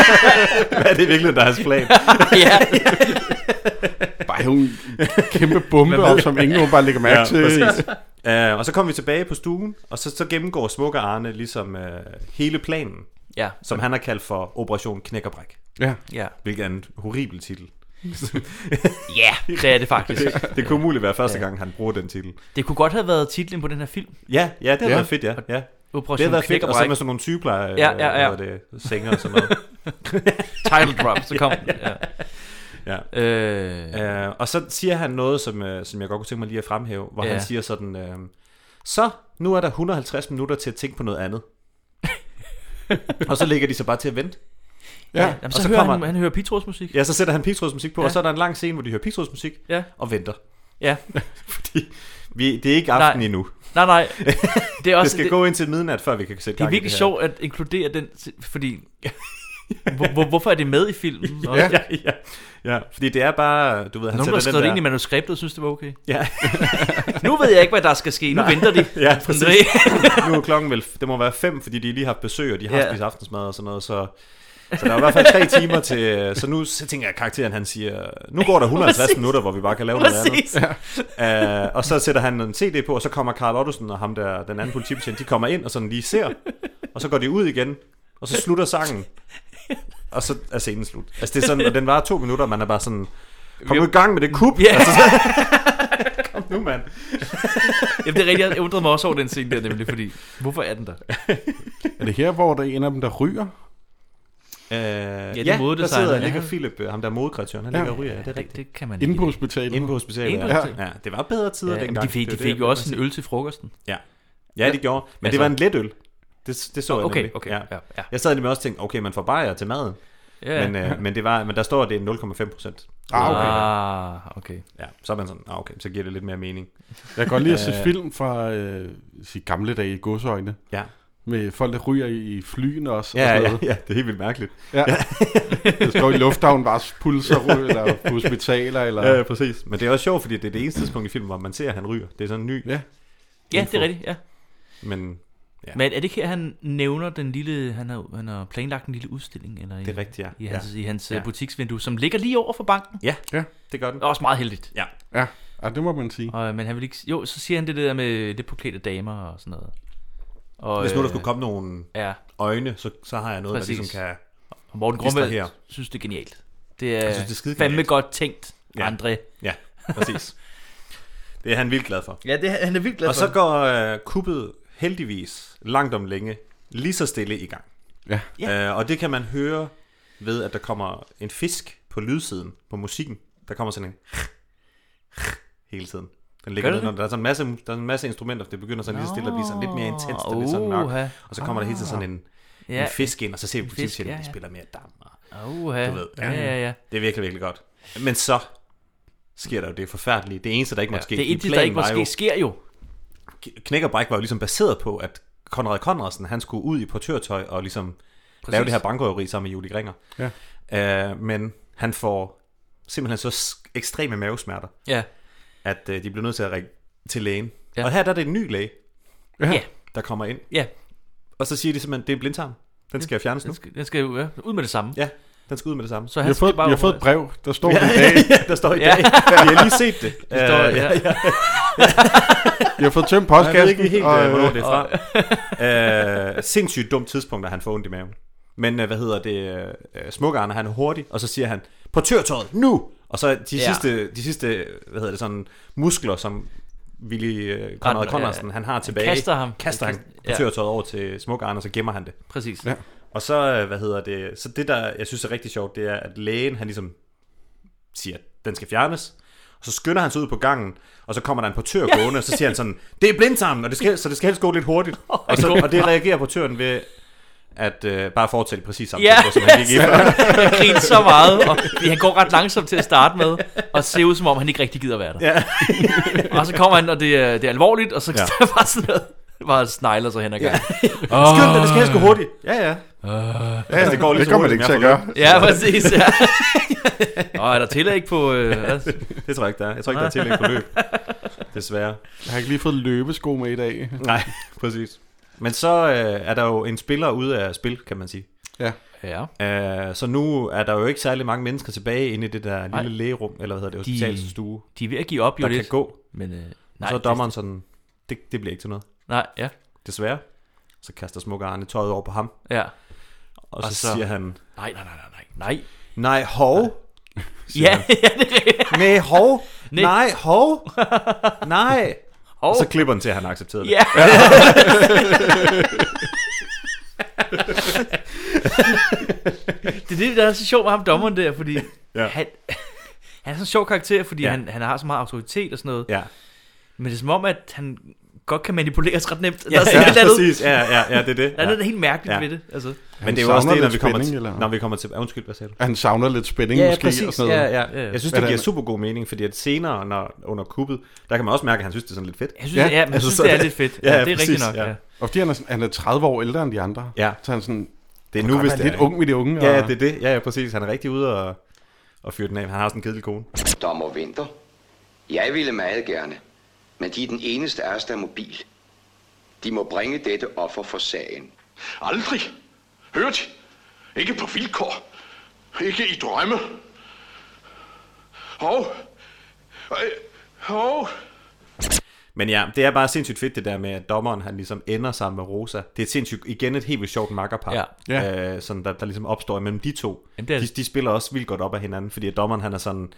D: hvad er det virkelig, der er hans plan?
B: ja.
C: Bare hæve en kæmpe bombe op, som ingen jo bare lægger mærke til.
D: præcis. Øh, og så kommer vi tilbage på stuen, og så, så gennemgår Smukke Arne ligesom øh, hele planen,
B: Ja.
D: som han har kaldt for Operation Knækkerbræk.
C: Ja.
B: Ja.
D: Hvilket er en horribel titel.
B: Ja, det er det faktisk.
D: det, det kunne muligt være første
B: Ja.
D: gang, han bruger den titel.
B: Det kunne godt have været titlen på den her film.
D: Ja, ja, det har ja. været fedt, ja.
B: Og
D: ja.
B: Operation
D: det har været fedt, og så
B: Knækkerbræk.
D: med sådan nogle sygeplejer,
B: Ja, ja, ja.
D: Eller, det, sanger og sådan noget.
B: Title drop, så kom den,
D: ja.
B: ja.
D: ja.
B: Øh,
D: Øh, og så siger han noget, som, øh, som jeg godt kunne tænke mig lige at fremhæve, hvor
B: Ja.
D: ja. han siger sådan, øh, så nu er der 150 minutter til at tænke på noget andet. og så ligger de så bare til at vente.
C: Ja. Ja,
B: jamen, så, så hører han, han hører Pitros musik.
D: Ja, så sætter han Pigtråds musik på,
B: Ja.
D: ja. og så er der en lang scene, hvor de hører Pigtråds musik
B: Ja.
D: og venter.
B: Ja.
D: Fordi vi, det er ikke aften
B: Nej.
D: endnu.
B: Nej, nej. Det,
D: Det,
B: er også,
D: det skal det, gå indtil midnat, før vi kan sætte
B: Det er
D: gang i
B: virkelig
D: her.
B: sjovt at inkludere den, fordi... hvor, hvor, hvorfor er det med i filmen?
D: Ja, ja, ja, ja, fordi det er bare, du ved,
B: Nogen, der
D: han
B: har
D: sætter
B: skrevet
D: den
B: det
D: der...
B: ind i manuskriptet, og synes, det var okay.
D: Ja.
B: nu ved jeg ikke, hvad der skal ske. Nu
D: Nej.
B: venter de.
D: ja,
B: Sådan,
D: præcis. nu er klokken vel, det må være fem, fordi de lige har haft besøg, og de har
B: Ja.
D: ja. spist aftensmad og sådan noget, så... Så der er i hvert fald tre timer til, så nu så tænker jeg, at karakteren han siger, nu går der 150
B: Præcis.
D: minutter, hvor vi bare kan lave noget
B: Præcis.
D: andet. Ja. Uh, og så sætter han en CD på, og så kommer Karl Ottesen og ham der, den anden politibetjent, de kommer ind og sådan lige ser, og så går de ud igen, og så slutter sangen, og så er scenen slut. Altså det er sådan, og den varer to minutter, og man er bare sådan, kom nu i gang med det kub.
B: Ja.
D: Altså, kom nu mand.
B: Jamen, det er rigtigt. Jeg undrede mig også over den scene der, nemlig, fordi... Hvorfor er den der?
C: Er det her, hvor der er en af dem, der ryger?
D: Øh, ja,
B: det
D: det
B: er
D: ja, der
B: modedesigneren,
D: sidder
B: ja.
D: ja. ligger Philip, øh, ham der er modekreatøren, han
B: Ja.
D: ja. ligger og ryger, ja, det er
B: Det-
D: rigtigt.
B: det kan man
C: Inde
B: ikke.
C: på hospitalet.
D: Inde på hospitalet.
B: Inde på
D: ja.
B: hospitalet.
D: ja, det var bedre tider
B: Ja,
D: ja,
B: men
D: dengang.
B: de fik-
D: Det er
B: de fik
D: jeg
B: jo også
D: prøver
B: en
D: at
B: øl til frokosten.
D: sige. Ja, ja det gjorde. Men
B: Altså-
D: det var en let øl. Det, det så
B: Nå,
D: jeg
B: okay,
D: nemlig.
B: okay, ja, ja.
D: Jeg sad nemlig også og tænkte, okay, man får bajer til maden.
B: Ja, ja.
D: Men, øh, men, det var, men der står, at det er 0,5 procent.
C: Ah, okay.
B: Ah, okay.
D: Ja, så er man sådan, ah, okay, så giver det lidt mere mening.
C: Jeg kan godt lide at se
D: Øh,
C: film fra øh, sige, gamle dage i godsøjne.
D: Ja.
C: Med folk, der ryger i flyene også.
D: Ja,
C: og
D: ja,
C: sådan noget.
D: ja, det er helt vildt mærkeligt.
C: Ja.
D: Ja.
C: det står i lufthavnen, bare pulser ryger, eller på hospitaler, eller...
D: Ja, ja, præcis. Men det er også sjovt, fordi det er det eneste tidspunkt i filmen, hvor man ser, at han ryger. Det er sådan en ny
C: Ja.
B: Ja,
D: info.
B: det er rigtigt, ja.
D: Men
B: Ja. Men er det ikke her, han nævner den lille, han har, han har planlagt en lille udstilling? Eller
D: Det er rigtigt, ja.
B: I hans,
D: Ja.
B: i hans
D: Ja.
B: ja. butiksvindue, som ligger lige over for banken.
D: Ja,
C: ja.
D: det gør den.
B: Også meget heldigt.
D: Ja.
C: Ja, ja Ah, det må man sige.
B: Og, øh, men han vil ikke, jo, så siger han det der med det poklædte damer og sådan noget. Og,
D: Hvis nu der
B: øh,
D: skulle komme nogle
B: ja.
D: øjne, så, så har jeg noget, der ligesom kan
B: Og Morten Grumme
D: her.
B: synes, det er genialt. Det er,
D: Jeg synes, det er
B: synes, det er
D: skide
B: fandme
D: genialt.
B: godt tænkt,
D: Ja.
B: ja. André.
D: Ja, præcis. det er han vildt glad for.
B: Ja, det er- han er vildt glad
D: og
B: for
D: Og så
B: det.
D: går øh, kuppet heldigvis langt om længe lige så stille i gang.
C: Ja.
D: ja. Øh, og det kan man høre ved, at der kommer en fisk på lydsiden, på musikken. Der kommer sådan en hele tiden. Den ligger
B: Gør
D: ned,
B: det
D: når
B: det?
D: der er sådan en masse, der er en masse instrumenter, det begynder sådan lige så stille at blive sådan lidt mere
B: Nå,
D: intenst, det bliver sådan mørkt.
B: uha.
D: Og så kommer der hele tiden sådan en,
B: Ja,
D: en fisk ind, og så ser vi
B: en
D: pludselig,
B: fisk,
D: at
B: ja,
D: de
B: ja.
D: spiller mere dam. og-
B: Uha.
D: Du ved.
B: Ja, ja, ja.
D: Det er virkelig, virkelig godt. Men så sker der jo det forfærdelige. Det eneste, der ikke
B: Ja,
D: måtte ske.
B: det
D: fordi
B: eneste, der
D: planen
B: ikke
D: var
B: måtte ske, sker jo.
D: Knæk og Bræk var jo ligesom baseret på, at Konrad Konradsen, han skulle ud i portørtøj og ligesom Præcis.
B: Præcis.
D: lave det her bankrøveri sammen med Julie Gringer.
C: Ja.
D: Øh, men han får simpelthen så s- ekstreme mavesmerter,
B: Ja.
D: at øh, de bliver nødt til at ringe til lægen. Ja. Og her der er det en ny læge, ja. der kommer ind.
B: Ja.
D: Og så siger de simpelthen, det er en blindtarm. Den skal fjernes nu.
B: Den skal, den skal jo, ja, ud med det samme.
D: Ja, den skal ud med det samme.
B: Så
C: Jeg
B: han
C: har
B: skal
C: fået-
B: bare
C: jeg har fået et brev. Der står i dag.
D: ja, der står i dag. Vi har lige set det.
B: Det står,
D: Øh,
B: ja.
D: ja.
C: Jeg har fået tømt
D: Jeg ved
C: postkassen,
D: ikke helt,
C: og,
D: øh, hvornår det
C: og-
D: er fra. øh, sindssygt dumt tidspunkt, at han får ondt i maven. Men øh, hvad hedder det? Øh, Smukkerne, han er hurtig, og så siger han, portørtøjet, nu! Og så de, ja.
B: Ja.
D: sidste, de sidste, hvad hedder det, sådan muskler, som Willy øh, Conrad
B: Ja,
D: Conradsen,
B: ja.
D: han har
B: Han
D: tilbage.
B: kaster ham.
D: Kaster
B: Han
D: han
B: kaster- ja.
D: portørtøjet over til Smukkerne, og så gemmer han det.
B: Præcis.
D: Ja. Og så, øh, hvad hedder det, så det der, jeg synes er rigtig sjovt, det er, at lægen, han ligesom siger, at den skal fjernes. Og så skynder han sig ud på gangen, og så kommer der en portør
B: Ja.
D: gående, og så siger han sådan, det er blindtarmen, og det skal, så det skal helst gå lidt hurtigt. Og, så, og det reagerer portøren ved at øh, bare fortsætte præcis samme
B: Ja,
D: tempo, som han gik i.
B: jeg griner så meget, og han går ret langsomt til at starte med, og ser ud som om, han ikke rigtig gider være der.
D: Ja.
B: og så kommer han, og det er, det er alvorligt, og så
D: Ja.
B: ja. bare sådan noget, bare snegler sig hen ad gangen.
D: Ja. Skynd dig, det skal helst gå hurtigt. Ja, ja.
B: Uh,
D: Ja, altså, det går lige det så kommer man hurtigt, ikke som til at jeg får gøre. lyst.
B: Ja, præcis. Ja. og er der tillæg på... Øh,
D: det tror jeg ikke, der er. Jeg tror ikke, der er tillæg på løb. Desværre.
C: Jeg har ikke lige fået løbesko med i dag.
D: Nej, præcis. Men så øh, er der jo en spiller ude af spil, kan man sige.
C: Ja.
D: ja. Øh, så nu er der jo ikke særlig mange mennesker tilbage inde i det der lille
B: Nej.
D: lægerum, eller hvad hedder det,
B: De-
D: hospitalsstue.
B: de er ved at give op jo
D: der
B: lidt.
D: kan gå.
B: Men, øh,
D: nej,
B: nej,
D: så er dommeren sådan, det, det bliver ikke til noget.
B: Nej, ja.
D: Desværre. Så kaster Smuk Arne tøjet over på ham.
B: Ja.
D: Og så, og så siger han...
B: Nej, nej, nej, nej, nej. Nej,
D: Nej, hov. siger
B: Ja,
D: han.
B: ja, det er rigtigt.
D: Nej, hov.
B: Nej.
D: Nej, hov. Nej.
B: Hov.
D: Og så klipper den til, at han accepterer det.
B: Ja. det er det, der er så sjovt med ham dommeren der, fordi
D: Ja.
B: ja. han, han er sådan en sjov karakter, fordi
D: Ja.
B: ja. han, han har så meget autoritet og sådan noget.
D: Ja.
B: Men det er som om, at han godt kan manipuleres ret nemt.
D: Ja,
B: sådan
D: ja,
B: et eller andet-
D: præcis. Ja, ja, ja, det er det.
B: Der er
D: Ja.
B: noget helt mærkeligt
D: Ja.
B: ved det. Altså.
D: Men det er jo
C: Han
D: også
C: savner
D: det, når
C: lidt
D: vi kommer
C: spænding,
D: til,
C: eller hvad?
D: når vi kommer til... ja, Undskyld, hvad sagde du?
C: Han savner lidt spænding
D: ja,
C: måske,
D: Præcis.
C: og sådan noget.
D: Ja, ja. Jeg synes,
C: Hvad
D: det
C: der-
D: giver super god mening, fordi at senere når, under kuppet, der kan man også mærke, at han synes, det er sådan lidt fedt.
B: Jeg synes, Ja. ja, man synes,
D: altså, så
B: det er lidt fedt. Ja, det er rigtigt nok, ja.
C: Og fordi han er, sådan- han er 30 år ældre end de andre.
D: Ja.
C: Så han sådan,
D: Det er
C: "Kan
D: nu,
C: godt
D: hvis
C: være
D: det
C: lidt
D: er.
C: ung ved de unge.
D: Ja,
C: og-
D: det er det. Ja, ja, præcis. Han er rigtig ude og, og fyre den af. Han har sådan en kedelig kone.
E: Dommer Vinter, jeg ville meget gerne, men de er den eneste af os, der er mobil. De må bringe dette offer for sagen.
F: Aldrig. Hørt? Ikke på vilkår. Ikke i drømme. Hov. Øh, Hov.
D: Men ja, det er bare sindssygt fedt det der med, at dommeren han ligesom ender sammen med Rosa. Det er et sindssygt, igen et helt vildt sjovt makkerpar,
B: Ja.
D: ja. Øh, sådan, der, der ligesom opstår imellem de to.
B: Jamen, det er
D: de,
B: det.
D: de spiller også vildt godt op af hinanden, fordi at dommeren han er sådan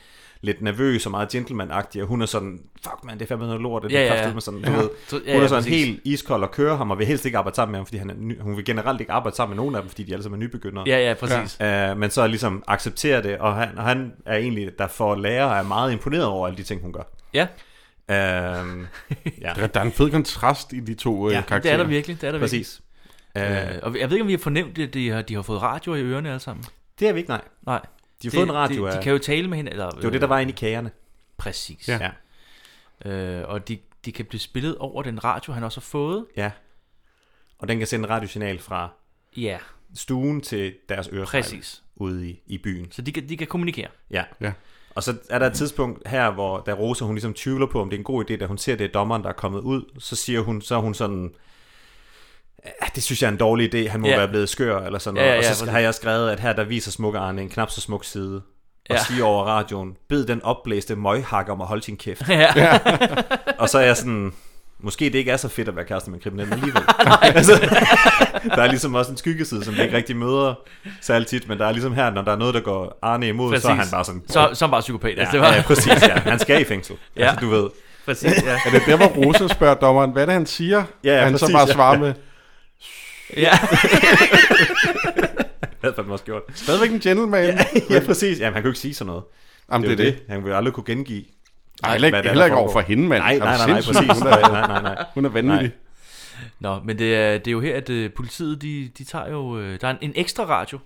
D: lidt nervøs og meget gentleman og hun er sådan, fuck man, det er fandme noget lort, det
B: Ja,
D: er
B: ja, ja.
D: kraftedeme sådan, du
B: Ja.
D: ved.
B: Så- ja,
D: hun er
B: ja,
D: sådan
B: præcis.
D: helt iskold og kører ham, og vil helst ikke arbejde sammen med ham, fordi han er ny, hun vil generelt ikke arbejde sammen med nogen af dem, fordi de alle sammen er nybegyndere.
B: Ja, ja, præcis.
D: Øh, men så ligesom accepterer det, og han, og han er egentlig, der får lærer og er meget imponeret over alle de ting, hun gør.
B: Ja.
D: Øhm, ja.
C: Der, der er en fed kontrast i de to ja, karakterer.
B: det er der virkelig. Det er der
D: Præcis.
B: Virkelig. Øh, og jeg ved ikke, om vi har fornemt, at de har, de har fået radioer i ørerne alle sammen.
D: Det har vi ikke, nej.
B: Nej.
D: De har
B: Det-
D: fået en radio
B: De,
D: af-
B: de kan jo tale med hinanden. Eller,
D: Det var det, der var inde i kagerne.
B: Præcis.
D: Ja.
B: Øh, og de, de kan blive spillet over den radio, han også har fået.
D: Ja. Og den kan sende et radiosignal fra
B: Ja.
D: stuen til deres ørefejl.
B: Præcis.
D: Ude i, i byen.
B: Så de kan, de kan kommunikere.
D: Ja.
C: ja.
D: Og så er der et tidspunkt her, hvor da Rosa hun ligesom tvivler på, om det er en god idé, da hun ser, det er dommeren, der er kommet ud, så siger hun, så er hun sådan, Ja, det synes jeg er en dårlig idé. Han må
B: Ja.
D: ja. være blevet skør eller sådan
B: Ja,
D: noget. Ja,
B: ja,
D: ja, og så
B: præcis.
D: har jeg skrevet, at her der viser smukke Arne en knap så smuk side. Og
B: Ja.
D: ja. siger over radioen, bed den opblæste møghak om at holde sin kæft.
B: Ja. Ja.
D: og så er jeg sådan, måske det ikke er så fedt at være kæreste med en kriminel alligevel. altså, der er ligesom også en skyggeside, som vi ikke rigtig møder særlig tit, men der er ligesom her, når der er noget, der går Arne imod, så er han
B: Præcis.
D: bare sådan...
B: Så- så er han bare psykopat.
D: Ja,
B: Altså, det var-
D: ja, præcis, ja. Han skal i fængsel.
B: Ja.
D: Ja. Altså, du ved.
B: Præcis, ja.
C: Er det der, hvor Rosa spørger dommeren, hvad er det, han siger?
D: Ja, ja,
C: han så
D: præcis,
C: bare
D: ja.
C: svarer med,
B: Ja.
D: havde fandme også gjort.
C: Stadigvæk en gentleman.
D: ja, ja, præcis. Jamen, han kunne ikke sige sådan noget.
C: Jamen, det er
D: jo Han ville aldrig kunne gengive.
C: Ej, heller ikke-
D: hvad det er,
C: heller
D: der
C: ikke
D: foregår.
C: over for hende, mand.
D: Nej,
C: Er
D: nej,
C: du
D: nej, nej,
C: sindssyg?
D: præcis.
C: Hun er-
D: nej, nej, nej.
C: hun er vanvittig.
B: Nå, men det er, det er jo her, at øh, politiet, de, de tager jo... Øh, der er en, en ekstra radio.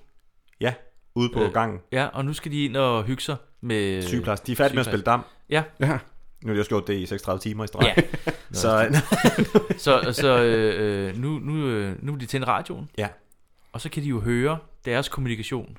D: Ja, ude
B: Øh,
D: på gangen.
B: Ja, og nu skal de ind og hygge sig med... øh,
D: Sygeplejerske. De er færdige med at spille dam.
B: Ja.
C: ja.
D: Nu har de også gjort det i 36 timer i streg.
B: Ja.
D: så,
B: så, så øh, øh, nu, nu, øh, nu vil de tænde radioen.
D: Ja.
B: Og så kan de jo høre deres kommunikation.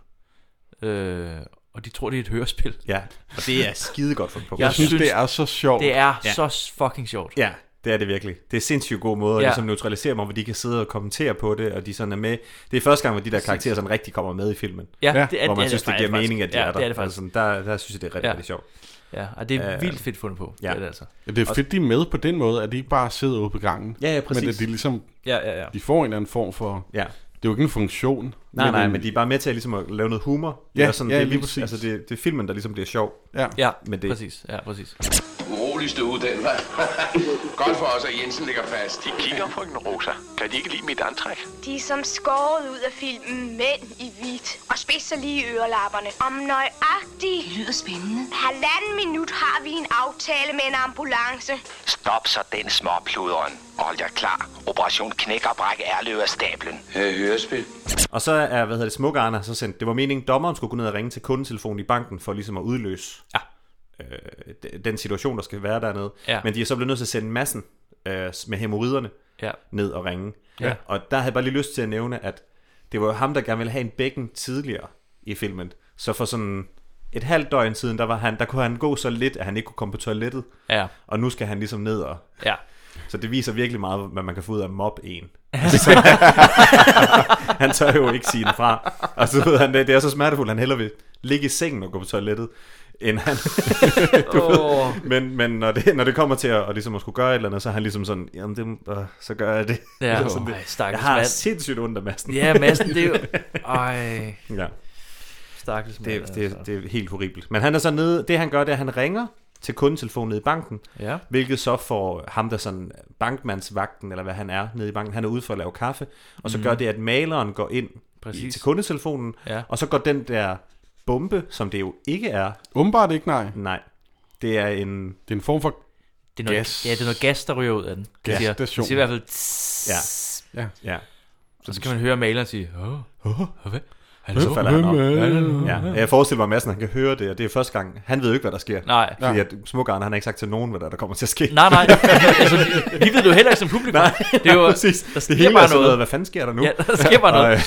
B: Øh, og de tror, det er et hørespil.
D: Ja, og det er skidegodt fundet på.
C: Jeg synes, det er så sjovt.
B: Det er
D: Ja.
B: så fucking sjovt.
D: Ja, det er det virkelig. Det er sindssygt god måde at
B: Ja.
D: ja. ligesom neutralisere mig, hvor de kan sidde og kommentere på det, og de sådan er med. Det er første gang, hvor de der karakterer sådan rigtig kommer med i filmen.
B: Ja, det er- det
D: Hvor
B: er
D: man
B: det
D: synes, det
B: faktisk.
D: giver mening, at de
B: Ja,
D: er der.
B: det er det faktisk.
D: Altså, der, der synes jeg, det er rigtig,
B: Ja.
D: ja. rigtig sjovt.
B: Ja, og det er
D: Øh,
B: vildt fedt fundet på.
D: Ja.
B: Det er det altså.
C: Ja, det er fedt, de er med på den måde, at de ikke bare sidder ude på gangen.
D: Ja, ja, præcis.
C: Men at de ligesom,
B: Ja, ja, ja.
C: de får en eller anden form for,
D: Ja.
C: det er jo ikke en funktion.
D: Nej, nej,
C: en-
D: men de er bare med til at, ligesom at lave noget humor.
C: Ja,
D: det er sådan,
C: ja,
D: det er
C: lige præcis.
D: Altså, det, det er filmen, der ligesom bliver sjov.
C: Ja.
B: Ja,
D: med det.
B: præcis. Ja, præcis.
F: Uroligste uge, den var. Godt for os, at Jensen ligger fast. De kigger på en rosa. Kan de ikke lide mit antræk?
H: De er som skåret ud af filmen Mænd i hvidt og spidser lige ørelapperne. Om nøjagtigt... Det lyder spændende. Halvanden minut har vi en aftale med en ambulance.
E: Stop så den småpluderen. Og hold jer klar. Operation Knæk og Bræk er løbet af stablen.
F: Hørespil.
D: Og så er, hvad hedder det, Smuk Arne har så sendt, det var meningen, dommeren skulle gå ned og ringe til kundetelefonen i banken for ligesom at udløse
B: ja.
D: øh, d- den situation, der skal være dernede.
B: Ja.
D: Men de er så blevet nødt til at sende massen øh, med hemorriderne
B: Ja.
D: ned og ringe.
B: Ja.
D: Og der havde jeg bare lige lyst til at nævne, at det var jo ham, der gerne ville have en bækken tidligere i filmen. Så for sådan et halvt døgn siden, der, var han, der kunne han gå så lidt, at han ikke kunne komme på toilettet.
B: Ja.
D: Og nu skal han ligesom ned og...
B: Ja.
D: Så det viser virkelig meget, hvad man kan få ud af at mobbe en. Altså, han tør jo ikke sige den fra. Og så ved han, det det er så smertefuldt, han hellere vil ligge i sengen og gå på toilettet, end han... du ved.
B: Åh.
D: Men, men når, det, når det kommer til at, og ligesom at skulle gøre et eller andet, så er han ligesom sådan, jamen det, øh, så gør jeg det.
B: Ja,
D: Eller sådan
B: åh,
D: det.
B: stakkels
D: jeg har
B: mand.
D: sindssygt ondt af massen.
B: Ja, Madsen, det er jo... Ej.
D: Ja.
B: Stakkels altså. mand,
D: det, det, det er helt horribelt. Men han er så nede, det han gør, det er, at han ringer til kundetelefonen nede i banken,
B: Ja.
D: hvilket så får ham, der sådan bankmandsvagten, eller hvad han er nede i banken, han er ude for at lave kaffe, og så
B: Mhm.
D: gør det, at maleren går ind i,
B: Præcis.
D: til kundetelefonen,
B: Ja.
D: og så går den der bombe, som det jo ikke er.
C: Umiddelbart ikke, nej.
D: Nej. Det er en...
C: Det er en form for
B: Det er noget,
C: gas.
B: Ja, det er noget gas, der ryger ud af den. Det
D: Ja.
B: siger- det
D: Gasstation.
B: siger i hvert fald...
D: Ja. Ja. Ja.
B: Og så kan man høre maleren sige... Åh, åh, hvad?
D: Han så falder han op.
B: Ja,
D: Ja, jeg forestiller mig, at Madsen han kan høre det, og det er første gang. Han ved jo ikke, hvad der sker.
B: Nej.
D: Fordi at Smukkeren, han har ikke sagt til nogen, hvad der, der kommer til at ske.
B: Nej, nej. Altså, vi ved det jo heller ikke som publikum.
D: Nej,
B: Det er jo-
D: nej, præcis.
B: der
D: Det
B: sker
D: hele er
B: bare
D: sådan
B: noget.
D: Hvad fanden sker der nu?
B: Ja, der sker bare noget.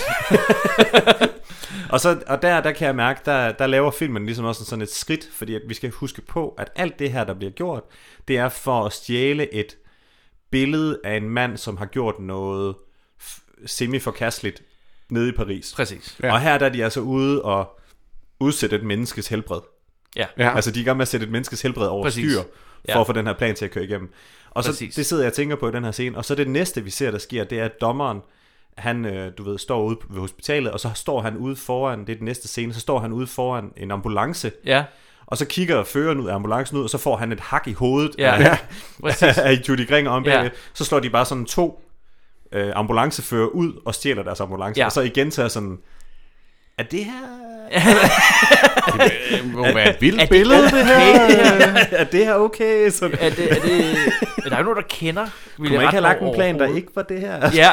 D: Og, og, så, og der, der kan jeg mærke, der, der laver filmen ligesom også sådan et skridt, fordi at vi skal huske på, at alt det her, der bliver gjort, det er for at stjæle et billede af en mand, som har gjort noget f- semi-forkasteligt nede i Paris.
B: Præcis.
D: Ja. Og her der er de altså ude og udsætte et menneskes helbred.
B: Ja.
C: Ja.
D: Altså de er i gang med at sætte et menneskes helbred over
B: Præcis.
D: Præcis. styr, for
B: Ja.
D: ja. at få den her plan til at køre igennem. Og så
B: Præcis.
D: det sidder jeg og tænker på i den her scene, og så det næste vi ser, der sker, det er, at dommeren, han, øh, du ved, står ude på- ved hospitalet, og så står han ude foran, det er den næste scene, så står han ude foran en ambulance.
B: Ja.
D: Og så kigger føreren ud af ambulancen ud, og så får han et hak i hovedet
B: Ja. Ja.
D: af,
B: Præcis.
D: af Judy Gringer om
B: Ja.
D: bagved. Så slår de bare sådan to øh, ambulancefører ud og stjæler deres ambulance.
B: Ja.
D: Ja. Og så igen tager sådan, er det her...
C: det må være et vildt billede, det her.
D: er det her okay? Så...
B: Er det, er det, er der jo nogen, der kender?
D: Kunne man ikke have lagt en plan, der ikke var det her?
B: Ja.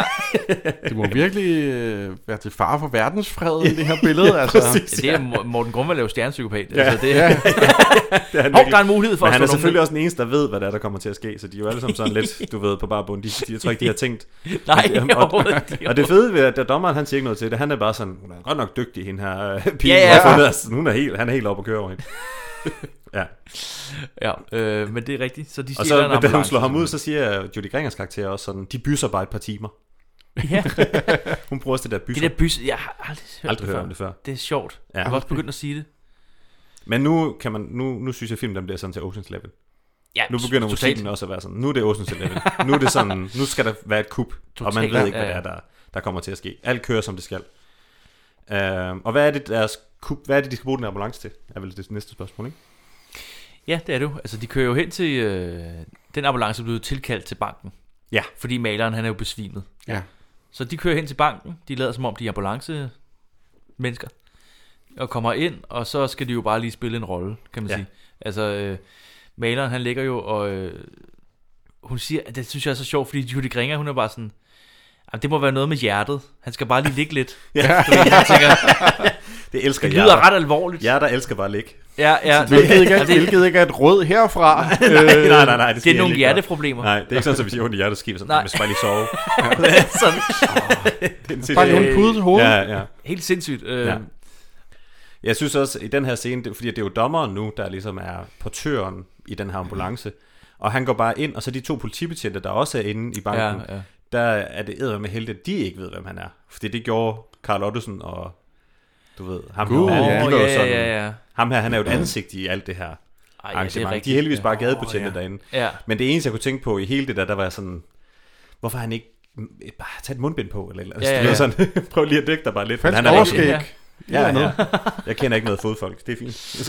C: det må virkelig øh, være til fare for verdensfreden, det her billede. Altså.
B: Ja, det er Mor- Morten Grummer laver stjernepsykopat.
D: Ja.
B: Altså, det, ja.
D: Ja. Det er han
B: Hov,
D: virkelig.
B: der er en mulighed for
D: Men
B: at
D: han
B: slå
D: er
B: nogen
D: selvfølgelig
B: ned.
D: også den eneste, der ved, hvad der, er, der kommer til at ske, så de er jo alle sammen sådan lidt, du ved, på bare bund. De, de, jeg tror ikke, de har tænkt.
B: Nej,
D: og, og,
B: overhovedet ikke.
D: og, det fede ved, at dommeren, han siger ikke noget til det, han er bare sådan, hun er godt nok dygtig, hende her øh, pige,
B: Ja,
D: ja,
B: ja.
D: ja. Har fundet, altså, hun er helt, han er helt oppe at køre over hende. Ja.
B: Ja, øh, men det er rigtigt. Så de
D: Og
B: stjæler en
D: så, da hun
B: ambulance,
D: slår ham ud,
B: simpelthen.
D: så siger Judy Gringers karakter også sådan, de bysser bare et par timer.
B: Ja.
D: Hun bruger også det der bysser.
B: Det der bysser, jeg har aldrig hørt
D: aldrig
B: det
D: hørt
B: før.
D: om det før.
B: Det er sjovt. Jeg har også begyndt at sige det.
D: Men nu, kan man, nu, nu synes jeg, at filmen den bliver sådan til Ocean's Eleven.
B: Ja,
D: nu begynder
B: totalt.
D: musikken også at være sådan. Nu er det Ocean's Eleven. nu, er det sådan, nu skal der være et kup, og man
B: Totalt.
D: ved ikke,
B: Ja,
D: hvad det
B: ja.
D: er, der, der kommer til at ske. Alt kører, som det skal. Uh, og hvad er det, deres kup, hvad er det, de skal bruge den her ambulance til? Er vel det næste spørgsmål, ikke?
B: Ja, det er du. Altså, de kører jo hen til... Øh, den ambulance blev tilkaldt til banken.
D: Ja.
B: Fordi maleren, han er jo besvimet.
C: Ja.
B: Så de kører hen til banken. De lader som om, de er ambulance mennesker. Og kommer ind, og så skal de jo bare lige spille en rolle, kan man
D: Ja.
B: ja. sige. Altså, øh, maleren, han ligger jo, og øh, hun siger, at det synes jeg er så sjovt, fordi Judy Gringer, hun er bare sådan, "Jamen, det må være noget med hjertet. Han skal bare lige ligge lidt.
D: Ja.
B: Du ved, jeg tænker,
D: Det elsker
B: Det lyder
D: hjerter.
B: ret alvorligt.
D: Hjerter elsker bare at ligge.
B: Ja, ja.
D: Altså,
C: Hvilket ikke er-
B: Og det-
C: hvilket ikke er et råd herfra. Øh,
D: nej, nej, nej, nej.
B: Det er
D: skal jeg
B: nogle
D: ikke gøre.
B: hjerteproblemer.
D: Nej, det er ikke sådan, at hvis jeg har ondt i hjertet, så skal vi sådan,
B: Nej.
D: nej. man skal bare lige sove.
B: Sådan.
D: sindssyg-
C: Bare lige en pude til hovedet.
D: Ja, ja.
B: Helt sindssygt. Øh,
D: Ja. Jeg synes også, i den her scene, det, fordi det er jo dommeren nu, der ligesom er portøren i den her
B: Mhm.
D: ambulance, og han går bare ind, og så de to politibetjente, der også er inde i banken,
B: Ja, ja.
D: der er det æder med heldigt, at de ikke ved, hvem han er. Fordi det gjorde Karl Ottesen og, du ved, ham
B: Gud,
D: her,
B: ja.
D: de var jo
B: Ja, ja, ja, ja.
D: Ham her, han er jo et ansigt i alt det her
B: ja, det er
D: arrangement. de
B: rigtigt,
D: er heldigvis
B: ja.
D: bare gadebetjente
B: Åh, ja.
D: derinde.
B: Ja.
D: Men det eneste, jeg kunne tænke på i hele det der, der var jeg sådan, hvorfor har han ikke mm, bare tage et mundbind på, eller, eller
B: Ja, ja,
D: ja, ja.
B: ja.
D: sådan, prøv lige at dække dig bare lidt. men
C: Falsk
D: er ikke-
C: overskæg.
D: Ja.
C: Eller
D: Ja, ja.
C: noget.
D: Jeg kender ikke noget fodfolk, det er fint.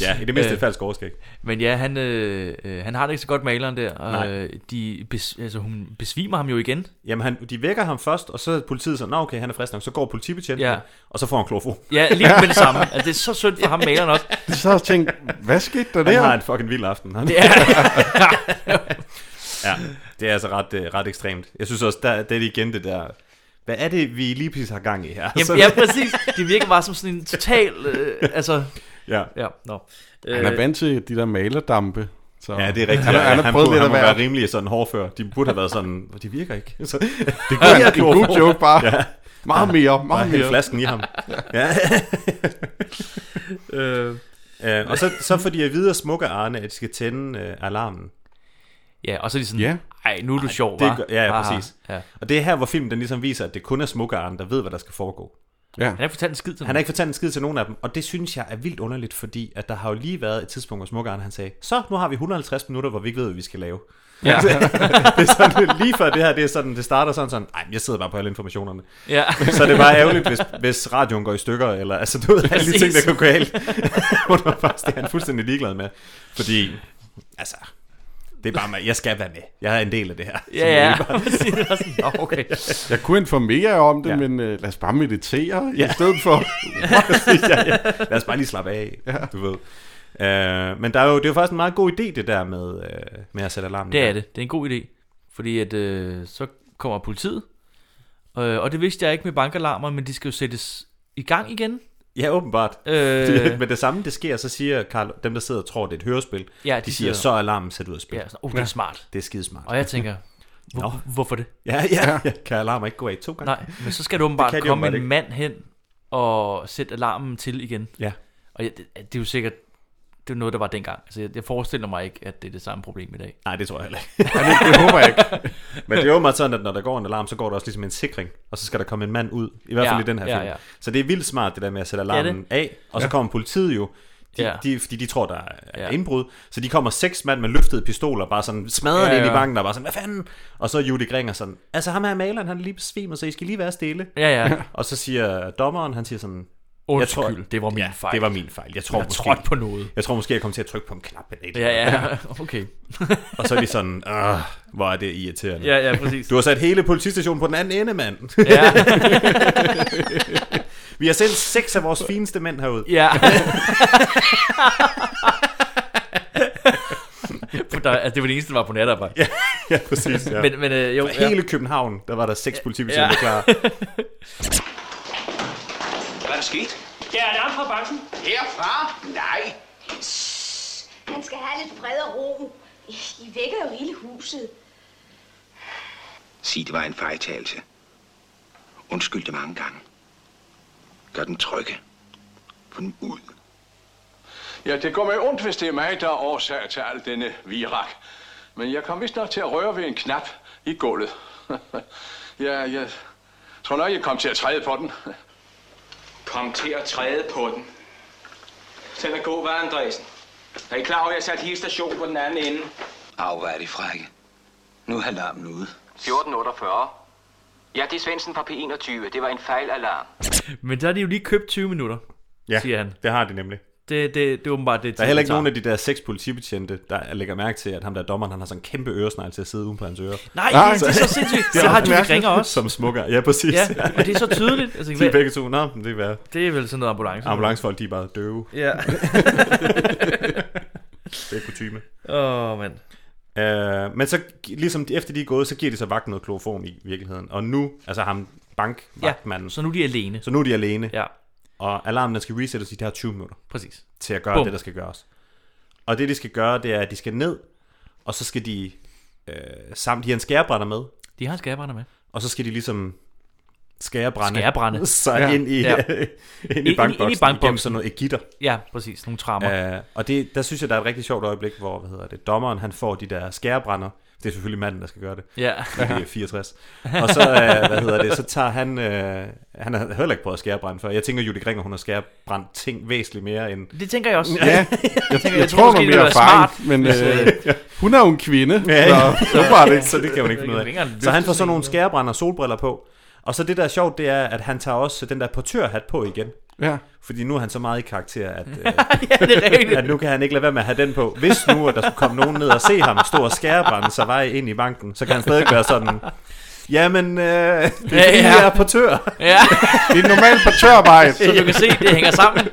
D: ja, i det
B: Øh.
D: mindste et falsk overskæg.
B: Men ja, han, øh, øh, han har det ikke så godt maleren der. Og,
D: Nej.
B: øh, de bes, altså, hun besvimer ham jo igen.
D: Jamen, han, de vækker ham først, og så er politiet sådan, nå okay, han er frisk nok, så går politibetjenten,
B: Ja.
D: ja. og så får han klofo.
B: Ja, lige med det samme. Altså, det er så synd for ham maleren også.
C: De så også tænkt, hvad skete der
D: Han
C: der?
D: har en fucking vild aften. Han.
B: Det er-
D: ja, det er altså ret, øh, ret ekstremt. Jeg synes også, der, det er igen det der, hvad er det, vi lige præcis har gang i her?
B: Jamen, ja, præcis. Det virker bare som sådan en total... Øh, altså,
D: Ja.
B: ja nå.
C: Han er vant til de der malerdampe. Så.
D: Ja, det er rigtigt.
C: Han, har- han, har
D: han,
C: prøvet
D: burde-
C: lidt at
D: han må
C: være...
D: være rimelig sådan hårdfør. De burde have været sådan, "Åh, de virker ikke. Så, det
C: kunne være en god joke bare. Meget mere, meget mere.
D: flasken i ham. ja.
B: øh.
D: Øh, og så, så får de at vide af smukke Arne, at de skal tænde øh, alarmen.
B: Ja, og så er de sådan, "Ej, nu er du sjov,
D: det
B: hva?"
D: gør- Ja, ja,
B: Haha.
D: præcis.
B: Ja.
D: Og det er her, hvor filmen den ligesom viser, at det kun er smukke Arne, der ved, hvad der skal foregå.
C: Ja.
B: Han har ikke fortalt en skid til
D: Han
B: nogen.
D: har ikke fortalt en skid til nogen af dem, og det synes jeg er vildt underligt, fordi at der har jo lige været et tidspunkt, hvor Smukkeren han sagde, så nu har vi 150 minutter, hvor vi ikke ved, hvad vi skal lave.
B: Ja.
D: det er sådan, lige før det her, det, er sådan, det starter sådan sådan, nej, jeg sidder bare på alle informationerne.
B: Ja.
D: så er det er bare ærgerligt, hvis, hvis radioen går i stykker, eller altså, du ved, alle de ting, der
B: Præcis.
D: går galt. hvor det faktisk, det er han fuldstændig ligeglad med. Fordi, altså, det er bare mig, jeg skal være med. Jeg er en del af det her. Så
B: Ja, ja.
D: jeg bare-
B: Præcis. Jeg var sådan, "Nå, okay.
C: Jeg kunne informere jer om det,
D: Ja.
C: ja. men øh, lad os bare meditere ja.
D: Ja.
C: i stedet for.
D: ja, ja, ja. Lad os bare lige slappe af, ja. du ved. Øh, men der er jo, det er jo faktisk en meget god idé, det der med, øh, med at sætte alarmen.
B: Det
D: i
B: er
D: gang.
B: det. Det er en god idé. Fordi at, øh, så kommer politiet. Øh, og det vidste jeg ikke med bankalarmer, men de skal jo sættes i gang igen.
D: Ja, åbenbart.
B: Øh.
D: Øh... Med det samme, det sker, så siger Carl, dem der sidder og tror, det er et hørespil,
B: Ja,
D: de,
B: de
D: siger,
B: sidder-
D: så er alarmen sat ud af spil.
B: Ja, sådan, "Oh, det er smart."
D: Det er skidesmart.
B: Og jeg tænker, hvor,
D: Nå.
B: hvorfor det?
D: Ja, ja, ja. Kan alarmer ikke gå af to gange?
B: Nej, men så skal du
D: Det
B: åbenbart
D: kan de
B: komme
D: åbenbart
B: en
D: ikke.
B: mand hen og sætte alarmen til igen.
D: Ja.
B: Og jeg, det, det er jo sikkert det er noget, der var dengang. Altså, jeg, jeg forestiller mig ikke, at det er det samme problem i dag.
D: Nej, det tror jeg heller ikke.
B: Nej, det- det håber jeg ikke.
D: Men det er jo meget sådan, at når der går en alarm, så går der også ligesom en sikring, og så skal der komme en mand ud, i hvert
B: Ja,
D: fald i den her
B: ja,
D: film.
B: ja.
D: Så det er vildt smart, det der med at sætte
B: Det er
D: alarmen
B: det.
D: af, og så
B: Ja.
D: kommer politiet jo, de,
B: Ja.
D: de, fordi de tror, der er
B: Ja.
D: indbrud, så de kommer seks mand med løftede pistoler, bare sådan smadret
B: Ja,
D: ind i
B: ja.
D: banken, og bare sådan, hvad fanden? Og så er Judy Gringer sådan, altså ham her maleren, han er lige besvimet, så I skal lige være stille.
B: Ja, ja.
D: Og så siger dommeren, han siger sådan,
B: Undskyld, det var min fejl.
D: det var min fejl. Jeg tror
B: Jeg
D: måske,
B: trådte på noget.
D: Jeg tror måske, jeg kom til at trykke på en knap. Eller et
B: Ja,
D: eller andet.
B: ja, okay.
D: og så er de sådan, "Åh, hvor er det irriterende.
B: Ja, ja, præcis.
D: Du har sat hele politistationen på den anden ende, mand.
B: Ja.
D: Vi har sendt seks af vores fineste mænd herud.
B: Ja. For der, altså, det var det eneste, der var på natarbejde.
D: Ja, ja, præcis. Ja.
B: Men, men øh, jo,
D: For hele København, der var der seks politibetjente
B: Ja.
D: klar.
F: Hvad er der sket?
T: Ja, alarm fra banken.
E: Herfra? Nej.
H: Man skal have lidt fred og ro. I vækker jo hele huset.
E: Sig, det var en fejltagelse. Undskyld det mange gange. Gør den trygge. Få den ud.
F: Ja, det går mig ondt, hvis det er mig, der er årsag til al denne virak. Men jeg kom vist nok til at røre ved en knap, i gulvet. ja, jeg tror nok, jeg kom til at træde på den.
T: Kom til at træde på den. Den er god, var Andresen. Er I klar over, at jeg satte hele stationen på den anden ende?
E: Au, hvor er de frække. Nu er alarmen ude.
T: 1448. Ja, det er Svendsen fra P21. Det var en fejlalarm.
B: Men der har de jo lige købt 20 minutter,
D: Ja,
B: siger han.
D: det har de nemlig.
B: Det, det, det er åbenbart det.
D: Der er heller ikke
B: tager.
D: nogen af de der seks politibetjente, der lægger mærke til, at ham der dommeren, han har sådan en kæmpe øresnegl til at sidde uden på hans ører.
B: Nej, det er så sindssygt. Så har de jo ringer også.
D: Som smukker, ja præcis.
B: Ja, og det er så tydeligt. Altså,
D: Altså, de
B: hvad-
D: er begge to, nå, men det er hvad?
B: Det er vel sådan noget ambulance.
D: Ambulancefolk, de er bare døve.
B: Ja.
D: det er kutume.
B: Åh, oh, mand.
D: Øh, men så, gi- ligesom de- efter de er gået, så giver de så vagten noget kloroform i virkeligheden. Og nu, altså ham bankvagtmanden. Ja,
B: så nu er de alene.
D: Så nu er de alene.
B: Ja.
D: Og alarmen den skal resettes i de her 20 minutter.
B: Præcis.
D: Til at gøre
B: Bum.
D: Bum. det, der skal gøres. Og det, de skal gøre, det er, at de skal ned, og så skal de øh, sammen, de har en skærebrænder med.
B: De har en skærebrænder med.
D: Og så skal de ligesom skærebrænde.
B: Skærebrænde.
D: Så
B: Ja.
D: ind i,
B: Ja.
D: ja.
B: Ind-
D: ind
B: ind i
D: i bankboksen.
B: bankboksen.
D: Igennem sådan noget egitter.
B: Ja, præcis. Nogle trammer.
D: Øh, og det, der synes jeg, der er et rigtig sjovt øjeblik, hvor hvad hedder det, dommeren han får de der skærebrænder. Det er selvfølgelig manden, der skal gøre det.
B: Ja.
D: Fordi Det er 64. Og så, øh, hvad hedder det, så tager han... Øh, han har heller ikke prøvet at skærebrænde før. Jeg tænker, Julie Gringer, hun har skærebrændt ting væsentligt mere end...
B: Det tænker jeg også.
C: Ja, jeg, jeg, jeg tror, hun har mere erfaring, men øh, hun er jo en kvinde,
D: Ja, ja.
C: så, så var det ikke.
D: så Ah, det kan hun ikke finde ud af. Så han får sådan nogle skærebrænder og solbriller på. Og så det, der er sjovt, det er, at han tager også den der portørhat på igen.
C: Ja.
D: Fordi nu er han så meget i karakter, at, øh,
B: ja, det er rigtigt.
D: at nu kan han ikke lade være med at have den på. Hvis nu, at der skulle komme nogen ned og se ham stå og skærebrænde sig vej ind i banken, så kan han stadig være sådan... Jamen, øh, det er fordi,
B: Ja, ja.
D: jeg er portør.
B: Ja.
C: Det er et normalt portørarbejde.
B: Så du kan se, det hænger sammen.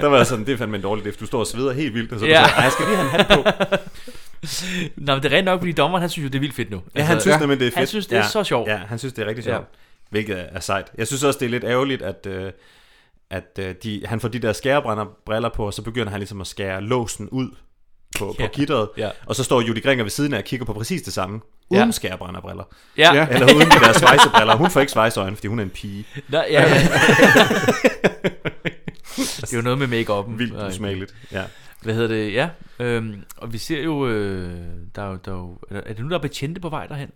D: Der var jeg sådan, det er fandme en dårlig lift. Du står og sveder helt vildt, og så ja.
B: Ja.
D: du sådan, "Ej, jeg skal lige have en hat på.
B: Nå, men det er rent nok, fordi dommeren, han synes jo, det er vildt fedt nu. Altså,
D: Altså, Ja, han synes nemlig, det er fedt.
B: Han synes, det er
D: ja.
B: så sjovt.
D: Ja, han synes, det er rigtig
B: Ja.
D: sjovt. Ja. Hvilket er- er sejt. Jeg synes også, det er lidt ærgerligt, at, øh, at øh, de, han får de der skærebriller på, og så begynder han ligesom at skære låsen ud på,
B: Ja.
D: på gitteret.
B: Ja.
D: Og så står Judy Gringer ved siden af og kigger på præcis det samme.
B: Ja.
D: Uden ja. skærebrænderbriller.
B: Ja. Ja.
D: Eller uden de der svejsebriller. Hun får ikke svejseøjne, fordi hun er en pige.
B: Nå, ja, ja. det er jo noget med make-up'en.
D: Vildt usmageligt, ja.
B: Hvad hedder det? Ja. Øhm, og vi ser jo, øh, der er jo, der er, jo, er der- er det nu, der er betjente på vej derhen?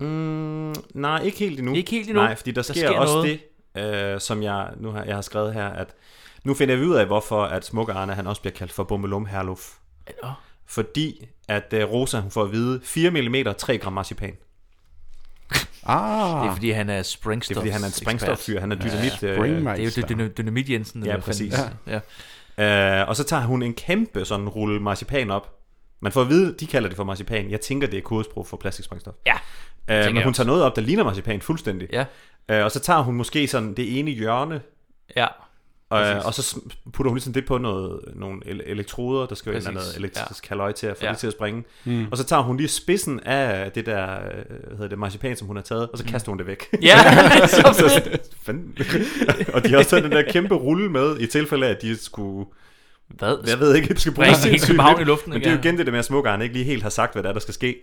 D: Mm, nej, ikke helt endnu.
B: Ikke helt endnu.
D: Nej, fordi der,
B: Der
D: der sker,
B: sker
D: også
B: noget.
D: det, øh, som jeg nu har, jeg har skrevet her, at nu finder vi ud af, hvorfor at Smukke Arne, han også bliver kaldt for Bummelum Herluf.
B: Nå.
D: Fordi at øh, Rosa, hun får at vide 4 mm, 3 gram marcipan.
C: Ah.
B: Det er fordi, han er springstof.
D: Det er fordi, han er en springstoffyr. Han er dynamit.
B: Ja,
D: øh,
B: ja. Det er jo det- dyna- dynamit Jensen. eller
D: Ja,
B: hvad fanden-
D: præcis.
B: Ja.
D: Ja. Øh, og så tager hun en kæmpe sådan rulle marcipan op. Man får at vide, de kalder det for marcipan. Jeg tænker, det er kodesprog for plastiksprængstof.
B: Ja, tænker
D: Øh, men
B: jeg
D: hun
B: også.
D: tager noget op, der ligner marcipan fuldstændig.
B: Ja.
D: Øh, og så tager hun måske sådan det ene hjørne.
B: Ja.
D: Øh,
B: Præcis.
D: og så sm- putter hun ligesom det på noget, nogle el- elektroder, der skal jo et eller
B: Præcis,
D: andet elektrisk
B: ja.
D: ja. halvøj til at få
B: Ja.
D: ja. det til at springe.
B: Mm.
D: Mm. Og så tager hun lige spidsen af det der, øh, hvad hedder det, marcipan, som hun har taget, og så
B: Mm.
D: kaster hun det væk.
B: Ja, så
D: så,
B: fedt.
D: fanden. og de har også taget den der kæmpe rulle med, i tilfælde af, at de skulle...
B: Hvad?
D: Jeg ved ikke, de skal bruge
B: Springe
D: sindssygt
B: hele København i
D: lidt.
B: luften,
D: Men
B: ikke?
D: det er jo
B: Ja.
D: igen det der med, at Smukkeren ikke lige helt har sagt, hvad der er, der skal ske.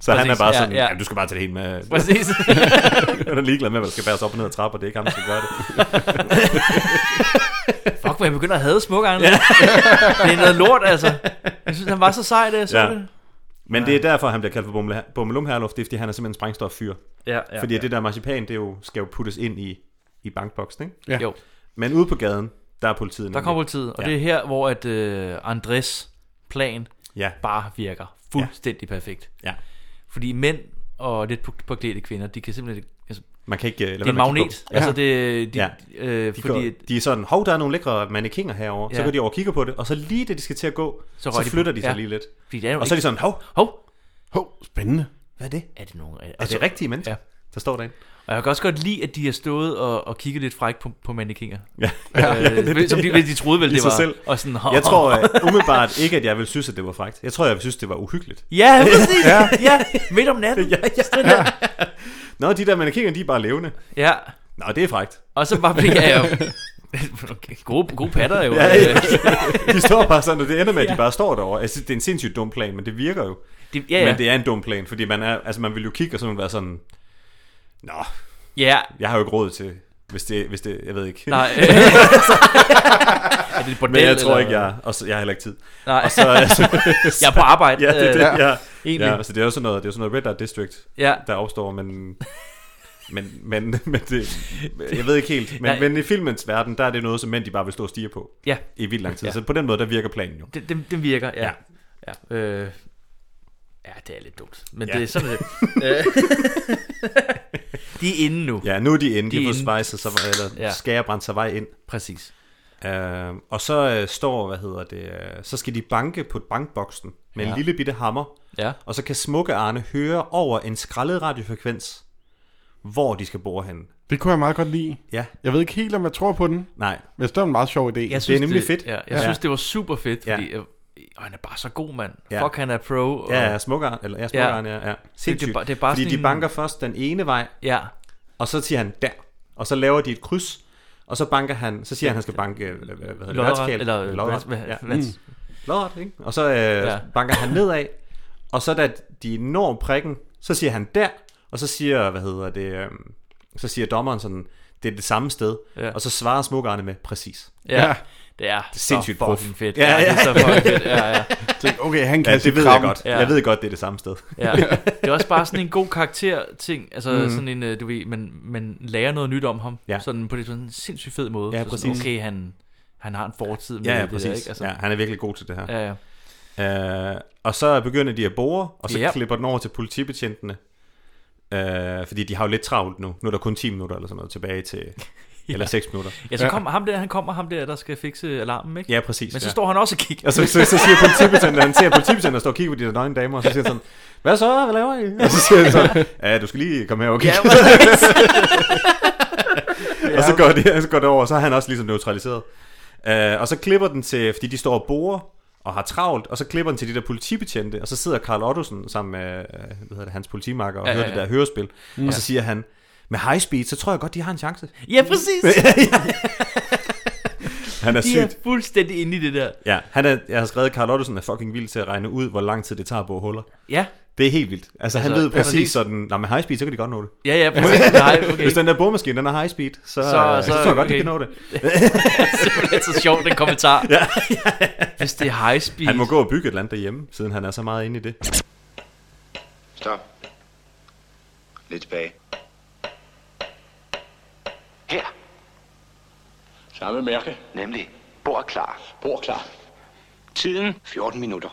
D: Så
B: Præcis,
D: han er bare
B: ja,
D: sådan,
B: ja.
D: ja, du skal bare tage det helt med...
B: Præcis.
D: han er ligeglad med, hvad der skal bæres op og ned ad trapper, det er ikke ham, der skal gøre det.
B: Fuck, hvor jeg begynder at hade smukke ja. Det er noget lort, altså. Jeg synes, han var så sej, det jeg så ja. det.
D: Men det er derfor, han bliver kaldt for Bumle- Bummelum Herluf, det er, fordi han er simpelthen en sprængstoffyr.
B: Ja, ja,
D: fordi
B: ja.
D: det der marcipan, det er jo, skal jo puttes ind i, i bankboksen, ikke?
B: Ja. Jo.
D: Men ude på gaden, der er politiet.
B: Der
D: nemlig.
B: kommer politiet, og ja.
D: Ja.
B: det er her, hvor at øh, Andres plan
D: ja.
B: bare virker fuldstændig ja. perfekt.
D: Ja.
B: Fordi mænd og lidt på- påklædte kvinder, de kan simpelthen... ikke- Altså,
D: Man kan ikke... øh, lade
B: det er
D: være
B: en
D: med at kigge
B: magnet.
D: på.
B: Altså, det, de,
D: ja.
B: øh,
D: de,
B: fordi,
D: fordi... går, de er sådan, hov, der er nogle lækre mannekinger herovre.
B: Ja.
D: Så går de over og kigger på det, og så lige det, de skal til at gå,
B: Så
D: så,
B: rører
D: så
B: de på.
D: flytter de sig
B: Ja.
D: lige lidt.
B: Fordi det er jo
D: og så er
B: ikke-
D: de sådan, hov,
B: hov,
C: hov, spændende.
D: Hvad er det?
B: Er det nogen? Er,
D: Er det rigtige mennesker,
B: Ja.
D: der står derinde?
B: Og jeg kan også godt lide, at de har stået og, og kigget lidt fræk på, på mannekinger.
D: Ja.
B: Øh, som de, de troede vel,
D: I
B: det
D: sig
B: var.
D: Selv.
B: Og sådan,
D: jeg tror øh, umiddelbart ikke, at jeg vil synes, at det var frækt. Jeg tror, jeg vil synes, det var uhyggeligt.
B: Ja, præcis. ja. ja. Midt om natten. Ja, ja. ja.
D: Nå, de der mannekinger, de er bare levende.
B: ja.
D: Nå, det er frækt.
B: Og så bare bliver jeg jo... Okay, gode, gode patter jo. Øh,
D: Ja, ja. øh, De står bare sådan, og det ender med, at de bare står derovre. Altså, det er en sindssygt dum plan, men det virker jo.
B: Det- ja, ja.
D: Men det er en dum plan, fordi man, er, altså, man vil jo kigge og sådan være sådan, Nå,
B: Ja.
D: jeg har jo ikke råd til Hvis det, hvis det, jeg ved ikke.
B: Nej. Altså.
D: er
B: Er det et bordel,
D: Men jeg tror
B: eller-
D: ikke, jeg, og så, jeg har heller ikke tid.
B: Nej.
D: Og så, så-
B: Jeg er på arbejde,
D: Ja, det, er det,
B: øh,
D: ja.
B: egentlig.
D: ja, så det er jo sådan noget, det er jo sådan noget Red Light District,
B: Ja.
D: der opstår, men... Men, men, men det, jeg ved ikke helt, men, men i filmens verden, der er det noget, som mænd de bare vil stå og stige på
B: Ja.
D: i vildt lang tid.
B: Ja.
D: Ja. Så på den måde, der virker planen jo.
B: Det, det, det virker, ja. Ja. Ja, øh, ja, det er lidt dumt. Men
D: Ja.
B: det er sådan lidt. de er inde nu.
D: Ja, nu er de inde. De,
B: er
D: de er
B: inde.
D: svejset sig, eller
B: Ja.
D: ja. skærebrændt sig vej ind.
B: Præcis.
D: Øhm, og så øh, står, hvad hedder det, øh, så skal de banke på bankboksen med ja.
B: Ja.
D: en lille bitte hammer.
B: Ja.
D: Og så kan Smukke Arne høre over en skrællet radiofrekvens, hvor de skal bore henne.
C: Det kunne jeg meget godt lide.
D: Ja.
C: Jeg ved ikke helt, om jeg tror på den.
D: Nej.
C: Men det er en meget sjov idé.
B: Jeg synes, Ja, jeg ja. synes, det var super fedt, fordi ja. øh, han er bare så god, mand. Ja. Fuck, han er pro. Og...
D: Ja, ja, smukker, eller ja, smukker ja. ja. ja.
B: Sindssygt. Det, det, er
D: bare
B: bare
D: Fordi
B: sådan
D: de banker først den ene vej,
B: ja.
D: og så siger han der, og så laver de et kryds, og så banker han, så siger han, han skal banke, øh, hvad hedder det,
B: Lodret,
D: vertikalt,
B: eller, øh,
D: lodret,
B: hvad-
D: ja.
B: hvad-
D: Mm. Lodret, ikke? Og så øh, ja. banker han nedad, og så da de når prikken, så siger han der, og så siger, hvad hedder det, øh, så siger dommeren sådan, det er det samme sted,
B: Ja.
D: ja. og så svarer smukkerne med præcis.
B: Ja. Det er så
D: sindssygt
B: fucking
D: prof.
B: fedt. Ja, det er så fucking fedt. Ja, ja. Tænk, okay, han kan
D: ja,
B: sit
D: det ved jeg
B: kram.
D: godt.
B: Ja.
D: Jeg ved godt, det er det samme sted.
B: Ja. Det er også bare sådan en god karakter-ting. Altså mm.
D: Mhm.
B: sådan en, øh, du ved, man, man lærer noget nyt om ham. Ja.
D: Ja.
B: Sådan på det sådan en sindssygt fed måde.
D: Ja,
B: Så sådan,
D: præcis.
B: okay, han, han har en fortid med
D: Ja, ja,
B: det
D: præcis.
B: der, ikke?
D: Altså. Ja, han er virkelig god til det her.
B: Ja,
D: Øh, og så begynder de at bore, og så
B: Ja.
D: ja. klipper den over til politibetjentene. Øh, fordi de har jo lidt travlt nu. Nu er der kun 10 minutter eller sådan noget tilbage til...
B: Ja.
D: ja. Eller 6 minutter.
B: Ja, så kommer ham der, han kommer ham der, der skal fikse alarmen, ikke?
D: Ja, præcis.
B: Men så
D: ja.
B: står han også og kigger.
D: Og så, så, så siger politibetjenten, han ser politibetjenten, der står og kigger på de der nøgne damer, og så siger han sådan, hvad så, hvad laver I? Og så siger han sådan, ja, du skal lige komme her og kigge.
B: Ja, præcis.
D: og så går, det, så går det over, og så er han også ligesom neutraliseret. Uh, og så klipper den til, fordi de står og borer, og har travlt, og så klipper den til de der politibetjente, og så sidder Karl Ottosen sammen med øh, hvad hedder det, hans politimakker og
B: Ja,
D: ja,
B: ja,
D: hører det
B: ja.
D: der hørespil,
B: Mm.
D: og så
B: Ja.
D: siger han, med high speed, så tror jeg godt, de har en chance.
B: Ja, præcis.
D: Han er
B: De er
D: sygt.
B: fuldstændig inde i det der.
D: Ja, han er, jeg har skrevet, Carl Ottesen er fucking vild til at regne ud, hvor lang tid det tager at bore huller.
B: Ja.
D: Det er helt vildt. Altså, han
B: Altså,
D: ved præcis
B: præcis.
D: sådan, nej, med high speed, så kan de godt nå det.
B: Ja, ja, præcis. Nej, okay.
D: Hvis den der boremaskine, den er high speed, så, så, så, så tror jeg godt, okay. de kan nå det.
B: Simpelthen så sjovt, den kommentar.
D: Ja.
B: Hvis det er high speed.
D: Han må gå og bygge et eller andet derhjemme, siden han er så meget inde i det.
E: Stop. Lidt tilbage.
F: Her. Samme mærke.
E: Nemlig. Bord klar.
F: Bord klar.
E: Tiden? 14 minutter.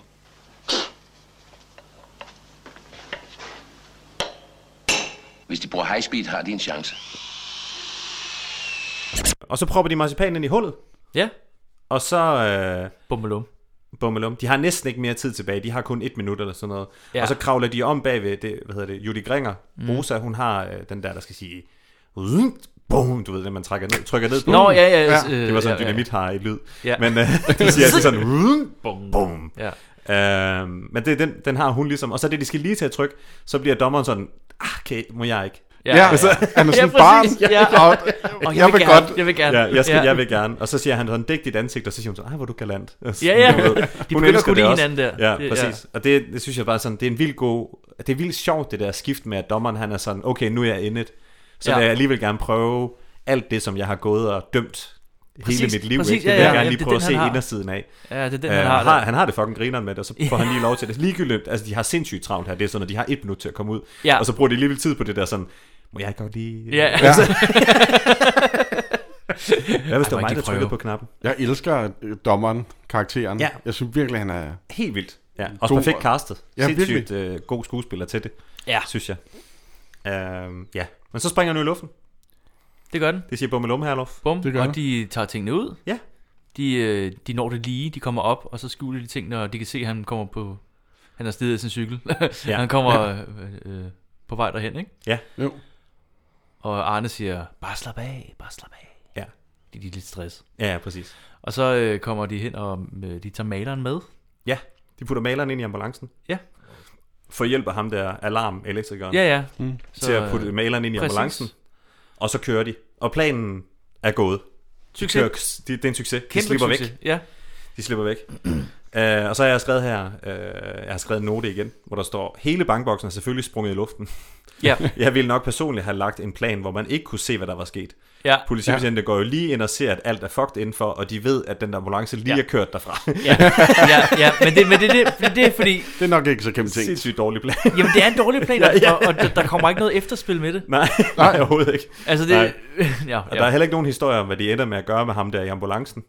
F: Hvis de bruger high speed, har de en chance.
D: Og så propper de marcipan ind i hullet.
B: Ja.
D: Og så... Øh,
B: bummelum.
D: Bummelum. De har næsten ikke mere tid tilbage. De har kun et minut eller sådan noget.
B: Ja.
D: Ja. Og så kravler de om bagved, det, hvad hedder det, Judy Gringer.
B: Mm.
D: Mm. Rosa, hun har øh, den der, der skal sige... "Zzzt", Boom, du ved det, man trækker ned, trykker ned på.
B: Nå, ja, ja, øh,
D: Det var sådan
B: ja,
D: ja,
B: ja.
D: dynamit har i lyd.
B: Ja.
D: Men øh, de siger altid sådan, "Zzzt",
B: Bum.
D: boom.
B: Ja.
D: Øhm, men det, er den, den har hun ligesom. Og så det, de skal lige til at trykke, så bliver dommeren sådan, ah, okay, må jeg ikke.
B: Ja, ja.
C: altså,
D: så,
B: Han er sådan Ja, præcis, barn. ja. Og, "Og jeg vil gerne, jeg vil gerne."
D: Ja, jeg, skal,
B: Ja.
D: jeg vil gerne. Og så siger han sådan dæk dit ansigt, og så siger hun så, ej, hvor er du galant. Altså,
B: Ja, ja.
D: du ved,
B: De
D: hun
B: begynder
D: elsker
B: at kunne
D: det
B: lide
D: også.
B: hinanden der.
D: Ja,
B: Det-
D: præcis. Og det, det synes jeg bare sådan, det er en vild god, det er vildt sjovt det der skift med, at dommeren han er sådan, okay, nu er jeg indet. Så
B: Ja.
D: ja. vil jeg alligevel gerne prøve alt det, som jeg har gået og dømt
B: Præcis,
D: hele mit liv.
B: præcis,
D: ikke? Det
B: ja,
D: vil jeg
B: ja,
D: gerne
B: ja,
D: lige
B: det er
D: prøve at
B: den,
D: se
B: han har.
D: indersiden af.
B: Ja, det er den,
D: Øh,
B: han har
D: han, har,
B: der.
D: han har det fucking grineren med det, og så får han lige lov til det. Ligegyldigt, altså de har sindssygt travlt her, det er sådan, at de har et minut til at komme ud.
B: Ja.
D: Og så bruger de alligevel tid på det der sådan, må jeg godt lige...
B: Ja.
D: Altså- Hvad hvis
C: Ej,
D: det
C: må
D: var mig,
C: ikke
D: der
C: prøve.
D: trykkede på knappen?
C: Jeg elsker øh, dommeren, karakteren.
D: Ja.
C: Jeg synes virkelig, han er...
D: Helt vildt. Ja,
C: Mm. god
D: også perfekt
C: og-
D: castet.
C: Ja, virkelig.
D: Sindssygt øh, god skuespiller til det,
B: Ja.
D: synes jeg. Øhm, ja, men så springer den i luften.
B: Det gør den.
D: Det siger Bummelum Herlof.
B: Bum, det og de tager tingene ud.
D: Ja.
B: De, øh, de når det lige, de kommer op, og så skjuler de ting, når de kan se, at han kommer på... Han har stedet sin cykel. ja.
D: Ja.
B: Han kommer
D: Ja.
B: øh, øh, på vej derhen, ikke?
D: Ja.
C: Jo.
B: Og Arne siger, bare slap af, bare slap af.
D: Ja.
B: De, de er lidt stress.
D: Ja, ja, præcis.
B: Og så øh, kommer de hen, og øh, de tager maleren med.
D: Ja, de putter maleren ind i ambulancen.
B: Ja.
D: For hjælp af ham der alarmelektrikeren.
B: Ja, ja. Mm.
D: Mm.
B: Så,
D: Til at putte maleren ind i
B: præcis.
D: ambulancen. Og så kører de. Og planen er gået. De
B: Succes.
D: kører- de, det er en succes.
B: Kæmpe
D: de slipper
B: succes,
D: væk.
B: ja.
D: De slipper væk. Uh, og så har øh, jeg skrevet her, uh, jeg har skrevet en note igen, hvor der står, hele bankboksen er selvfølgelig sprunget i luften.
B: Ja.
D: Jeg ville nok personligt have lagt en plan, hvor man ikke kunne se, hvad der var sket.
B: Ja.
D: Politibetjente ja. går jo lige ind og ser, at alt er fucked indenfor, og de ved, at den der ambulance lige ja. er kørt derfra.
B: Ja, ja, ja. Men, det, men det, det, det, det er fordi...
C: Det er nok ikke så kæmpe ting.
D: Sindssygt dårlig plan.
B: Jamen, det er en dårlig plan,
D: Ja, ja.
B: og, og der, der kommer ikke noget efterspil med det.
D: Nej, nej overhovedet ikke.
B: Altså, det...
D: Nej.
B: Ja,
D: Og der
B: ja.
D: er heller ikke nogen historie om, hvad de ender med at gøre med ham der i ambulancen.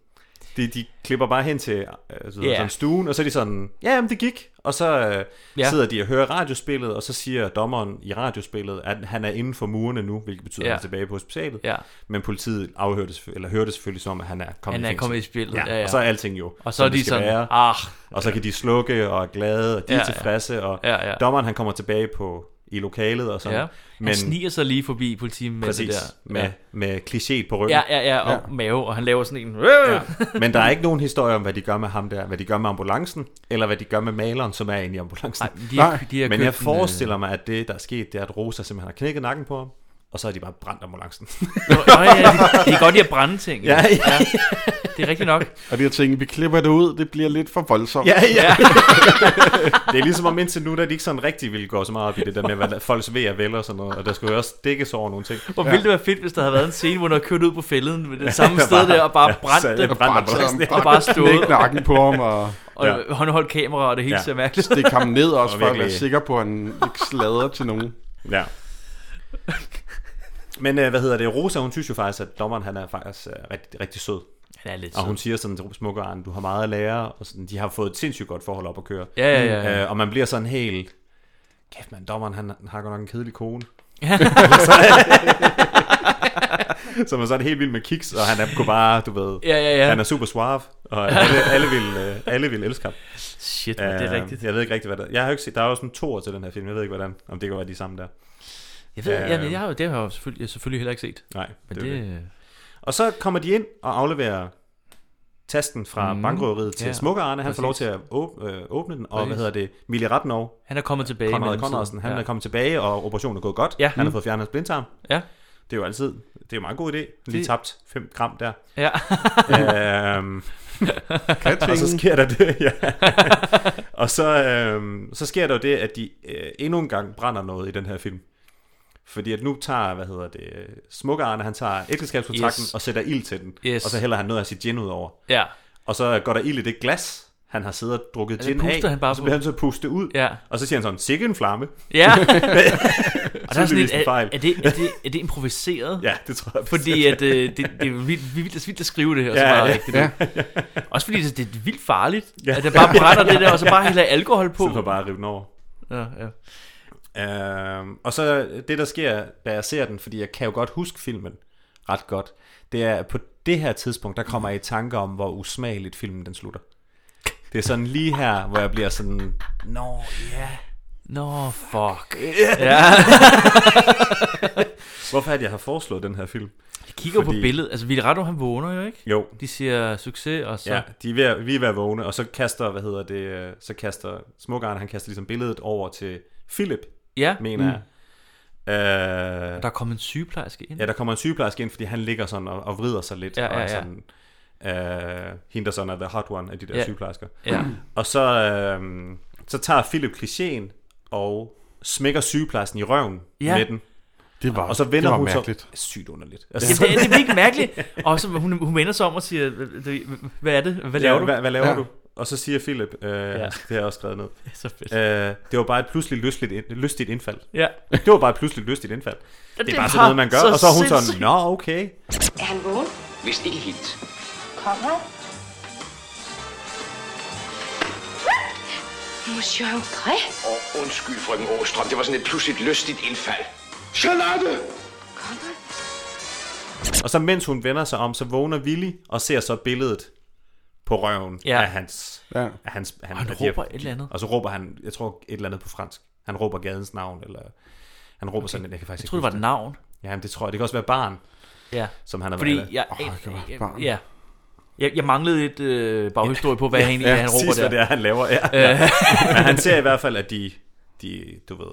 D: De, de klipper bare hen til altså,
B: Ja.
D: yeah. sådan stuen, og så er de sådan, ja, jamen, det gik. Og så øh,
B: Ja.
D: yeah. sidder de og hører radiospillet, og så siger dommeren i radiospillet, at han er inden for murene nu, hvilket betyder,
B: Ja.
D: yeah. at han er tilbage på hospitalet.
B: Ja.
D: Men politiet afhørte, det selvfø- eller hørte det selvfølgelig som, om, at han er
B: Han
D: kommet i
B: er
D: fængsel.
B: kommet i spillet, ja, ja.
D: Og så er alting jo,
B: Og så
D: som
B: er
D: det
B: de
D: skal
B: sådan,
D: være.
B: "Ah."
D: Og så kan de slukke og er glade, og de
B: Ja,
D: ja,
B: ja.
D: er tilfredse, og
B: Ja, ja.
D: dommeren han kommer tilbage på i lokalet og sådan.
B: Ja. Men, han sniger sig lige forbi politimanden
D: Præcis,
B: der.
D: med,
B: ja.
D: med kliché på ryggen.
B: Ja, ja, ja, og ja. mave, og han laver sådan en... Ja.
D: Men der er ikke nogen historie om, hvad de gør med ham der, hvad de gør med ambulancen, eller hvad de gør med maleren, som er inde i ambulancen.
B: Nej, de har- Nej. de har
D: Men
B: købt
D: jeg
B: en, øh,
D: forestiller mig, at det, der er sket, det er, at Rosa simpelthen har knækket nakken på ham, og så har de bare brændt ambulancen.
B: Nå, nå ja, de- de kan godt lide at brænde ting,
D: Ja,
B: ja.
D: ja.
B: Ja, det er rigtigt nok.
C: Og det jeg tænkte, vi klipper det ud, det bliver lidt for voldsomt.
D: Ja, ja. det er ligesom om indtil nu, der de ikke sådan rigtig ville gå så meget op i det der med, hvad der- folks ved og vel og sådan noget, og der skulle jo også dækkes over nogle ting.
B: Hvor ville det være fedt, hvis der havde været en scene, hvor han havde kørt ud på fælden med det samme sted der, og bare brændt
D: ja,
B: det,
D: brændt ambulancen.
B: og bare stået.
C: Knæk nakken på ham og-
B: og
C: Ja.
B: håndholdt kamera, og det hele ja. ser mærkeligt.
C: Stik ham ned også,
B: Og
C: for at
B: virkelig-
C: være sikker på, at han ikke slader til nogen.
D: Ja. Men øh, hvad hedder det? Rosa, hun synes jo faktisk, at dommeren han er faktisk øh, rigtig, rigtig sød.
B: Han er lidt
D: og hun
B: sød.
D: siger sådan til smukke Arne, du har meget at lære, og sådan, de har fået et sindssygt godt forhold op at køre.
B: Ja, ja, ja, ja.
D: Øh, og man bliver sådan helt, kæft man, dommeren han har godt nok en kedelig kone.
B: Ja.
D: Som er sådan helt vild med kiks, og han er, kunne bare, du ved,
B: Ja, ja, ja.
D: han er super suave, og alle, alle, vil, øh, alle vil elske ham. Øh,
B: Shit, man, det er rigtigt.
D: Jeg ved ikke rigtig, hvad der... Jeg har jo ikke set, der er jo sådan to år til den her film, jeg ved ikke, hvordan, om det kan være de samme der.
B: Jeg ved, jeg,
D: Øh,
B: jeg, har jo, det har jeg jo selvfølgelig, jeg selvfølgelig heller ikke set.
D: Nej,
B: men
D: det er
B: det, øh,
D: Og så kommer de ind og afleverer tasten fra
B: Mm.
D: mm. bankrøveriet til
B: Ja,
D: ja, Smukke Arne. Han får lov
B: præcis.
D: til at åbne, øh, åbne den, og
B: Præcis.
D: hvad hedder det, Mille Ratnov.
B: Han er kommet tilbage i
D: Konrad
B: mellemtiden.
D: Conradsen, han
B: Ja.
D: ja. er kommet tilbage, og operationen er gået godt.
B: Ja.
D: Han har
B: Mm.
D: fået fjernet hans blindtarm.
B: Ja.
D: Det er jo altid, det er jo en meget god idé. Lige
B: Det-
D: tabt 5 gram der.
B: Ja.
D: øhm, og så sker der det, ja. og så, øhm, så sker der jo det, at de øh, endnu en gang brænder noget i den her film. Fordi at nu tager, hvad hedder det, øh, Smukke Arne, han tager ægteskabskontrakten
B: Yes.
D: yes. og sætter ild til den.
B: Yes.
D: Og så hælder han noget af sit gin ud over.
B: Ja.
D: Og så går der ild i det glas, han har siddet og drukket
B: Ja, det
D: gin af.
B: puster han bare
D: og så
B: på.
D: bliver han så pustet ud.
B: Ja.
D: Og så siger han sådan, sikke en flamme.
B: Ja.
D: og
B: og der er sådan et, er,
D: fejl.
B: er, det, er, det, er det improviseret?
D: Ja, det tror jeg
B: Fordi at,
D: bestemt.
B: øh, det, det er vildt, vildt, vildt at skrive det her, og så
D: Ja,
B: bare
D: ja.
B: rigtigt.
D: Ja.
B: Også fordi det, det er vildt farligt,
D: Ja.
B: ja. at der bare brænder det der, og så bare
D: Ja.
B: hælder alkohol på.
D: Så får bare at rive den over.
B: Ja, ja.
D: Øhm, og så det, der sker, da jeg ser den, fordi jeg kan jo godt huske filmen ret godt, det er, at på det her tidspunkt, der kommer jeg i tanke om, hvor usmageligt filmen den slutter. Det er sådan lige her, hvor jeg bliver sådan, Nå, ja.
B: Nå, fuck.
D: Ja. Hvorfor er det, jeg har foreslået den her film?
B: Jeg kigger på billedet. Altså, Villardo, han vågner jo, ikke?
D: Jo.
B: De siger succes, og så...
D: Ja, de er ved, at- vi er ved at vågne, og så kaster, hvad hedder det, øh, så kaster Smukkeren, han kaster ligesom billedet over til Philip,
B: Ja.
D: mener
B: Mm.
D: jeg. Øh,
B: Der kommer en sygeplejerske ind.
D: Ja, der kommer en sygeplejerske ind, fordi han ligger sådan og, og vrider sig lidt.
B: Ja,
D: og er
B: ja, ja.
D: Sådan, øh, hende, der sådan er the hot one af de der
B: Ja.
D: sygeplejersker.
B: Ja.
D: Og så, øh, så tager Philip klichéen og smækker sygeplejersken i røven
B: Ja.
D: med den.
C: Det var-
D: og så
C: det
D: vender
C: var
D: hun
C: mærkeligt.
D: så sygt underligt.
B: Altså, det, er, det er virkelig mærkeligt. Og så hun, hun vender sig om og siger, hvad er det? Hvad laver
D: ja,
B: du?
D: Hvad, hvad laver
B: ja.
D: ja. du? Og så siger Philip, øh, ja. det har jeg også skrevet ned.
B: Så fedt.
D: Øh, det var bare et pludselig lystigt, ind- lystigt indfald.
B: Ja.
D: Det var bare et pludselig lystigt indfald. Det,
U: det
D: er bare sådan
U: var
D: noget, man gør.
U: så
D: og så er hun
U: sindssygt.
D: sådan, nå, okay.
U: Er han vågen?
E: Vist ikke helt.
U: Kommer?
H: Monsieur André?
F: Og undskyld, frøken Åstrøm, det var sådan et pludseligt lystigt indfald.
E: Charlotte!
D: Og så mens hun vender sig om, så vågner Willy og ser så billedet på røven ja. af hans...
C: Ja.
D: Af hans han,
B: Og han
D: af de her-
B: råber et eller andet.
D: Og så råber han, jeg tror et eller andet på fransk. Han råber gadens navn, eller... Han råber okay. sådan, jeg kan faktisk
B: Jeg troede, det var et navn.
D: Ja, det tror jeg. Det kan også være barn,
B: Ja.
D: som han har
B: Fordi
D: været.
B: jeg,
D: Åh,
B: jeg,
D: være et
B: jeg,
D: barn.
B: jeg, jeg, jeg manglede lidt øh, baghistorie på, hvad han egentlig
D: ja,
B: er, han råber
D: præcis,
B: der.
D: hvad det er, han laver. Ja, ja.
B: Øh.
D: Men han ser i hvert fald, at de, de, du ved...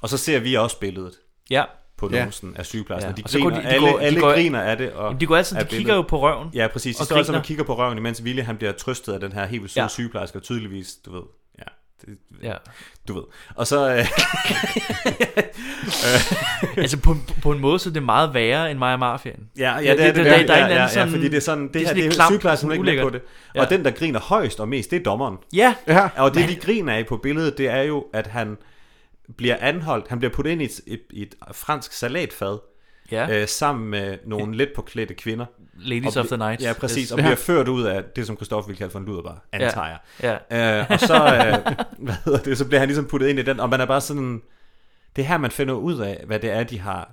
D: Og så ser vi også billedet
B: Ja.
D: på
B: Ja.
D: numsen ja. af sygeplejersken.
B: Ja.
D: Ja. De
B: Og så
D: griner,
B: går
D: de,
B: de-
D: de
B: de
D: alle,
B: går-
D: går,
B: de
D: alle
B: går-
D: griner af det. Og
B: Jamen, de går altid-
D: af
B: de kigger
D: billedet.
B: jo på røven
D: Ja, præcis.
B: og
D: Og så er
B: griner.
D: man kigger på røven, imens Ville han bliver trystet af den her helt vildt søde
B: Ja.
D: sygeplejerske, og tydeligvis, du ved, ja, Det,
B: Ja.
D: Du ved. Og så... Øh,
B: altså på, en- på en måde, så er det meget værre end Maja Mafiaen.
D: Ja, ja, det er det.
B: Der,
D: det,
B: der,
D: det,
B: der er en
D: ja,
B: eller
D: ja,
B: anden sådan...
D: ja, fordi det er sådan, det, det her,
B: sådan
D: det
B: lidt
D: er
B: klamt,
D: sygeplejersken, hun er ikke med på det. Øh,
B: ulækkert.
D: Ja. Og den, der griner højst og mest, det er dommeren.
B: Ja.
D: ja. Og det, de griner af på billedet, det er jo, at han bliver anholdt, han bliver puttet ind i et, et, i et fransk salatfad,
B: Ja.
D: øh, sammen med nogle lidt påklædte kvinder.
B: Ladies
D: Og
B: of the
D: bli-
B: night.
D: Ja, præcis.
B: Yes.
D: Og bliver
B: Ja.
D: ført ud af det, som Christoffer ville kalde for en luderbar,
B: Ja.
D: antager jeg.
B: Ja.
D: Øh, og så, øh, hvad hedder det, så bliver han ligesom puttet ind i den, og man er bare sådan, det er her, man finder ud af, hvad det er, de har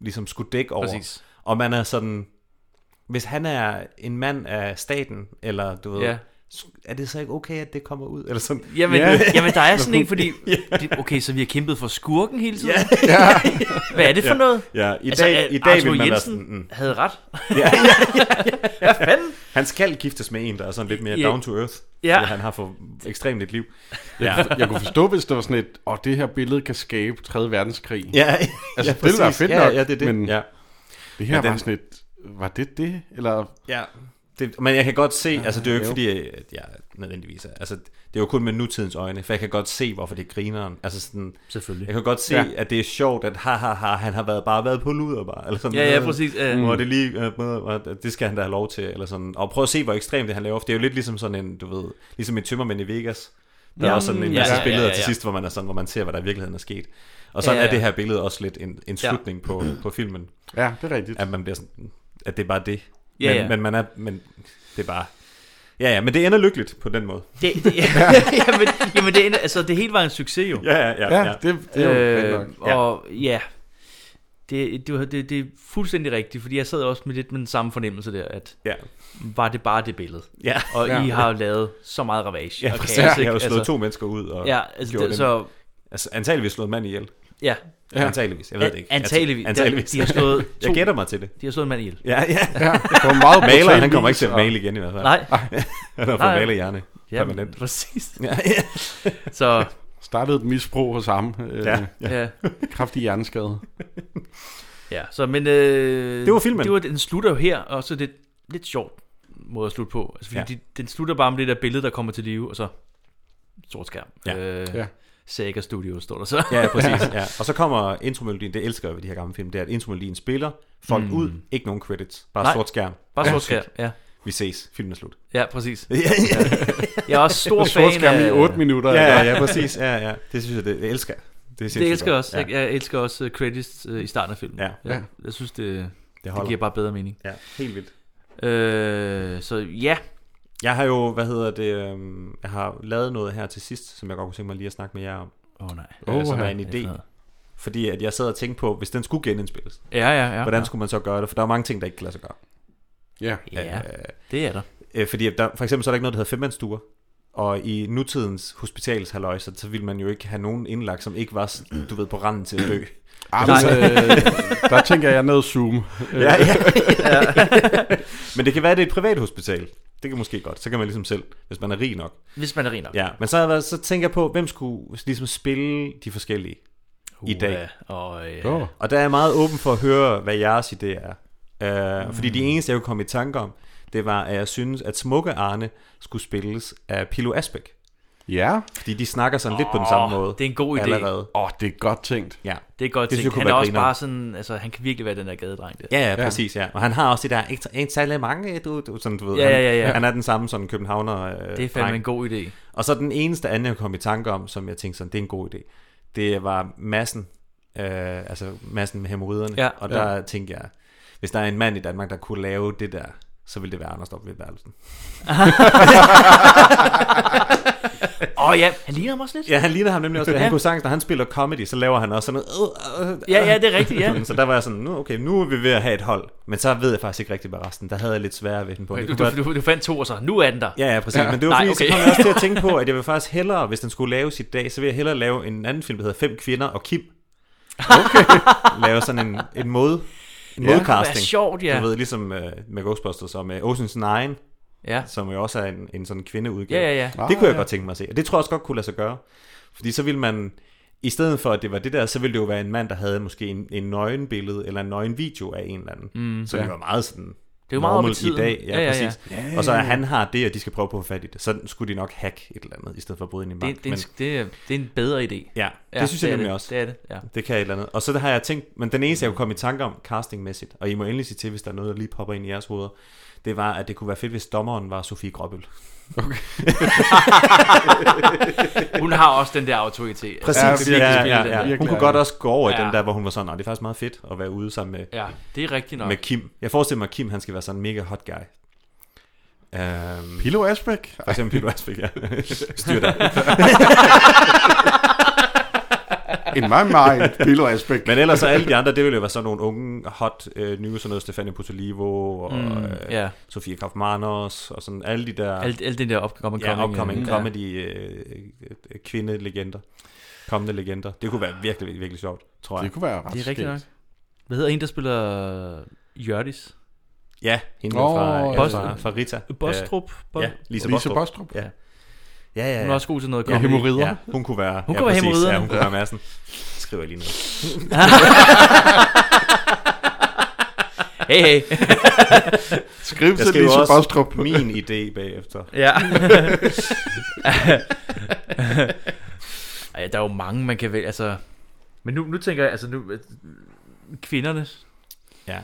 D: ligesom skulle dække over.
B: Præcis.
D: Og man er sådan, hvis han er en mand af staten, eller du ved,
B: Ja.
D: er det så ikke okay, at det kommer ud? Eller sådan.
B: Jamen,
D: Ja.
B: ja. jamen, der er sådan en, fordi... det- Okay, så vi har kæmpet for skurken hele tiden?
D: Ja. Ja.
B: Hvad er det for
D: Ja.
B: noget?
D: Ja, i
B: Altså,
D: dag-
B: er-
D: i dag
B: Arthur
D: ville man være
B: Jensen
D: sådan, mm.
B: havde ret.
D: Ja, ja, ja, ja.
B: Hvad fanden?
D: Han skal giftes med en, der er sådan lidt mere
B: Ja.
D: down to earth.
B: Ja.
D: fordi Han har for ekstremt et liv.
C: Jeg, kunne, jeg kunne forstå, hvis der var sådan et, og det her billede kan skabe 3. verdenskrig.
D: Ja,
C: altså,
D: ja,
C: det ville være
D: præcis.
C: fedt
D: Ja,
C: nok,
D: ja, det er det.
C: men
D: Ja.
C: det her
D: Men
C: var
D: den-
C: sådan et, var det det? Eller
D: Ja. Det, men jeg kan godt se,
C: Ja,
D: ja, altså det er jo ikke
C: jo.
D: fordi, at jeg nødvendigvis er, altså det er jo kun med nutidens øjne, for jeg kan godt se, hvorfor det er grineren. Altså sådan,
B: Selvfølgelig.
D: Jeg kan godt se,
B: Ja.
D: ja. at det er sjovt, at ha, ha, ha, han har været, bare været på luder bare, eller sådan
B: Ja, ja,
D: noget.
B: præcis, ja. Mm.
D: Hvor det lige, øh, øh, øh, det skal han da have lov til, eller sådan. Og prøv at se, hvor ekstremt det han laver, for det er jo lidt ligesom sådan en, du ved, ligesom en tømmermænd i Vegas. Der er
B: Ja.
D: også sådan en
B: Mm,
D: masse
B: ja, ja,
D: billeder
B: ja, ja.
D: til sidst, hvor man er sådan, hvor man ser, hvad der i virkeligheden er sket. Og sådan
B: Ja, ja.
D: er det her billede også lidt en, en
B: Ja.
D: slutning på, på filmen.
C: Ja, det er rigtigt.
D: At man bliver sådan, at det er bare det.
B: Ja,
D: men,
B: ja.
D: men man er, men det er bare... Ja, ja, men det ender lykkeligt på den måde.
B: Det, det, jamen, jamen det, ender- altså, det hele var en succes jo.
D: Ja, ja, ja, Ja, ja. det- det er jo
B: øh,
D: rigtig nok.
B: Og ja, det, det, var- det, det er fuldstændig rigtigt, fordi jeg sad også med lidt med den samme fornemmelse der, at
D: ja.
B: var det bare det billede?
D: Ja.
B: Og
D: Ja.
B: I har jo lavet så meget ravage.
D: Ja,
B: og
D: præcis.
B: kaos,
D: Jeg
B: ikke?
D: har jo slået to mennesker ud og
B: ja, altså,
D: gjort
B: det,
D: dem-
B: så,
D: Altså, antageligvis slået en mand ihjel.
B: Ja.
D: ja. Antageligvis, jeg ved det ikke.
B: Antageligvis.
D: Antageligvis.
B: De har slået
D: Jeg gætter mig til det.
B: De har slået en mand ihjel.
D: Ja, ja.
B: ja.
D: På en meget Maler, brutal han kommer ikke til at vis, male og- igen i hvert fald.
B: Nej.
D: Han har fået malerhjerne.
B: Ja,
D: Permanent.
B: præcis.
D: Ja,
B: ja. Så...
C: Startede et misbrug hos ham. Øh,
B: Ja, ja.
C: Kraftig hjerneskade.
B: Ja, så men... Øh,
C: Det var filmen.
B: Det var, den slutter jo her, og så er det lidt sjovt måde at slutte på. Altså, fordi ja.
D: Ja.
B: de, den slutter bare med det der billede, der kommer til live, og så sort skærm.
D: Ja.
B: Øh,
D: Ja.
B: Saga Studio står der så.
D: Ja, ja, præcis. Ja. Og så kommer intromelodien, det elsker jeg ved de her gamle film, det er, at intromelodien spiller, folk
B: Mm.
D: mm. ud, ikke nogen credits, bare
B: Nej.
D: sort skærm.
B: Bare
D: Ja.
B: sort skærm, ja.
D: Vi ses, filmen er slut.
B: Ja, præcis.
D: Ja,
B: Ja.
D: ja.
B: Jeg er også stor Sort fan skærm i af- otte minutter,
D: Ja, ja,
B: eller?
D: ja, præcis. Ja, ja. Det synes jeg, det, det elsker. jeg. Det, er
B: Det,
D: sindssygt
B: det elsker jeg
D: godt.
B: også. Ja. Jeg, jeg elsker også øh, credits øh, i starten af filmen.
D: Ja.
B: Jeg,
D: Ja.
B: jeg synes, det, det, det
D: holder.
B: giver bare bedre mening.
D: Ja, helt vildt.
B: Øh, så ja.
D: Jeg har jo, hvad hedder det, øhm, jeg har lavet noget her til sidst, som jeg godt kunne tænke mig lige at snakke med jer om.
B: Åh, nej.
D: Øh, som
B: Åh,
D: er
B: ja.
D: en
B: Det er
D: idé. Fordi at jeg sad og tænkte på, hvis den skulle genindspilles,
B: Ja, ja, ja,
D: hvordan
B: ja.
D: skulle man så gøre det? For der er mange ting, der ikke kan lade sig gøre.
C: Ja.
B: Ja, det er der.
D: Øh, fordi at der, for eksempel så er der ikke noget, der hedder femmandsstuer. Og i nutidens hospitalshalløj, så, så ville man jo ikke have nogen indlagt, som ikke var, s- du ved, på randen til at dø.
C: Ah, men, øh, der tænker jeg noget Zoom.
D: ja, ja, ja. men det kan være, at det er et privat hospital. Det kan måske godt. Så kan man ligesom selv, hvis man er rig nok.
B: Hvis man er rig nok.
D: Ja, men så, har jeg været- så tænker jeg på, hvem skulle ligesom spille de forskellige i
B: Uha,
D: dag.
B: og, øh, ja. Åh.
D: og der er jeg meget åben for at høre, hvad jeres idéer er. Uh, mm. Fordi de eneste, jeg kunne komme i tanke om, det var, at jeg synes, at Smukke Arne skulle spilles af Pilo Asbæk.
C: Ja.
D: Fordi de snakker sådan lidt på den samme
B: Åh,
D: måde.
B: det er en god idé.
D: Allerede.
C: Åh, oh, det er godt tænkt.
D: Ja.
B: Det er godt
D: Det synes jeg
B: tænkt.
D: kunne
B: Han er
D: være
B: også
D: grineren.
B: bare sådan, altså han kan virkelig være den der gadedreng der.
D: Ja, ja, præcis, ja. Og han har også det der, ikke, ikke særlig mange, øh, du, du, sådan, du ved.
B: Ja,
D: han,
B: ja, ja, ja.
D: Han er den samme sådan københavner øh,
B: Det er fandme
D: dreng.
B: en god idé.
D: Og så den eneste anden, jeg kom i tanke om, som jeg tænkte sådan, det er en god idé, det var massen, øh, altså massen med hemorriderne.
B: Ja.
D: Og der
B: Ja.
D: tænkte jeg, hvis der er en mand i Danmark, der kunne lave det der, så ville det være Anders W. Bertelsen.
B: Åh oh, ja, han ligner ham også lidt.
D: Ja, han ligner ham nemlig også. lidt. Han
B: Ja.
D: kunne sagtens, når han spiller comedy, så laver han også sådan noget. øh, øh,
B: Ja, ja, det er rigtigt, ja.
D: så der var jeg sådan, nu, okay, nu er vi ved at have et hold. Men så ved jeg faktisk ikke rigtig, hvad resten. Der havde jeg lidt sværere ved den på.
B: Du,
D: Det kunne
B: du,
D: godt-
B: du, du fandt to, og så nu er den der.
D: Ja, ja, præcis. Ja. Men det var
B: Nej,
D: fordi, okay.
B: okay.
D: så kom jeg også til at tænke på, at jeg vil faktisk hellere, hvis den skulle laves i dag, så vil jeg hellere lave en anden film, der hedder Fem Kvinder og Kim. Okay. lave sådan en, en måde, en
B: Ja. Det
D: modcasting.
B: kunne være sjovt, ja.
D: Du ved, ligesom øh, med Ghostbusters og med Ocean's 9,
B: ja.
D: som jo også er en, en sådan kvindeudgave.
B: Ja, ja, ja.
D: Det kunne jeg
B: Ah,
D: godt tænke mig at se. Og det tror jeg også godt kunne lade sig gøre. Fordi så ville man, i stedet for at det var det der, så ville det jo være en mand, der havde måske en, en nøgenbillede eller en nøgenvideo af en eller anden.
B: Mm.
D: så det
B: Ja.
D: var meget sådan
B: Det er jo meget op i
D: normal i
B: tiden.
D: dag. Ja, ja, ja, præcis.
B: Ja, ja,
D: Og så
B: ja.
D: er han har det, og de skal prøve på at få fat i det. Så skulle de nok hacke et eller andet, i stedet for at bryde ind i en bank.
B: det, det, er en, det, er, det er en bedre idé.
D: Ja, ja, det synes jeg
B: er
D: nemlig
B: det.
D: også.
B: Det er det, ja.
D: Det kan et eller andet. Og så har jeg tænkt, men den eneste, jeg kunne komme i tanke om castingmæssigt, og I må endelig sige til, hvis der er noget, der lige popper ind i jeres hoveder, det var, at det kunne være fedt, hvis dommeren var Sofie Gråbøl. Okay.
B: Hun har også den der autoritet. Ja,
D: Præcis.
B: virkelig
D: Ja, ja,
B: spille den
D: ja,
B: der.
D: ja. Hun kunne godt også gå over ja. i
B: Ja.
D: den der, hvor hun var sådan, "Nå, det er faktisk meget fedt at være ude sammen med,
B: Ja, det er rigtigt nok.
D: med Kim. Jeg forestiller mig, at Kim han skal være sådan en mega hot guy. Um,
C: Pilo Asbæk?
D: For eksempel Pilo Asbæk, ja. Styr dig.
C: In my mind, Pilo Asbæk.
D: Men ellers så alle de andre, det ville jo være sådan nogle unge, hot, øh, nye, sådan noget, Stefania Potolivo og
B: Mm,
D: mm,
B: ja.
D: yeah. Sofia Kaufmanos og sådan alle de der...
B: Alt- alt det der upcoming-
D: ja, upcoming
B: ja.
D: comedy øh, øh, kvindelegender. Kommende legender. Det kunne være virkelig, virkelig sjovt, tror jeg.
C: Det kunne være ret
B: Det er
C: skægt.
B: rigtigt nok. Hvad hedder hende, der spiller Jørdis?
D: Ja, hende
B: Åh,
D: fra,
B: ja.
D: Bost, fra, fra Rita.
B: Bostrup.
D: Øh, ja, Lisa Bostrup. Ja. Ja, ja, ja.
B: Hun er også god til noget
D: Ja,
B: comedy.
D: hæmorrider. Ja, hun kunne være-
B: Hun
D: ja,
B: kunne være
D: præcis.
B: hæmorrider.
D: Ja, hun kunne være Madsen. Skriver jeg lige ned.
B: hey, hey.
D: Skriv til Jeg skriver Lise også Bostrup. min idé bagefter.
B: Ja. Ej, der er jo mange, man kan vælge. Altså... Men nu, nu tænker jeg, altså nu... øh, Kvinderne.
D: Ja.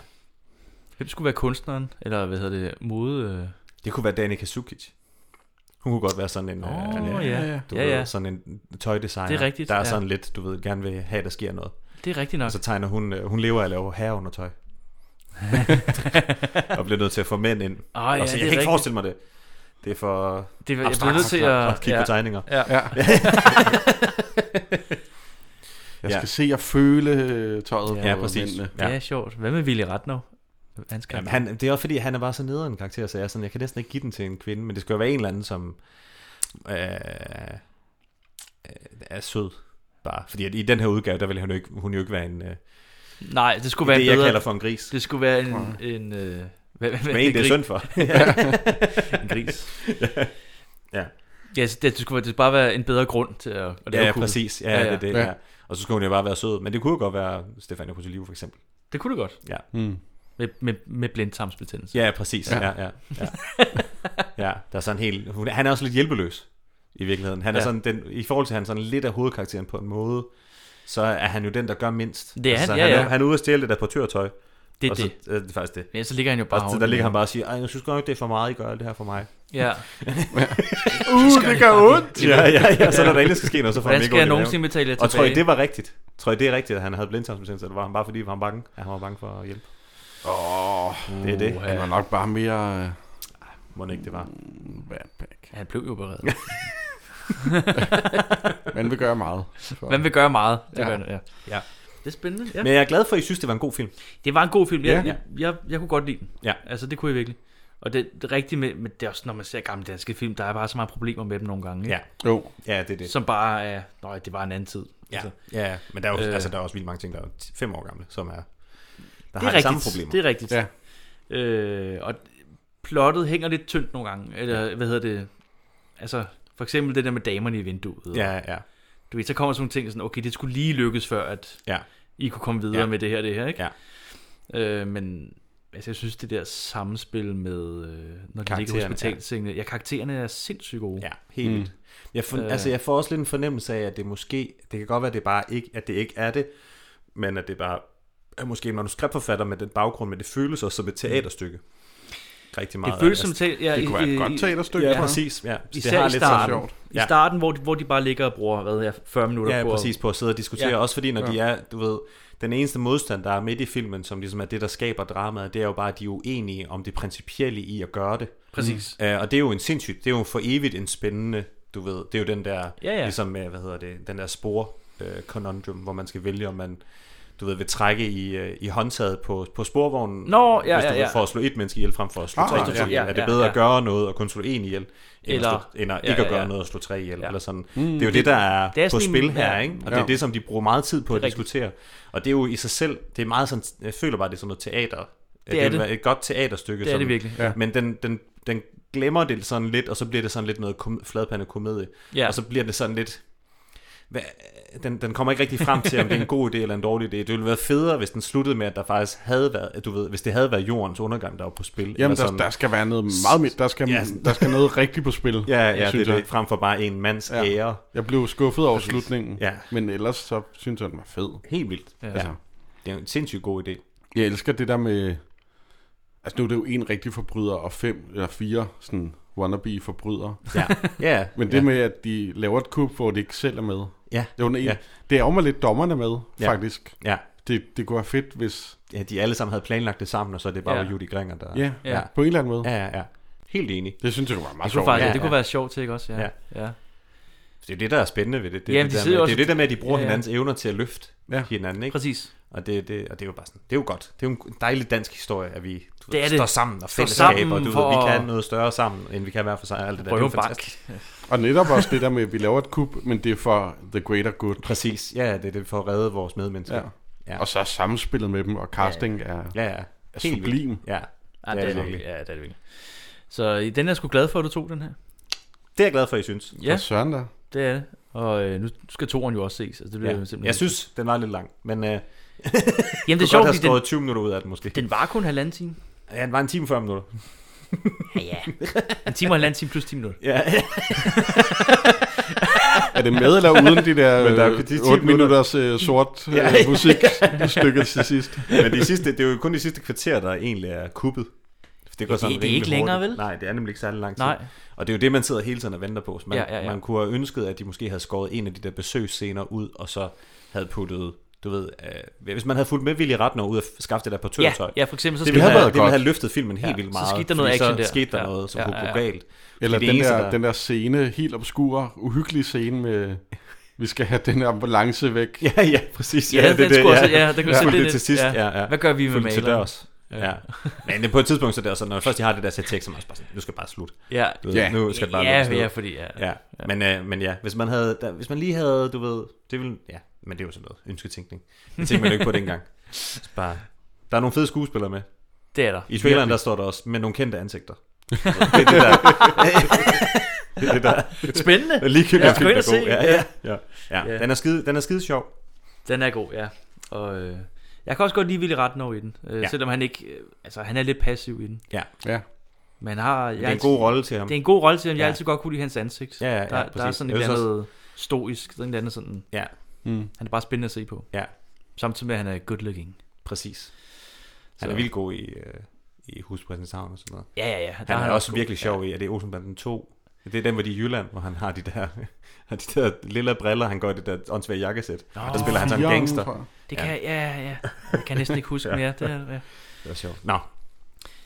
B: Hvem skulle være kunstneren? Eller hvad hedder det? Mode... øh,
D: Det kunne være Danica Sukic. Hun kunne godt være sådan en,
B: Åh,
D: en øh,
B: ja, ja.
D: Du
B: Ja,
D: ved,
B: ja.
D: sådan en tøjdesigner,
B: Det er rigtigt,
D: der er
B: ja.
D: sådan lidt, du ved, gerne vil have, at der sker noget.
B: Det er rigtigt nok.
D: Og så tegner hun, øh, hun lever af at lave herre under tøj. og bliver nødt til at få mænd ind.
B: Åh, ja,
D: og
B: det er
D: så, jeg kan ikke
B: rigtigt.
D: forestille mig det. Det er for
B: Det, jeg bliver
D: abstrakt
B: nødt til
D: at
B: at...
D: kigge på tegninger.
B: Ja. ja.
C: Jeg skal se og føle øh, tøjet
D: Ja,
C: på
D: præcis.
C: mændene.
B: ja. Det er sjovt. Hvad med Willy Ratner? Hans
D: Jamen, han, det er også fordi, han er bare så nederen en karakter, så jeg, er sådan, jeg kan næsten ikke give den til en kvinde, men det skal jo være en eller anden, som øh, øh, er sød. Bare. Fordi at i den her udgave, der ville hun jo ikke, hun jo ikke være en... Øh,
B: Nej, det skulle være
D: det,
B: en bedre...
D: jeg kalder for en gris.
B: Det skulle være en... en øh, hvad, hvad,
D: Men en, det er
B: gri-
D: synd for.
B: Ja. en gris.
D: Ja.
B: Ja, så det, det, skulle, være- det skulle bare være en bedre grund til at, at lave
D: ja,
B: kuglen.
D: præcis. Ja, ja, ja. Det, det, ja. Og så skulle hun jo bare være sød. Men det kunne jo godt være Stefania Potolivo, for eksempel.
B: Det kunne det godt.
D: Ja.
C: Mm.
B: Med, med, med blindtarmsbetændelse.
D: Ja, præcis. Ja, ja, ja. ja. ja der er sådan helt, hun, han er også lidt hjælpeløs i virkeligheden. Han er
B: Ja.
D: ja. sådan den, I forhold til, at han sådan lidt af hovedkarakteren på en måde, så er han jo den, der gør mindst. Altså,
B: Det er han,
D: så
B: ja,
D: han, er-
B: ja.
D: han er ude og stjæle det der portørtøj.
B: Det er
D: og så,
B: det.
D: øh, det er faktisk det.
B: Ja, så ligger han jo bare
D: og så, der
B: oven i
D: ligger han
B: den.
D: bare og siger, Ej, jeg synes godt nok, det er for meget, I gør det her for mig.
B: Ja.
C: uh, det gør ondt!
D: ja, ja, ja, så når der endelig skal ske noget, så får
B: Hvordan
D: han
B: skal jeg
D: ikke ondt i maven.
B: nogensinde betale jer
D: Og tror I,
B: tilbage?
D: det var rigtigt? Tror I, det er rigtigt, at han havde blindtarmsbetændelse? Eller var han bare fordi, han var bange, at han var bange for at hjælpe?
C: Åh, oh,
D: Det er det.
C: Han var nok bare mere... øh,
D: Må det ikke det var.
B: Han blev jo beredt.
C: Man vil gøre meget. For-
B: Man vil gøre meget. Det
C: Ja.
B: ja. gør han, ja.
D: ja.
B: Det er spændende. Ja.
D: Men jeg er glad for, at I synes, det var en god film.
B: Det var en god film. Jeg,
D: Ja.
B: ja. jeg, jeg, jeg kunne godt lide den.
D: Ja.
B: Altså, det kunne jeg virkelig. Og det, det rigtige med, men det er også, når man ser gamle danske film, der er bare så mange problemer med dem nogle gange. Ikke?
D: Ja. Jo. Ja, det er det.
B: Som bare er, nej, det var en anden tid. Altså,
D: Ja, ja Altså. men der er, jo, øh, altså, der er også vildt mange ting, der er ti- fem år gamle, som er, der har
B: det er
D: de
B: rigtigt,
D: samme problemer.
B: Det er rigtigt. Ja. Øh, og plottet hænger lidt tyndt nogle gange. Eller ja. hvad hedder det? Altså, for eksempel det der med damerne i vinduet. og-
D: Ja, ja.
B: Du ved, så kommer sådan nogle ting, sådan, okay, det skulle lige lykkes før, at
D: Ja.
B: I kunne komme videre
D: Ja.
B: ja. med det her, det her, ikke?
D: Ja.
B: Øh, men altså, jeg synes, det der samspil med, øh, når de ligger i
D: Karaktererne, ja.
B: hospitalsengene, ja. ja, karaktererne er sindssygt gode.
D: Ja, helt vildt. Jeg, for,
B: Øh.
D: altså, jeg får også lidt en fornemmelse af, at det måske, det kan godt være, at det bare ikke, at det ikke er det, men at det bare er måske en manuskriptforfatter med den baggrund, men det føles også som et teaterstykke. Rigtig meget.
B: Mm. Det føles som teater. Ja, i- i- i-
D: Ja, præcis. Ja.
B: Især det har i
D: lidt
B: starten.
D: sådan-
B: I starten, hvor de, hvor de bare ligger og bruger hvad ved jeg, 40 minutter
D: ja,
B: på.
D: præcis på at sidde og diskutere. Ja. Også fordi, når ja. de
B: Ja.
D: er, du ved, den eneste modstand, der er midt i filmen, som ligesom er det, der skaber dramaet, det er jo bare, at de er uenige om det principielle i at gøre det.
B: Præcis.
D: Mm. Øh, og det er jo en sindssygt, det er jo for evigt en spændende, du ved, det er jo den der,
B: Ja, ja.
D: ligesom, øh, hvad hedder det, den der spor øh, conundrum, hvor man skal vælge, om man du ved, vil trække i, øh, i håndtaget på, på sporvognen,
B: Nå, ja,
D: hvis du
B: ja,
D: vil,
B: ja.
D: for at slå et menneske ihjel frem for at slå
B: Ah,
D: tre
B: ja,
D: mennesker ihjel.
B: ja,
D: Er det
B: ja,
D: bedre
B: ja.
D: at gøre noget og kun slå en ihjel, end, eller, at,
B: Eller-
D: slå, end at
B: ja,
D: ikke at
B: ja,
D: gøre
B: ja.
D: noget og slå tre ihjel?
B: Ja.
D: Eller sådan.
B: Mm,
D: det er jo det,
B: det-
D: der er,
B: det er
D: på
B: sådan
D: spil
B: en-
D: her,
B: ja.
D: ikke? Og det er
B: Ja.
D: det, som de bruger meget tid på at
B: Det er rigtigt.
D: diskutere. Og det er jo i sig selv, det er meget sådan, jeg føler bare, det er sådan noget teater.
B: Det
D: Det
B: er
D: er
B: det.
D: jo et godt teaterstykke.
B: Det er
D: som-
B: det virkelig. Ja.
D: Men den, den, den glemmer det sådan lidt, og så bliver det sådan lidt noget kom, fladpande komedie.
B: Ja.
D: Og så bliver det sådan lidt, hvad, den, den kommer ikke rigtig frem til, om det er en god idé eller en dårlig idé. Det ville være federe, hvis den sluttede med, at der faktisk havde været, at du ved, hvis det havde været jordens undergang, der var på spil.
C: Jamen, der, der skal være noget meget mere. Der skal,
D: Ja.
C: der skal noget rigtigt på spil.
D: Ja, ja, det er det,
C: frem
D: for bare en mands
C: ja.
D: ære.
C: Jeg blev skuffet over
D: Præcis.
C: slutningen, ja. men ellers så synes jeg, den var fed. Altså,
D: Helt vildt. Ja. Ja. Det er en sindssygt god idé.
C: Jeg elsker det der med... Altså nu er det jo en rigtig forbryder og fem eller fire sådan wannabe forbrydere.
D: Ja. Ja.
C: Men det
D: Ja.
C: med, at de laver et kub, hvor de ikke selv er med. Det,
D: Ja.
C: er jo en,
D: Ja.
C: ja. det er jo mig lidt dommerne med,
D: Ja.
C: ja. faktisk.
D: Ja.
C: Det, det kunne være fedt, hvis...
D: Ja, de alle sammen havde planlagt det sammen, og så er det bare ja. Judy Gringer, der...
C: Ja, ja, på en eller anden måde.
D: Ja, ja, ja. Helt enig.
C: Det synes jeg var meget
B: Det kunne
D: sjovt.
B: faktisk- det kunne være sjovt til, ikke også? Ja. Ja.
D: Det er det, der er spændende ved det. Det, er
B: Jamen,
D: det,
B: de
D: der
B: sidder
D: med,
B: også-
D: det er jo det der med, at de bruger
B: Ja, ja.
D: ja, hinandens evner til at løfte ja. hinanden, ikke?
B: Præcis.
D: Og det, det, og det er jo bare sådan, det er jo godt. Det er jo en dejlig dansk historie, at vi du
B: Det er
D: ved,
B: det.
D: står sammen og
B: Står
D: fællesskaber.
B: sammen
D: Du
B: for
D: ved, vi
B: at-
D: kan noget større sammen, end vi kan hver for sig. Alt det der.
B: Prøve
D: det er jo
B: en bank.
D: fantastisk.
C: Og netop også det der med, at vi laver et kub, men det er for the greater good.
D: Præcis, ja, det er det for at redde vores medmennesker.
C: Ja. Ja. Og så er samspillet med dem, og casting ja. er,
D: Ja, ja.
C: er
D: Helt vildt.
C: sublim.
D: Ja.
B: Ja, det er det virkelig. Ja, det er det virkelig. Så øh, den er jeg sgu glad for, at du tog den her.
D: Det er jeg glad for, I synes.
B: Ja.
C: For søren da.
B: Det er det. Og øh, nu skal toren jo også ses. Altså, det bliver
D: Ja.
B: ja. simpelthen
D: Jeg synes, den var lidt lang, men... Øh, Jamen,
B: Jamen, det er
D: sjovt,
B: sjovt,
D: have
B: fordi den,
D: skåret 20 minutter ud af den, måske.
B: den var kun halvanden time.
D: Ja, den var en time og 40 minutter.
B: Ja, ja. En time og en halvanden time plus 10 minutter.
D: Ja.
C: Er det med eller uden de der,
D: Men der er
C: øh,
D: de 10
C: otte minutters, øh, sort, øh, musikstykke til sidst?
D: Men de sidste, det er jo kun de sidste kvarter, der egentlig er kuppet. Det,
B: Ja, det- det er
D: rimelig
B: ikke længere,
D: hurtigt.
B: vel?
D: Nej, det er nemlig ikke særlig lang tid.
B: Nej.
D: Og det er jo det, man sidder hele tiden og venter på. Så man,
B: Ja, ja, ja.
D: man kunne have ønsket, at de måske havde skåret en af de der besøgsscener ud, og så havde puttet du ved, øh, hvis man havde fulgt med Willy Ratner ud og skaffe det der portørtøj.
B: Ja, ja, for eksempel, så
D: det
B: skete
D: ville have,
B: der-
D: det ville have
B: godt.
D: løftet filmen helt
B: Ja,
D: vildt
B: så
D: meget.
B: skete der noget
D: fordi så
B: action der.
D: skete der
B: Ja,
D: noget, som
B: ja,
D: kunne
B: ja,
D: gå
B: ja.
D: galt.
C: Eller
D: Fordi det
C: den
D: eneste,
C: der, der... den der scene, helt obskur, uhyggelig scene med, vi skal have den her ambulance væk.
D: Ja, ja, præcis.
B: Ja, den skulle også- ja, den kunne se
D: Fulgte
B: lidt-
D: det til sidst.
B: ja.
D: Ja, ja.
B: Hvad gør vi med
D: Fulgte til
B: maleren?
D: dørs.
B: Ja.
D: Ja. Men det- på et tidspunkt så er det også sådan, når først de har det der sæt tekst, så er man også bare sådan, nu skal det bare slutte.
B: Ja.
D: Du ved,
B: Ja.
D: Nu skal det bare
B: Ja,
D: lukkes ned.
B: ja, fordi, ja.
D: ja. Men, øh, men ja, hvis man, havde, der, hvis man lige havde, du ved, det ville, ja, men det er jo sådan noget ønsketænkning. Det tænkte man jo ikke på dengang. Så bare, der er nogle fede skuespillere med.
B: Det er der.
D: I traileren,
B: Virkelig.
D: der står der også, med nogle kendte ansigter. det er det der. det er det der.
B: Spændende.
D: Og lige
B: Ja,
D: ja,
B: skal
D: film,
B: ind
D: der
B: og
D: er god.
B: se.
D: Ja, ja,
B: Ja.
D: ja. ja.
B: Ja.
D: Den, er skide, den er skide sjov.
B: Den er god, ja. Og øh, jeg kan også godt lide Willy Ratner i den. Øh,
D: Ja.
B: ja. Selvom han ikke... Øh, altså, han er lidt passiv i den.
D: Ja.
C: ja.
B: Men har, jeg
D: Men det er en
B: altid-
D: god rolle til ham.
B: Det er en god rolle til ham. Jeg har
D: Ja.
B: altid godt kunne lide hans ansigt.
D: Ja, ja, ja,
B: der, der er
D: præcis.
B: sådan
D: Jeg
B: et
D: synes
B: eller
D: også-
B: andet stoisk, sådan et eller andet sådan...
D: Ja.
C: Mm.
B: Han er bare spændende at se på.
D: Ja.
B: Samtidig med, at han er good looking.
D: Præcis. Han er vildt god i, øh, i Huspræsenshavn og sådan noget.
B: Ja, ja, ja. Der
D: Han
B: er
D: er,
B: han også
D: også
B: god.
D: virkelig sjov i, at det er Olsenbanden 2. Det er den, hvor de er i Jylland, hvor han har de der, har de der lille briller, han går i det der åndssvage jakkesæt.
B: Nå,
D: Oh, der spiller han sådan en
B: Jørgen,
D: gangster.
B: tror jeg. Det kan- ja, ja. Jeg kan næsten ikke huske mere. Det er- ja.
D: det var sjovt. Nå, god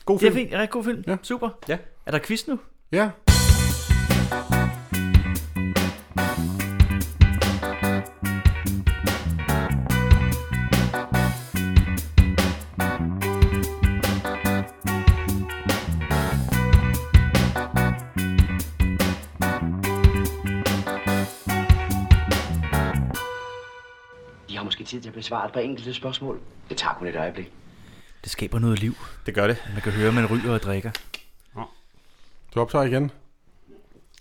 B: God film.
D: film.
B: Det er fint. Rigtig god film. Ja. Super.
D: Ja.
B: Er der quiz nu?
C: Ja.
U: I har måske tid til at besvare et par enkelte spørgsmål. Det tager kun et øjeblik.
B: Det skaber noget liv.
D: Det gør det.
B: Man kan høre, at man ryger og drikker.
C: Du optager igen.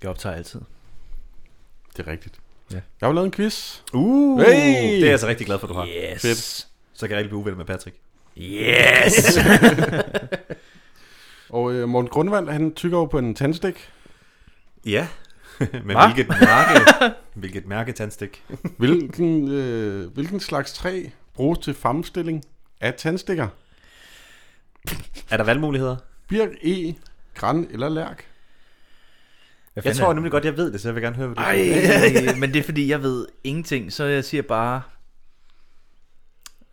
B: Jeg optager altid.
C: Det er rigtigt.
B: Ja.
C: Jeg har jo lavet en quiz.
D: Uh,
C: Hey!
D: det er jeg altså rigtig glad for, du har.
B: Yes.
D: Fedt. Så kan jeg rigtig blive uvenner med Patrick.
B: Yes!
C: og øh, Morten Grundvald, han tykker jo på en tandstik.
D: Ja, men
C: Hva?
D: hvilket mærke, hvilket mærke tandstik.
C: Hvilken, øh, hvilken slags træ bruges til fremstilling af tandstikker?
D: Er der valgmuligheder?
C: Birk, E, Græn eller Lærk?
D: Jeg tror nemlig godt, jeg ved det, så jeg vil gerne høre, hvad du
B: Ej, Øh, men det er fordi, jeg ved ingenting, så jeg siger bare...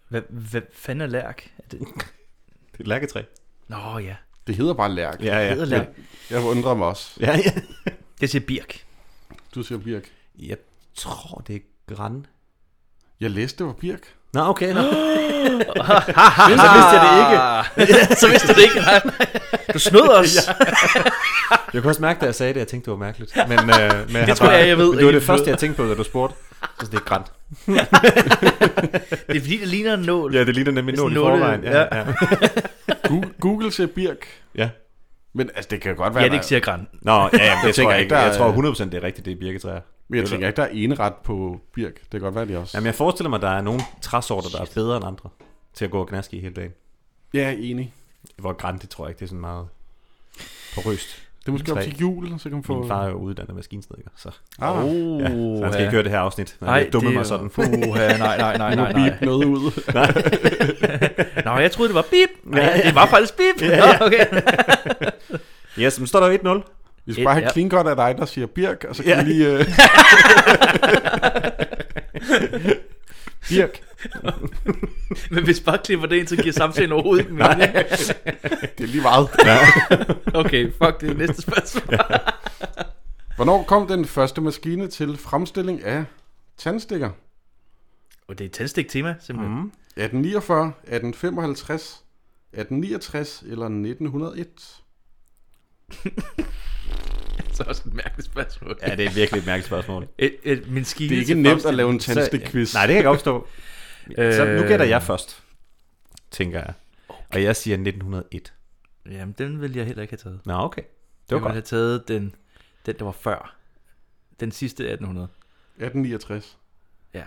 B: Hvad, hvad fanden er lærk? Er det...
D: Det er et lærketræ.
B: Nå ja.
C: Det hedder bare Lærk.
D: Ja, ja.
B: Det hedder lærk.
C: Jeg, jeg undrer mig også.
D: Ja, ja.
B: Det siger birk.
C: Du siger birk.
D: Jeg tror, det er græn.
C: Jeg læste, det var birk.
D: Nå, okay. Nå.
B: Så vidste jeg det ikke. Så vidste du det ikke, nej. Du snød os.
D: Ja. Jeg kunne også mærke, da jeg sagde det, jeg tænkte, det var mærkeligt. Men, øh, men
B: Det
D: har
B: tror jeg, jeg ved
D: Det var
B: ikke.
D: det første, jeg tænkte på, da du spurgte. Så det er grænt.
B: Det er fordi, det ligner en nål.
D: Ja, det ligner nemlig en nål i
B: Sådan nåle-
D: forvejen. Ja, ja.
C: Google, Google siger birk.
D: Ja.
C: Men altså, det kan jo godt være...
B: Ja, det
C: der-
B: ikke siger græn.
D: Nå, ja, jamen, det
C: Jeg
D: tror
C: tænker
D: jeg
C: ikke,
D: ikke.
C: der
D: Jeg
C: er-
D: tror 100% det er rigtigt, det er birketræer.
C: Men jeg tænker ikke, der er ene ret på birk. Det kan godt være, de også.
D: Jamen, jeg forestiller mig, at der er nogle træsorter, der er bedre end andre til at gå og gnaske i hele dagen.
C: Ja, enig.
D: Hvor grænt, det tror jeg ikke, det er sådan meget porøst.
C: Det er måske op
D: Træ.
C: til jul, så kan man få-
D: Min far er jo uddannet maskinsnedker, så...
C: Ah.
D: ja, så han skal
C: Ja.
D: ikke høre det her afsnit.
B: Nej,
D: Nej, det dumme
B: det-
D: mig sådan.
B: Puha, nej, nej, nej, nej,
D: Nu
B: nej.
D: beep noget ud.
B: Nå, jeg troede, det var beep. Nej, det var faktisk beep. Nå, okay.
D: yes, men står der jo 1-0.
C: Vi skal bare have clean godt af dig, der siger Birk, og så kan
D: Ja.
C: ja. vi lige... øh, Birk.
B: Men hvis bare klipper det ind, så giver samtalen overhovedet ikke
C: Nej.
B: mening.
C: Det er lige meget.
B: Ja. okay, fuck det. Næste spørgsmål.
C: Hvornår kom den første maskine til fremstilling af tandstikker?
B: Og det er et tændstik-tema, simpelthen.
D: Mhm.
C: Mm. 1849, 1855, 1869 eller 1901?
B: Så er også et mærkeligt spørgsmål.
D: Ja, det er virkelig et mærkeligt spørgsmål.
B: Et, et, min skine
C: Det er ikke
B: til
C: nemt
B: fremstilling.
C: at lave en
B: Så-
C: tandstik-quiz.
D: Nej, det kan jeg godt forstå. Øh. så nu gætter jeg først, tænker jeg. Og jeg siger 1901.
B: Jamen, den ville jeg heller ikke have taget.
D: Nå, okay.
B: Det
D: Det
B: var
D: var
B: jeg ville
D: godt.
B: have taget den, den, der var før. Den sidste 1800.
C: 1869.
B: Ja.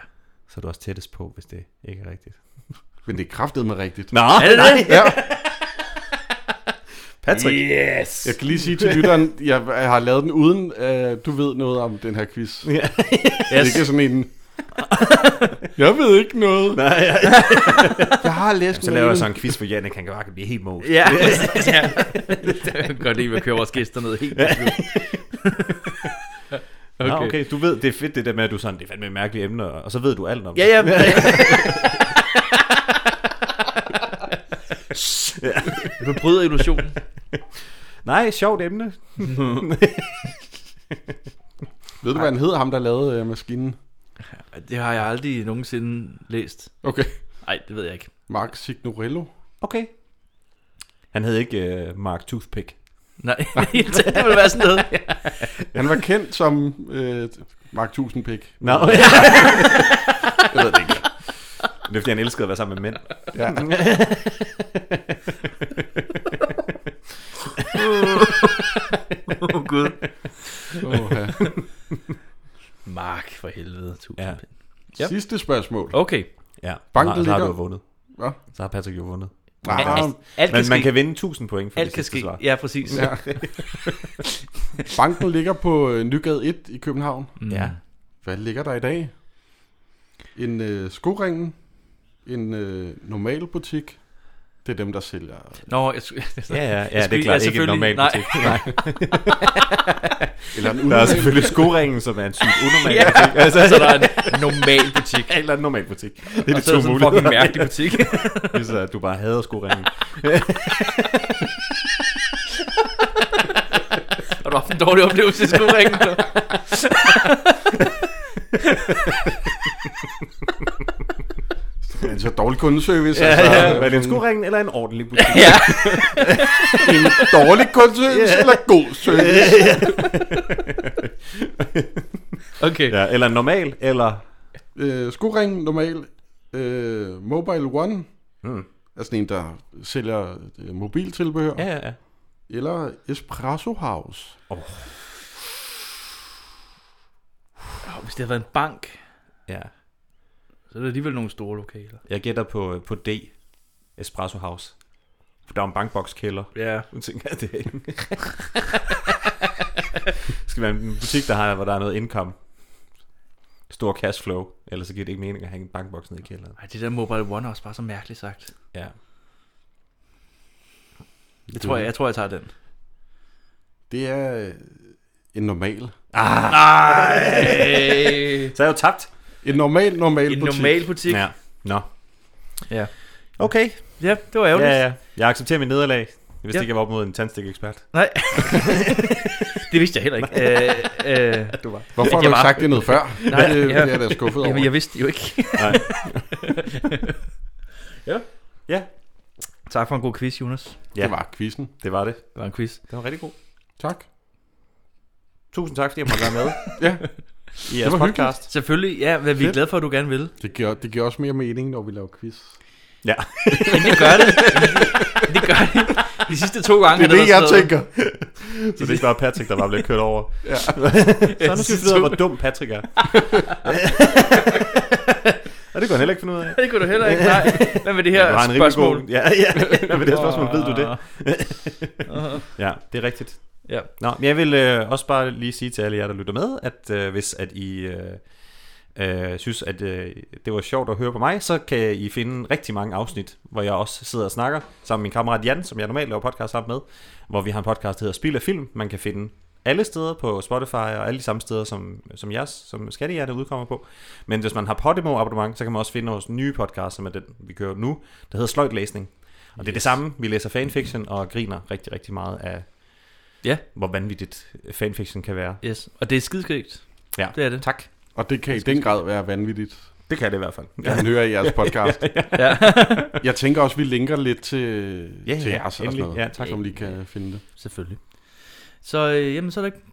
D: Så er du også tættest på, hvis det ikke er rigtigt.
C: Men det er kraftet med rigtigt.
D: Nå,
C: Er det
D: nej.
C: det? Ja.
D: Patrick.
B: Yes.
C: Jeg kan lige sige til lytteren, jeg, jeg har lavet den uden, øh, du ved noget om den her quiz. Ja. Yes. Det er ikke sådan en... jeg ved ikke noget.
D: Nej, ja.
C: jeg har læst
D: Jamen, så laver jeg så en quiz for Janne, han kan bare blive helt mos.
B: Ja, ja. Jeg kan godt lide, at vi kører vores gæster ned helt.
D: Okay. Nå, okay, du ved, det er fedt det der med, at du er sådan, det er fandme et mærkeligt emne, og så ved du alt om
B: Ja,
D: det.
B: ja. Du bryder illusionen.
D: Nej, sjovt emne.
C: Ved du, hvad han hedder, ham der lavede øh, maskinen?
B: Det har jeg aldrig nogensinde læst.
C: Okay.
B: Nej, det ved jeg ikke.
C: Mark Signorello.
D: Okay. Han hed ikke uh, Mark Toothpick.
B: Nej, det ville være sådan noget.
C: Han var kendt som øh, Mark Tusindpik.
D: Nå.
C: jeg ved det ikke.
D: Men Det er fordi, han elskede at være sammen med mænd.
C: Ja.
B: Åh, oh, Gud.
C: Åh, ja.
B: Mark, for helvede. Tusind
D: Ja. Oh,
B: ja. Yep.
C: Sidste spørgsmål.
B: Okay.
D: Ja,
C: Banken
D: så, så har
C: ligger-
D: du jo vundet.
C: Hvad?
D: Så har Patrick jo vundet.
C: Nej.
D: Ja.
C: Alt-
D: Men
C: alt kan
D: man
C: ske.
D: kan vinde 1000 point for
B: Alt
D: det
B: kan
D: sidste
B: ske.
D: svar.
B: Ja, præcis.
C: Ja. Banken ligger på øh, Nygade 1 i København.
D: Mm.
B: Ja.
C: Hvad ligger der i dag? En øh, skoringen, en øh, normal butik. Det er dem, der sælger.
B: Nå, jeg skulle...
D: Ja, ja, ja, det er klart. Ikke en normal
B: altså, nej.
D: butik.
B: Nej.
C: Eller en
D: Der er
C: unormal.
D: selvfølgelig skoringen, som er en sygt unormal
B: Ja.
D: butik.
B: Så der er en normal butik.
D: Eller en normal butik. Det er
B: Og
D: de
B: så er der
D: to
B: sådan en
D: muligheder.
B: fucking mærkelig butik.
D: Hvis øh, du bare hader skoringen.
B: Og du har haft en dårlig oplevelse i skoringen.
C: Det er en så dårlig kundeservice.
D: Ja,
C: altså.
D: ja. Hvad er det, en skoringen eller en ordentlig butik?
C: Ja. en dårlig kundeservice
D: Ja.
C: eller god service?
B: Okay.
D: Ja, eller en normal, eller...
C: øh, skoring normal, øh, Mobile One,
D: Hmm.
C: mm. er sådan en, der sælger øh, mobiltilbehør.
D: Ja, ja, ja.
C: Eller Espresso House.
D: Oh.
B: Åh, Hvis det havde været en bank,
D: Ja.
B: så er det alligevel nogle store lokaler.
D: Jeg gætter på, på D. Espresso House. For der er en bankbokskælder.
B: Ja.
D: Nu tænker jeg, det er en- Det skal være en butik, der har, hvor der er noget income. Stor cashflow. Ellers så giver det ikke mening at hænge en bankboks ned i kælderen.
B: Ej, det der Mobile One er også bare så mærkeligt sagt.
D: Ja.
B: Det
D: Mm.
B: tror jeg, jeg tror, jeg tager den.
C: Det er øh, en normal.
D: Ah.
B: Nej.
D: så er jeg jo tabt.
C: En normal, normal
B: En
C: butik.
B: normal butik.
D: Ja. Nå.
B: Ja.
D: Okay.
B: Ja, det var ærgerligt.
D: Ja, ja. Jeg accepterer mit nederlag, hvis
B: Ja.
D: ja. ikke jeg var op mod en tandstik-ekspert.
B: Nej. det vidste jeg heller ikke. Øh, øh,
D: Du var.
C: Hvorfor har
B: jeg
C: du ikke
B: var-
C: sagt det noget før?
B: Nej,
C: Det- det
B: ja.
C: er jeg da skuffet over.
B: Jamen, jeg vidste det jo ikke.
C: Nej.
B: ja.
D: Ja.
B: Tak for en god quiz, Jonas.
D: Ja.
C: Det var quizzen.
D: Det var det.
B: Det var en quiz.
D: Det var rigtig god.
C: Tak.
D: Tusind tak, fordi jeg måtte være med.
C: Ja.
D: I jeres podcast.
B: Selvfølgelig, ja, hvad vi er
C: Fedt.
B: glade for, at du gerne vil.
C: Det giver, det giver også mere mening, når vi laver quiz.
D: Ja.
B: Men det gør det. Men det gør det. De sidste to gange
C: Det er
B: har
C: det, jeg
B: været sådan
C: tænker.
B: noget-
D: Så det er ikke bare Patrick, der bare bliver kørt over.
C: Ja.
D: Så er nu skal vi finde ud af, hvor dum Patrick er. Og det kunne han heller ikke finde ud af.
B: Det kunne du heller ikke, nej. Hvad med det her
D: Du har en rimelig
B: spørgsmål?
D: god- Ja, ja. Hvad med det her spørgsmål? Ved du det? ja, det er rigtigt.
B: Ja.
D: Nå, men jeg vil øh, også bare lige sige til alle jer, der lytter med, at øh, hvis at I øh, øh, synes, at øh, det var sjovt at høre på mig, så kan I finde rigtig mange afsnit, hvor jeg også sidder og snakker sammen med min kammerat Jan, som jeg normalt laver podcast sammen med, hvor vi har en podcast, der hedder Spil af Film. Man kan finde alle steder på Spotify og alle de samme steder, som, som jeres, som Skattehjerte udkommer på. Men hvis man har Podimo abonnement, så kan man også finde vores nye podcast, som er den, vi kører nu, der hedder Sløjtlæsning. Og det er det samme. Vi læser fanfiction og griner rigtig, rigtig meget af,
B: ja.
D: hvor vanvittigt fanfiction kan være.
B: Yes. Og det er skideskægt.
D: Ja.
B: Det er det.
D: Tak.
C: Og det kan i den grad være vanvittigt.
D: Det kan det i hvert fald.
C: Ja. Jeg hører i jeres podcast.
D: Ja, ja.
C: jeg tænker også, vi linker lidt til,
B: Ja, ja,
C: til jeres og
B: endelig.
C: sådan
B: Ja,
C: noget,
B: tak.
C: som lige kan finde det.
B: Selvfølgelig. Så øh, jamen, så er der ikke...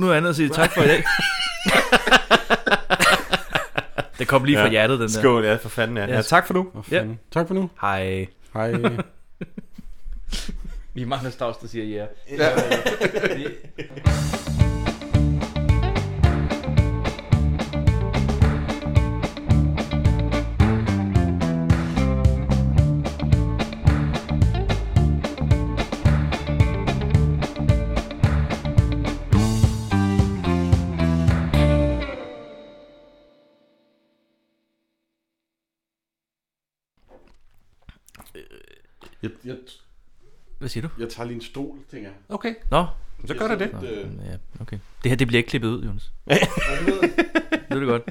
B: Nu er andet at sige tak for i dag. det kom lige fra
D: Ja.
B: hjertet, den der.
D: Skål, ja, for fanden, ja. Ja, tak for nu.
B: Ja.
C: Tak for nu.
B: Hej.
C: Hej.
B: Vi er mange af Stavs, der siger ja.
C: Ja. Jeg, jeg,
B: Hvad siger du?
C: jeg tager lige en stol, tænker jeg.
D: Okay.
B: Nå.
D: Så gør det det.
B: Nå, ja, okay. Det her, det bliver ikke klippet ud, Jonas. det er det godt.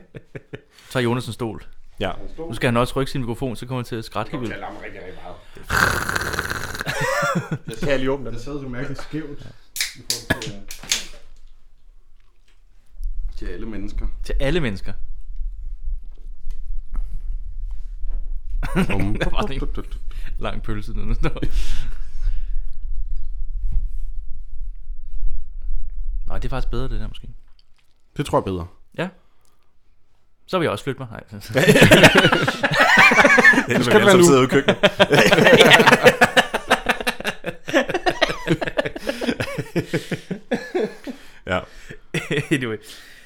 B: Så tager Jonas en stol.
D: Ja.
B: Nu skal han også rykke sin mikrofon, så kommer han til at skrætte helt vildt.
D: Kan jeg lige åbne den?
C: Jeg sad så mærkeligt skævt. i forhold til, øh, Til alle mennesker.
B: Til alle mennesker. Der var sådan en lang pølse, den der. Nej, det er faktisk bedre, det der måske.
C: Det tror jeg er bedre.
B: Ja. Så vil jeg også flytte mig. Nej. nu
D: Nu skal du være nu. Sidder ude i køkkenet. ja.
B: anyway.